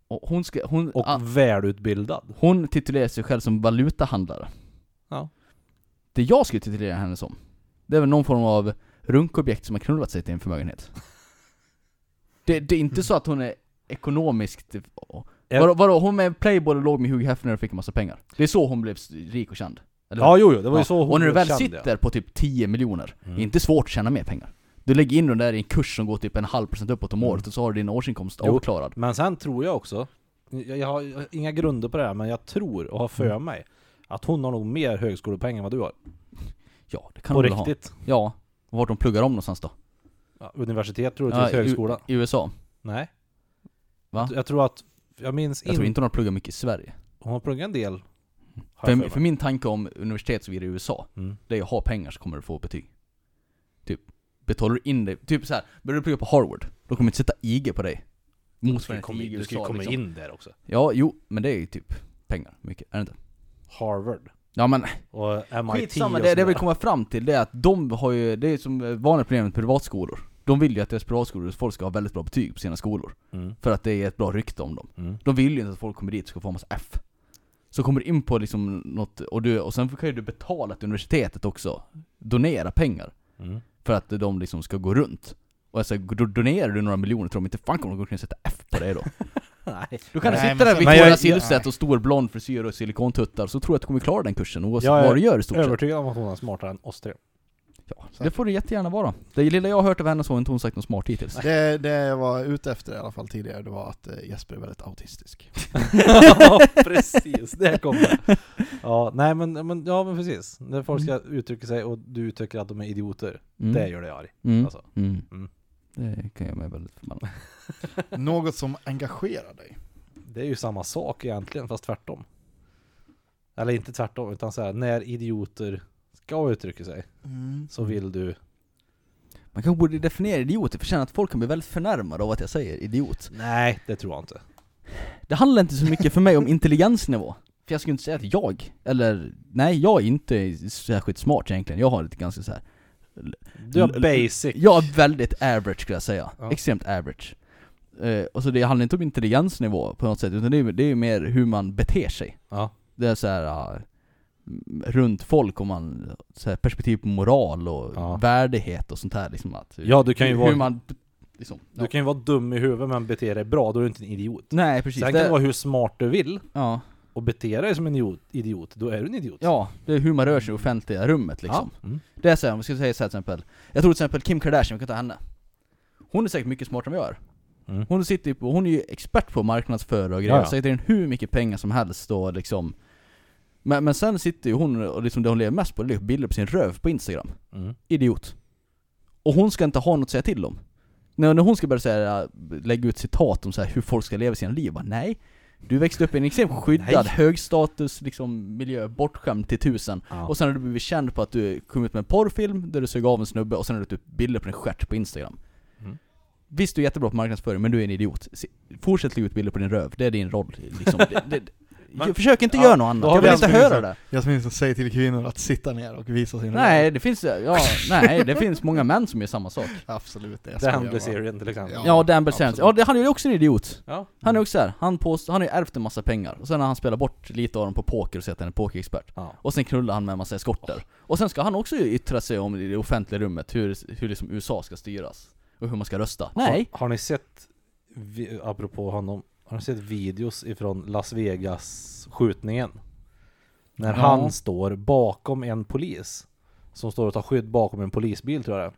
Och hon ska, hon,
Och
ah,
välutbildad.
Hon titulerar sig själv som valutahandlare.
Ja.
Det jag skulle titulera henne som, det är väl någon form av runkobjekt som har knullat sig till en förmögenhet. Det, det är inte så att hon är ekonomiskt...
Jag-
Vadå, vadå, hon är playboy och låg med Hugh Hefner och fick en massa pengar. Det är så hon blev rik och känd. Eller hur?
Ja, jo, jo, det var ju
Ja,
så hon
Och när du
blev
väl
känd, ja.
sitter på typ 10 miljoner,
Mm.
det är inte svårt att tjäna mer pengar. Du lägger in dem där i en kurs som går typ en halv procent uppåt om
Mm.
året och så har du din årsinkomst
Jo.
avklarad.
Men sen tror jag också, jag, jag, har, jag har inga grunder på det här, men jag tror och har för
Mm.
mig att hon har nog mer högskolepoäng än vad du har.
Ja, det kan
På
hon väl ha.
riktigt.
Ja. Och Vart de pluggar om någonstans då?
Ja, universitet troligtvis,
Ja, i-
högskola.
I USA?
Nej.
Va?
Jag, jag tror att, jag minns
Jag
in,
tror inte de har pluggat mycket i Sverige.
hon har pluggat en del. Har jag
För, för
mig.
min tanke om universitet så vidare i USA,
Mm.
det är att ha pengar så kommer du få betyg. Typ, betalar du in dig, typ så här, börjar du plugga på Harvard, då kommer du inte sätta IG på dig.
Du ska ju
Motsvarande
komma,
IG i
du ska ju
USA
komma
liksom.
in där också.
Ja, jo, men det är ju typ pengar, mycket, är det inte?
Harvard
Ja men
och MIT
skitsamma,
och
det, det jag
sådär.
vill komma fram till det är att de har ju, det är som vanligt problem med privatskolor. De vill ju att deras privatskolor, folk ska ha väldigt bra betyg på sina skolor.
mm.
För att det är ett bra rykte om dem.
Mm.
De vill ju inte att folk kommer dit och ska få en massa F. Så kommer du in på liksom något, och, du, och sen kan ju du betala till universitetet också. Donera pengar.
Mm.
För att de liksom ska gå runt. Och alltså, då donerar du några miljoner tror de inte fan kommer de kunna sätta F på det då.
Nej.
Du kan
Nej,
sitta
men
där
sen-
vid
Men jag-
Victoria
jag-
Silvstedt och stor blond frisyr och silikontuttar så tror jag att du kommer klara den kursen oavsett
Jag är
vad du gör i stort sett.
Övertygad om att hon är smartare än oss tre.
Ja, det får du jättegärna vara. Det lilla jag har hört av henne så har inte hon sagt något smart hittills.
Det, det jag var ute efter i alla fall tidigare, det var att eh, Jesper är väldigt autistisk.
ja, precis. Det kommer. Ja, nej men, men, ja, men precis. När folk ska uttrycka sig och du tycker att de är idioter,
Mm.
det gör dig arg.
Mm.
Alltså.
Mm.
Mm.
Det kan jag mig väldigt förbannad.
Något som engagerar dig.
Det är ju samma sak egentligen, fast tvärtom. Eller inte tvärtom, utan så här, när idioter ska uttrycka sig
Mm.
så vill du...
Man kanske borde definiera idioter, för jag känner att folk kan bli väldigt förnärmade av att jag säger idiot.
Nej, det tror jag inte.
Det handlar inte så mycket för mig om intelligensnivå. För jag skulle inte säga att jag, eller nej, jag är inte särskilt smart egentligen. Jag har lite ganska så här.
Du
L-
är
l-
basic.
Jag är väldigt average skulle jag säga.
Ja.
Extremt average. Eh, och så det handlar inte om intelligensnivå på något sätt, utan det är ju det är ju mer hur man beter sig.
Ja.
Det är så här uh, m- runt folk om man, så här, perspektiv på moral och
Ja.
värdighet och sånt här liksom att,
Ja, du kan ju
hur,
vara-
hur man, liksom, ja.
Du kan ju vara dum i huvudet men bete dig bra, då är du inte en idiot.
Nej precis,
Sen
det,
kan du vara hur smart du vill
ja,
och bete dig som en idiot, idiot då är du en idiot.
ja, det är hur man rör sig i offentliga rummet liksom.
Ja. Mm.
Det är såhär, om vi ska säga så här till exempel, jag tror till exempel Kim Kardashian, vi kan ta henne. Hon är säkert mycket smartare än vad jag är.
Mm.
Hon sitter ju på, hon är ju expert på att marknadsföra och grejer,
Ja, ja.
sätter in hur mycket pengar som helst och liksom men, men sen sitter ju hon och liksom det hon lever mest på, det är bilder på sin röv på instagram.
Mm.
idiot. Och hon ska inte ha något att säga till om. När, när hon ska börja säga, lägga ut citat om så här, hur folk ska leva sina liv, jag bara, nej. Du växte upp i en extremt skyddad,
Nej.
högstatus liksom, miljö, bortskämd till tusen.
Ja.
Och sen har du blivit känd på att du kom ut med en porrfilm där du sög av en snubbe och sen har du typ bilder på din stjärt på Instagram.
Mm.
Visst, du är jättebra på marknadsföring, men du är en idiot. Se- Fortsätt lägga ut bilder på din röv, det är din roll. Liksom. det, det,
Men-
försök inte
ja,
göra något
då
annat,
har
jag
vi
vill inte
en
höra
stor-
det.
Jasmin som säger till kvinnor att sitta ner och visa sin
Nej, det finns, ja, nej, det finns många män som gör samma sak.
Absolut, det är
Dan Blazerian till exempel.
Ja.
Ja, Dan Bilzerian. Ja,
absolut.
det, han är ju också en idiot.
Ja.
Han är också här. han, påstår, han har ju ärvt en massa pengar, och sen har han spelat bort lite av dem på poker och sett att han är pokerexpert.
Ja.
Och sen knullar han med en massa eskorter. Och sen ska han också ju yttra sig om i det offentliga rummet, hur, hur liksom USA ska styras. Och hur man ska rösta. Nej!
Har, har ni sett, vi- apropå honom, har ni sett videos ifrån Las Vegas skjutningen? När
Ja.
han står bakom en polis, som står och tar skydd bakom en polisbil tror jag det är,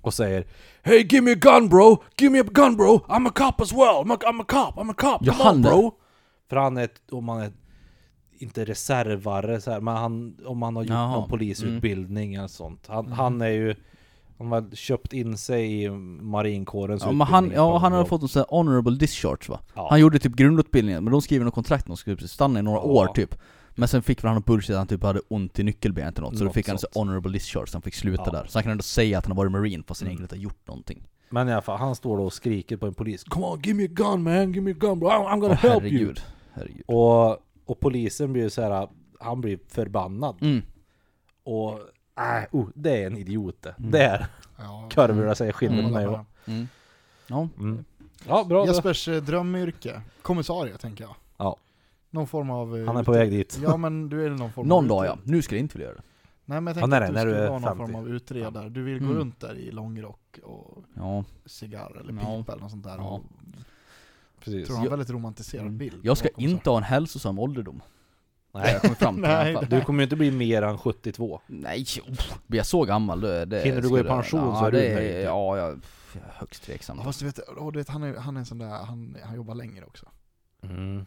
och säger Hey give me a gun bro, give me a gun bro, I'm a cop as well, I'm a, I'm a cop, I'm a cop,
Ja,
come
han
on
där.
bro! För han är, ett- om han är, inte reservare så här, men han, om han har gjort
Jaha. Mm.
någon polisutbildning eller sånt. Han, han är ju, han har köpt in sig i marinkårens
Ja, men han,
utbildning.
ja, han har fått en sån här honorable discharge va?
Ja.
Han gjorde typ grundutbildningen, men de skrev något kontrakt de skulle stanna i några
Ja.
år typ. Men sen fick väl han bullshit att han typ hade ont i nyckelbenet eller något, så då
Något
fick han så
sånt.
honorable discharge, så han fick sluta
Ja.
där. Så han kan ändå säga att han har varit marine fast han
Mm.
egentligen inte har gjort någonting.
Men i alla fall, han står då och skriker på en polis Come on, give me a gun man, give me a gun bro, I'm, I'm gonna
Åh,
help you!
herregud. Herregud.
Och, och polisen blir ju så här, han blir förbannad
Mm.
och äh, oh, det är en idiot det. Där kurvor det säger skillnaden
Mm.
på mig och...
Mm. Ja.
Mm. Ja, bra då.
Jespers eh, drömyrke, kommissarie tänker jag.
Ja.
Någon form av... eh,
Han är på
ut-
väg dit.
Ja men du är någon form av...
Någon
ut-
dag ja, nu ska jag inte vilja göra det.
Nej men jag
Ja,
tänkte
nej,
att du
när du
skulle
är
vara någon
50.
form av utredare. Du vill gå
Mm.
runt där i långrock och
Ja.
cigarr eller
Ja.
pipa eller något sånt där.
Ja.
Och,
Precis.
tror han
Jag-
väldigt romantiserad
Mm.
bild.
Jag ska
bakom sig.
inte ha en hälsosam ålderdom. Det har
Nej,
jag kommit fram till i alla
Nej,
fall.
du kommer ju inte bli mer än 72.
Nej, pff, blir jag så gammal då är det
Hinner du gå i
skulle-
pension
ja,
så är du
det
nöjd.
Ja, jag, pff, jag är högst tveksam.
Ja, fast du vet, åh, du vet han, är, han är en sån där, han, han jobbar längre också.
Mm.
De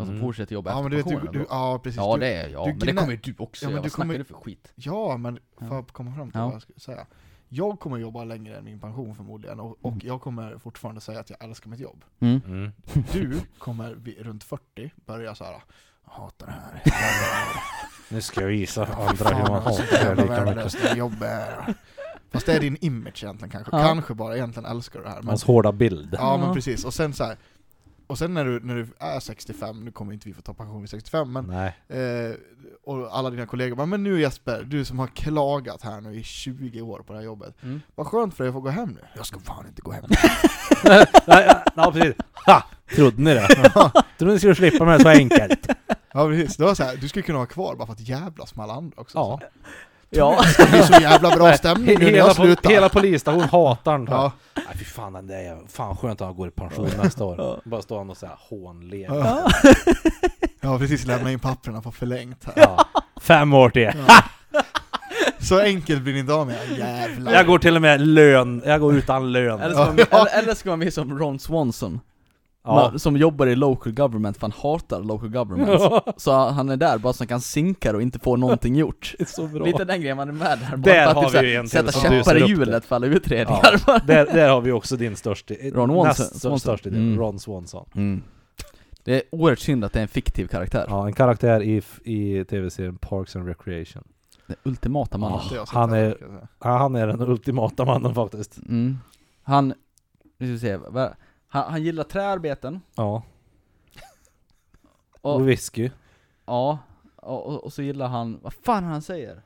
Alltså,
som
Mm.
fortsätter jobba
Ja
efter
men du vet, du,
pensionen
du,
då.
ja precis.
Ja
du,
det är jag,
du
men det
gnä-
kommer ju du också
Ja, men
göra.
du
Vad snackar
kommer-
du för skit?
Ja, men
Ja.
för att komma fram till
Ja.
vad jag skulle säga. Jag kommer jobba längre än min pension förmodligen, och, och
Mm.
jag kommer fortfarande säga att jag älskar mitt jobb.
Mm.
Du kommer vid, runt 40 börja såhär, jag hatar det här. Jag hatar det här.
Nu ska jag visa
Fan,
andra hur man
det är så
hatar
jävla
det lika mycket.
värdelöst det här jobbet är. Fast det är din image egentligen kanske,
Ja.
kanske bara, egentligen älskar du det här. Men,
Hans hårda bild.
ja
Ja.
men precis, och sen så här. Och sen när du, när du är 65, nu kommer inte vi få ta pension vid 65, men
Nej.
Eh, och alla dina kollegor bara, men nu Jesper, du som har klagat här nu i 20 år på det här jobbet.
Mm.
Vad skönt för dig att få gå hem nu. Jag ska fan inte gå hem.
Nej, ja, ja, precis. Ha! Trodde ni det? Trodde ni skulle slippa med det så enkelt?
ja precis, det var så här, du skulle kunna vara kvar bara för att jävlas med alla andra också.
Ja.
Ja.
Det blir så jävla bra stämning nu när
Hela,
jag
pol-
slutar.
hela polisstationen hatar han.
Ja.
Nej fy fan den där jäveln. Fan skönt att han går i pension nästa år. Bara står han och såhär hånler.
Ja. Jag har precis lämnat in papperna på förlängt här.
Ja. Fem år till.
Så enkelt blir ni inte av med er, jävlar.
Jag går till och med lön. Jag går utan lön.
Eller ska, man,
Ja.
eller, eller ska man bli som Ron Swanson,
Ja.
ma- som jobbar i local government, för han hatar local government. Så han är där bara så han kan sinka och inte få någonting gjort.
Det är så bra.
Lite den grejen man är med där, bara
Där
för
har
att
vi ju en
typ,
till
så här, sätta
som lyser
käppar
upp
i
det.
hjulet för alla utredningar.
Ja, där, där har vi också din största,
Ron Swanson.
näst
Swanson.
största idé,
Mm.
Ron Swanson.
Mm. Det är oerhört synd att det är en fiktiv karaktär.
Ja, en karaktär i, f- i tv-serien Parks and Recreation.
Den ultimata mannen.
Inte jag som
Han är-
kan säga.
Ja, han är den ultimata mannen faktiskt.
Mm. Han, nu ska vi se, vad- han, han gillar träarbeten,
Ja.
och,
Och whisky.
ja, och, och, och så gillar han, vad fan är det han säger?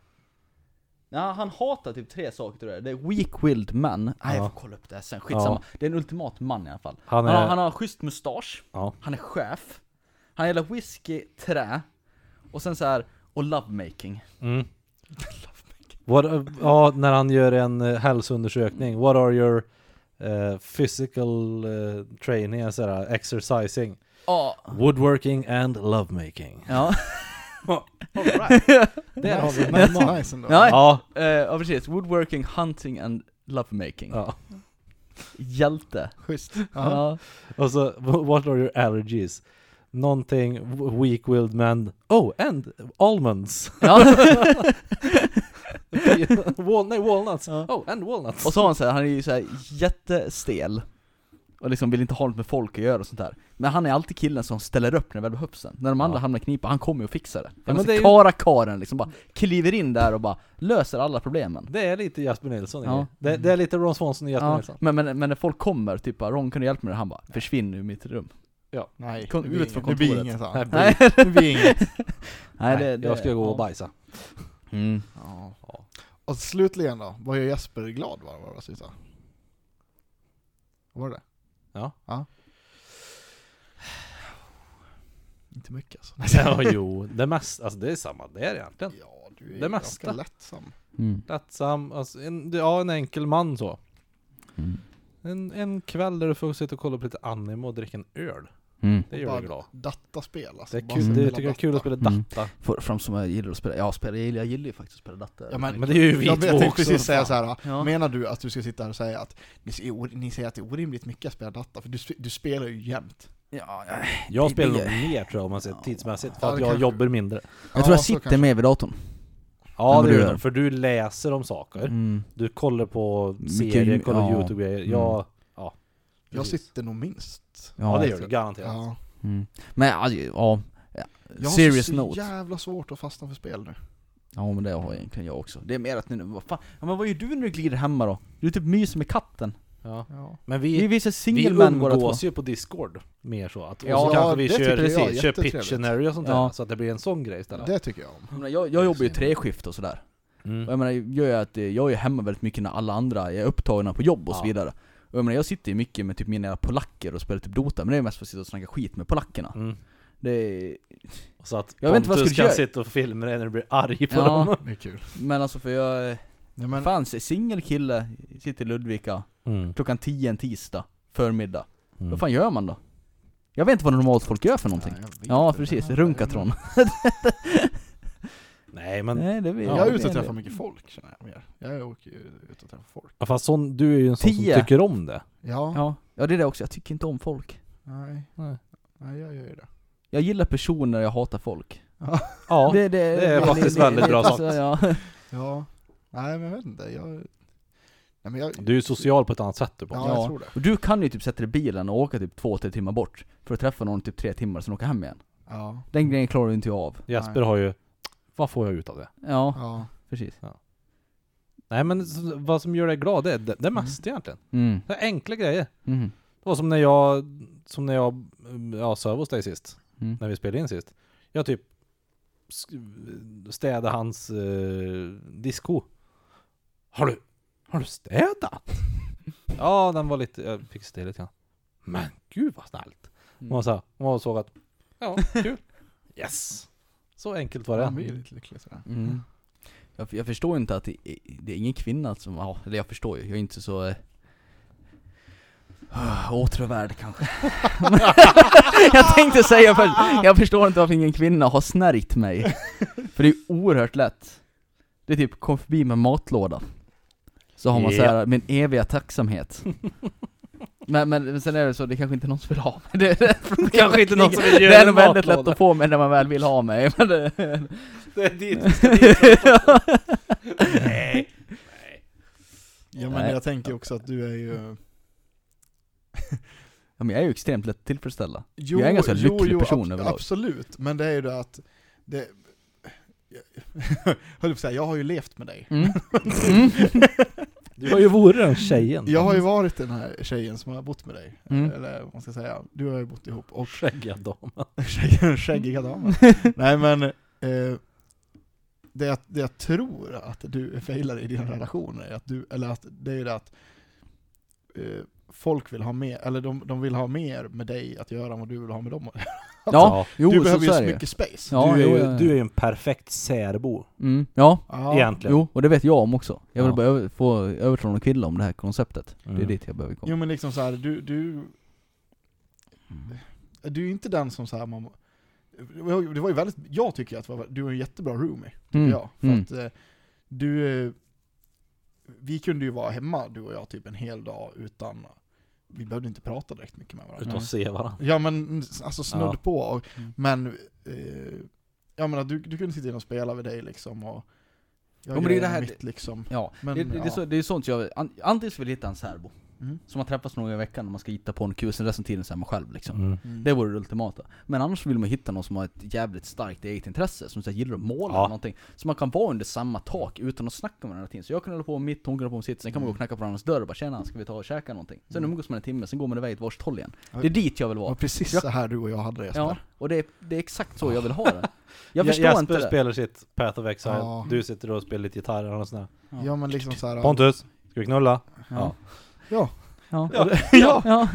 Ja, han hatar typ tre saker tror jag, det är weak-willed man, nej
Ja.
jag får kolla upp det här sen, skitsamma. Det är en ultimat man i alla fall.
Han
Han har,
är...
han har schysst mustasch,
Ja.
han är chef, han gillar whisky, trä, och sen så här och lovemaking.
Mm. What, uh, ja, när han gör en eh, hälsoundersökning. What are your eh, physical eh, training, sådär, exercising,
Ja.
woodworking and lovemaking.
Ja.
Där har vi
nice,
mamma.
nice, nice ändå.
Nej.
Ja.
Eh, ja precis, woodworking, hunting and lovemaking.
ja.
Hjälte.
Schysst. Ja.
Ja.
Och så, what are your allergies? Någonting w- weak-willed man. Oh, and almonds.
Ja.
Wal- nej, walnuts.
Ja.
Oh, and walnuts.
Och så har han så här, han är ju så här jättestel. Och liksom vill inte ha något med folk att göra och sånt där. Men han är alltid killen som ställer upp när det väl behövs sen. När de andra
Ja.
hamnar i knipa, han kommer ju och fixar det.
men
Han
det är
är
ju-
kara karen liksom, bara kliver in där och bara löser alla problemen.
Det är lite Jasper Nilsson i
Ja.
det. det. Det är lite Ron Swanson och Jasper
Ja,
Nilsson.
men, men, men när folk kommer, typ bara 'Ron kan du hjälpa mig?' Han bara 'Försvinn ur mitt rum'
Nej,
Kom
det blir
ut från
inget- det blir
kontoret.
inget sånt.
Nej,
Nej,
Det blir inget.
Nej det, det
jag ska gå och
ja.
bajsa.
mm.
Ja. Och slutligen då, vad gör Jesper glad var var det sista? Var det
Ja.
Inte mycket alltså.
ja, jo. Det mesta, alltså det är samma där egentligen.
Ja, du är
Det
det
mesta.
ganska lättsam.
Mm.
Lättsam, alltså en, ja en enkel man så.
Mm.
En, en kväll där du får sitta och kolla på lite anime och dricka en öl.
Mm.
Det gör
Bara
dig glad.
Dataspel alltså.
Det är
Bara
kul,
spela
du tycker det är kul att spela
Mm.
Datta.
Får fram som jag gillar att spela, ja spela, jag gillar, jag gillar ju faktiskt att spela dator
Ja, men-
Men det är ju vi
Jag,
två
jag tänkte
också.
precis säga
fan.
så här.
Ja.
menar du att du ska sitta här och säga att ni, ser- or- ni säger att det är orimligt mycket att spela data, för du, sp- du spelar ju jämt.
ja,
Jag
Det-
spelar nog
det-
mer tror jag om man ser tidsmässigt, för
Ja,
att
det
jag
kanske.
jobbar mindre.
Jag tror
Ja,
jag
så
sitter
kanske.
med vid datorn
Ja
vad
det
du
gör
gör.
du, för du läser om saker.
mm.
Du kollar på
Mycket-
serier, kollar
ja.
Youtube-grejer.
Mm.
Jag,
Jag
Precis.
sitter nog minst.
ja det gör
tror
du,
jag.
garanterat.
Ja.
Mm. Men alltså, ja,
Jag har
serious
så
note
jävla svårt att fastna för spel nu.
Ja men det har egentligen jag också Det är mer att nu, vad fan, ja, men vad gör du när du glider hemma då? Du typ myser med katten
Ja.
Ja.
Men
Vi
vi,
visar
vi
singelmän båda två
umgås ju på Discord mer så. Att,
Ja,
och så kanske vi
det
kör,
tycker jag är
kör
jättetrevligt.
Pictionary och sånt där,
Ja.
så att det blir en sån grej istället.
Det tycker jag om.
Jag, menar, jag, jag jobbar ju treskift och sådär Och
Mm.
jag menar, gör jag att eh, jag är hemma väldigt mycket när alla andra är upptagna på jobb och så
Ja.
vidare. Och jag menar, jag sitter ju mycket med typ mina polacker och spelar typ Dota, men det är mest för att sitta och snacka skit med polackerna.
Mm.
Det är,
Och Så att
Jag vet inte vad jag
Pontus
skulle
kan
göra.
sitta och filma dig när du blir arg på
Ja.
dem.
Det är kul.
men alltså för jag, eh,
Nej, men,
fan, se- singel kille, sitter i Ludvika,
Mm.
klockan 10 en tisdag, förmiddag.
Mm.
Vad fan gör man då? Jag vet inte vad normalt folk gör för någonting.
Nej, jag vet
Ja,
inte.
precis,
Nej,
runkatron.
Nej men,
Nej, det vet
Jag är ute
vet
och träffar
inte.
mycket folk känner jag mer. Jag åker ju ut och träffar folk.
ja, fast sån, du är ju en sån
Tio.
som tycker om det.
Ja,
Ja, ja det är det också, jag tycker inte om folk.
Nej.
Nej.
nej, jag gör ju det.
Jag gillar personer, jag hatar folk.
Ja,
det,
det är faktiskt väldigt bra
alltså,
sagt.
Ja.
Ja, nej men jag vet inte. Jag, nej, men jag,
du är ju social på ett annat sätt du på.
ja,
Ja.
jag tror det.
Och du kan ju typ sätta dig i bilen och åka typ två, tre timmar bort För att träffa någon typ tre timmar, sen åka hem igen
Ja.
Mm.
Den grejen klarar du inte av
Jesper har ju, vad får jag ut av det?
Ja,
Ja.
precis
Nej men s- vad som gör dig glad, det är det, det är mest egentligen.
mm.
Det är enkla grejer.
Mm.
Det var som när jag, som när jag, mm, ja, sov hos dig sist.
Mm.
När vi spelade in sist. Jag typ sk- städade hans eh, disco. Har du, har du städat? ja, den var lite, jag fick städa lite grann. Men gud vad snällt.
Mm.
Man, sa, man såg att, ja, kul. yes. Så enkelt var det.
Man blir lite lycklig sådär.
Mm. Jag, jag förstår inte att det, det är ingen kvinna som, ja, eller jag förstår ju, jag är inte så... eh, Åtråvärd kanske. jag tänkte säga först, jag förstår inte varför ingen kvinna har snärjt mig. För det är ju oerhört lätt. Det är typ, kom förbi med matlåda. Så har man så här min eviga tacksamhet. Men, men, men sen är det så, det kanske inte är någon som vill ha mig. Det, det, det kanske inte är någon som vill
göra
Det är
en
nog väldigt
matlåda.
lätt att få mig när man väl vill ha mig. Men det,
Det är dit
Ja
Nej.
Nej. Mm.
men jag tänker också att du är ju...
Ja, men jag är ju extremt lätt tillfredsställda.
Jo,
Jag är en ganska
jo,
lycklig
jo,
person
ab-
överlag.
Absolut, men det är ju det att... Det, jag höll på att säga, jag har ju levt med dig.
Mm. Mm.
Du har ju varit den tjejen.
Jag har ju varit den här tjejen som har bott med dig,
Mm.
eller vad man ska säga, du har ju bott ihop, och
Skäggiga damen.
tjejen, skäggiga damen. Nej men, eh, det, jag, det jag tror att du failar i
Mm.
dina relationer, är att du, eller att det är ju det att eh, folk vill ha mer, eller de, de vill ha mer med dig att göra än vad du vill ha med dem att göra. Alltså,
Ja, jo,
Du
så,
behöver
så
ju
är
så
det ju.
mycket space.
Ja,
Alltså, du, är
jo,
ju,
ja, ja.
du är ju en perfekt särbo,
Mm. Ja,
Ja.
egentligen.
jo, och det vet jag om också. Jag vill
Ja.
bara över, få övertala någon kille om det här konceptet. Det är
Mm.
dit jag behöver komma.
Jo men liksom så här, du, du... Du är ju inte den som så här, man... Det var ju väldigt, jag tycker att det var- du var en jättebra roomie, tycker
Mm,
jag. För
mm.
att eh, du... eh, Vi kunde ju vara hemma, du och jag, typ en hel dag utan... Vi behövde inte prata direkt mycket med varandra.
Utan att se varandra.
Ja men alltså snudd
Ja.
på, och,
Mm.
men... Eh, jag menar, du, du kunde sitta in och spela med dig liksom och... Jag
men
gör
det är ju det här-
mitt liksom.
Ja,
Men,
det, det, det, är
ja.
så, det är sånt jag, an, antingen så vill jag hitta en särbo,
Mm.
som man träffas några gånger i veckan och man ska hitta på en kul, sen resten av tiden så är man själv liksom.
Mm.
Mm.
Det vore det ultimata. Men annars vill man hitta någon som har ett jävligt starkt eget intresse, som så här, gillar att måla
Ja.
eller någonting. Så man kan vara under samma tak utan att snacka med varandra hela tiden. Så jag kan hålla på med mitt, hon kan hålla på med sitt, sen kan man gå och knacka på varandras dörr och bara 'Tjena, ska vi ta och käka någonting?' Sen
Mm.
umgås man en timme, sen går man iväg åt varsitt håll igen.
Ja.
Det är dit jag vill vara.
var precis
Jag-
så här du och jag hade det Jesper.
Ja, och det är, det är exakt så jag vill ha det. Jag
Je-
förstår
Jesper
inte det.
spelar sitt Path of Exile,
Ja.
du sitter och spelar lite gitarr och sådär.
Ja.
Ja men liksom så här,
Pontus, ska vi knulla?
Ja.
Ja.
Ja.
Ja.
ja.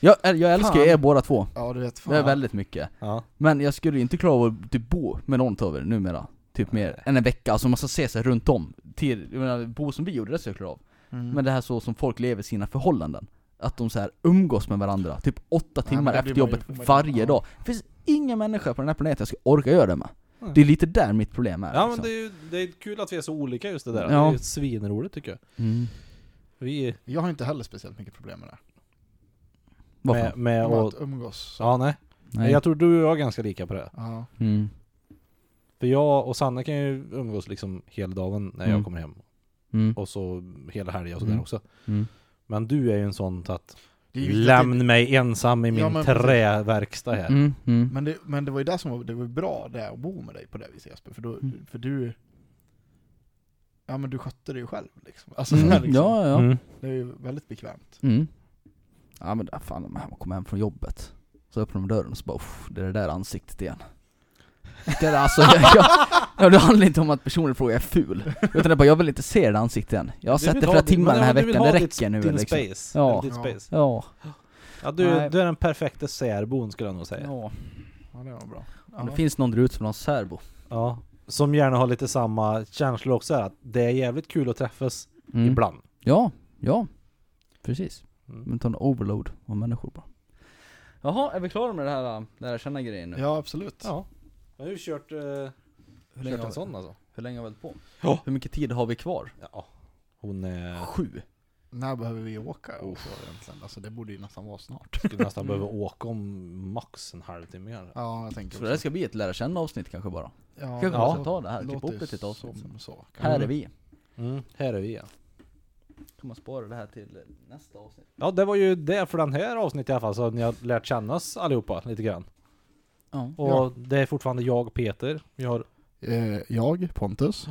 Jag, jag älskar ju
Fan.
er båda två.
Ja du vet, fan.
Det är väldigt mycket.
Ja.
Men jag skulle ju inte klara av att typ bo med någon av er numera. Typ mer än en vecka, alltså man ska se sig runt om. Till, jag menar, bo som vi gjorde, det skulle jag klara av.
Mm.
Men det här så som folk lever sina förhållanden. Att de så här umgås med varandra, typ åtta
Nej, men
timmar
det
efter
blir man ju-
jobbet
man-
varje
ja.
dag. Det finns ingen människa på den här planeten jag ska orka göra det med.
Nej.
Det är lite där mitt problem är.
Ja men
liksom.
det är ju det är kul att vi är så olika just det där.
Ja.
Det är ju svinroligt tycker jag.
mm.
Vi
Jag har inte heller speciellt mycket problem med det.
Varför?
med, med
Med
och,
att umgås.
Ja nej.
Nej.
Jag tror du och jag är ganska lika på det.
Ja.
Mm.
För jag och Sanna kan ju umgås liksom hela dagen när
Mm.
jag kommer hem.
Mm.
Och så hela helgen och sådär
Mm.
också.
Mm.
Men du är ju en sån att
Det är ju viktigt att
Lämn mig ensam i min
Ja, men precis.
träverkstad här.
Mm.
det,
Mm.
men, det, men det var ju det som var, det var ju bra det att bo med dig på det viset Jesper, för, då,
Mm.
för du... Ja men du skötte det ju själv liksom. Alltså,
Mm.
liksom.
Ja, ja.
Mm.
Det är ju väldigt bekvämt.
Mm. Ja men där fan, man kommer hem från jobbet. Så öppnar de dörren och så bara uff, det är det där ansiktet igen. Det där, alltså, jag, jag, ja, det handlar inte om att personen i fråga är ful. Utan det är bara, jag vill inte se det där ansiktet igen. Jag har
Du
sett
vill
det
ha
flera
din-
timmar
men
den här
ja, du vill
veckan,
ha
det
ditt-
räcker nu
Din
liksom.
space.
Ja.
Eller Ditt
Ja.
space.
Ja,
Ja, du,
Nej.
du är den perfekta särbon skulle jag nog säga. Ja.
ja.
Ja det var bra.
Om det
Ja.
finns någon där ute som har en särbo.
Som gärna har lite samma känslor också här, att det är jävligt kul att träffas
Mm.
ibland.
Ja, ja. Precis.
Mm.
Men ta en overload av människor bara. Jaha, är vi klara med det här, äh, det här känna grejen nu?
Ja absolut.
Ja. Jag har ju kört, eh,
hur, länge
kört en
har,
sån alltså.
hur länge har vi hållit på?
Ja.
Hur mycket tid har vi kvar?
Ja. Hon eh,
Sju.
När behöver vi åka också egentligen? Alltså det borde ju nästan vara snart.
skulle nästan behöva åka om max en halvtimme här.
Ja jag tänker
Så det här
också.
ska bli ett lära känna avsnitt kanske bara.
Ja, alltså,
Kanske
Ja.
vi ska ta det här, klippa
låter
upp det till ett avsnitt.
som så. kanske.
Här är vi.
Mm. Här är vi igen.
Kan man spara det här till eh, nästa avsnitt?
Ja det var ju det för den här avsnittet i alla fall, så ni har lärt kännas allihopa lite grann.
Ja.
Och
Ja.
det är fortfarande jag, Peter, vi har
Eh, jag, Pontus.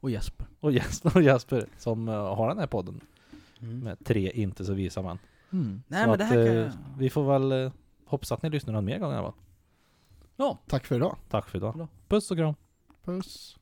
Och Jesper.
och Jesper, och Jesper som eh, har den här podden.
Mm.
Med tre inte så visa man.
Mm.
Nej
så
men det här
att,
kan
eh,
jag...
Vi får väl eh, hoppas att ni lyssnar någon mer gång i alla fall.
Ja.
Tack för idag.
Tack för idag.
Bra.
Puss och kram.
Puss.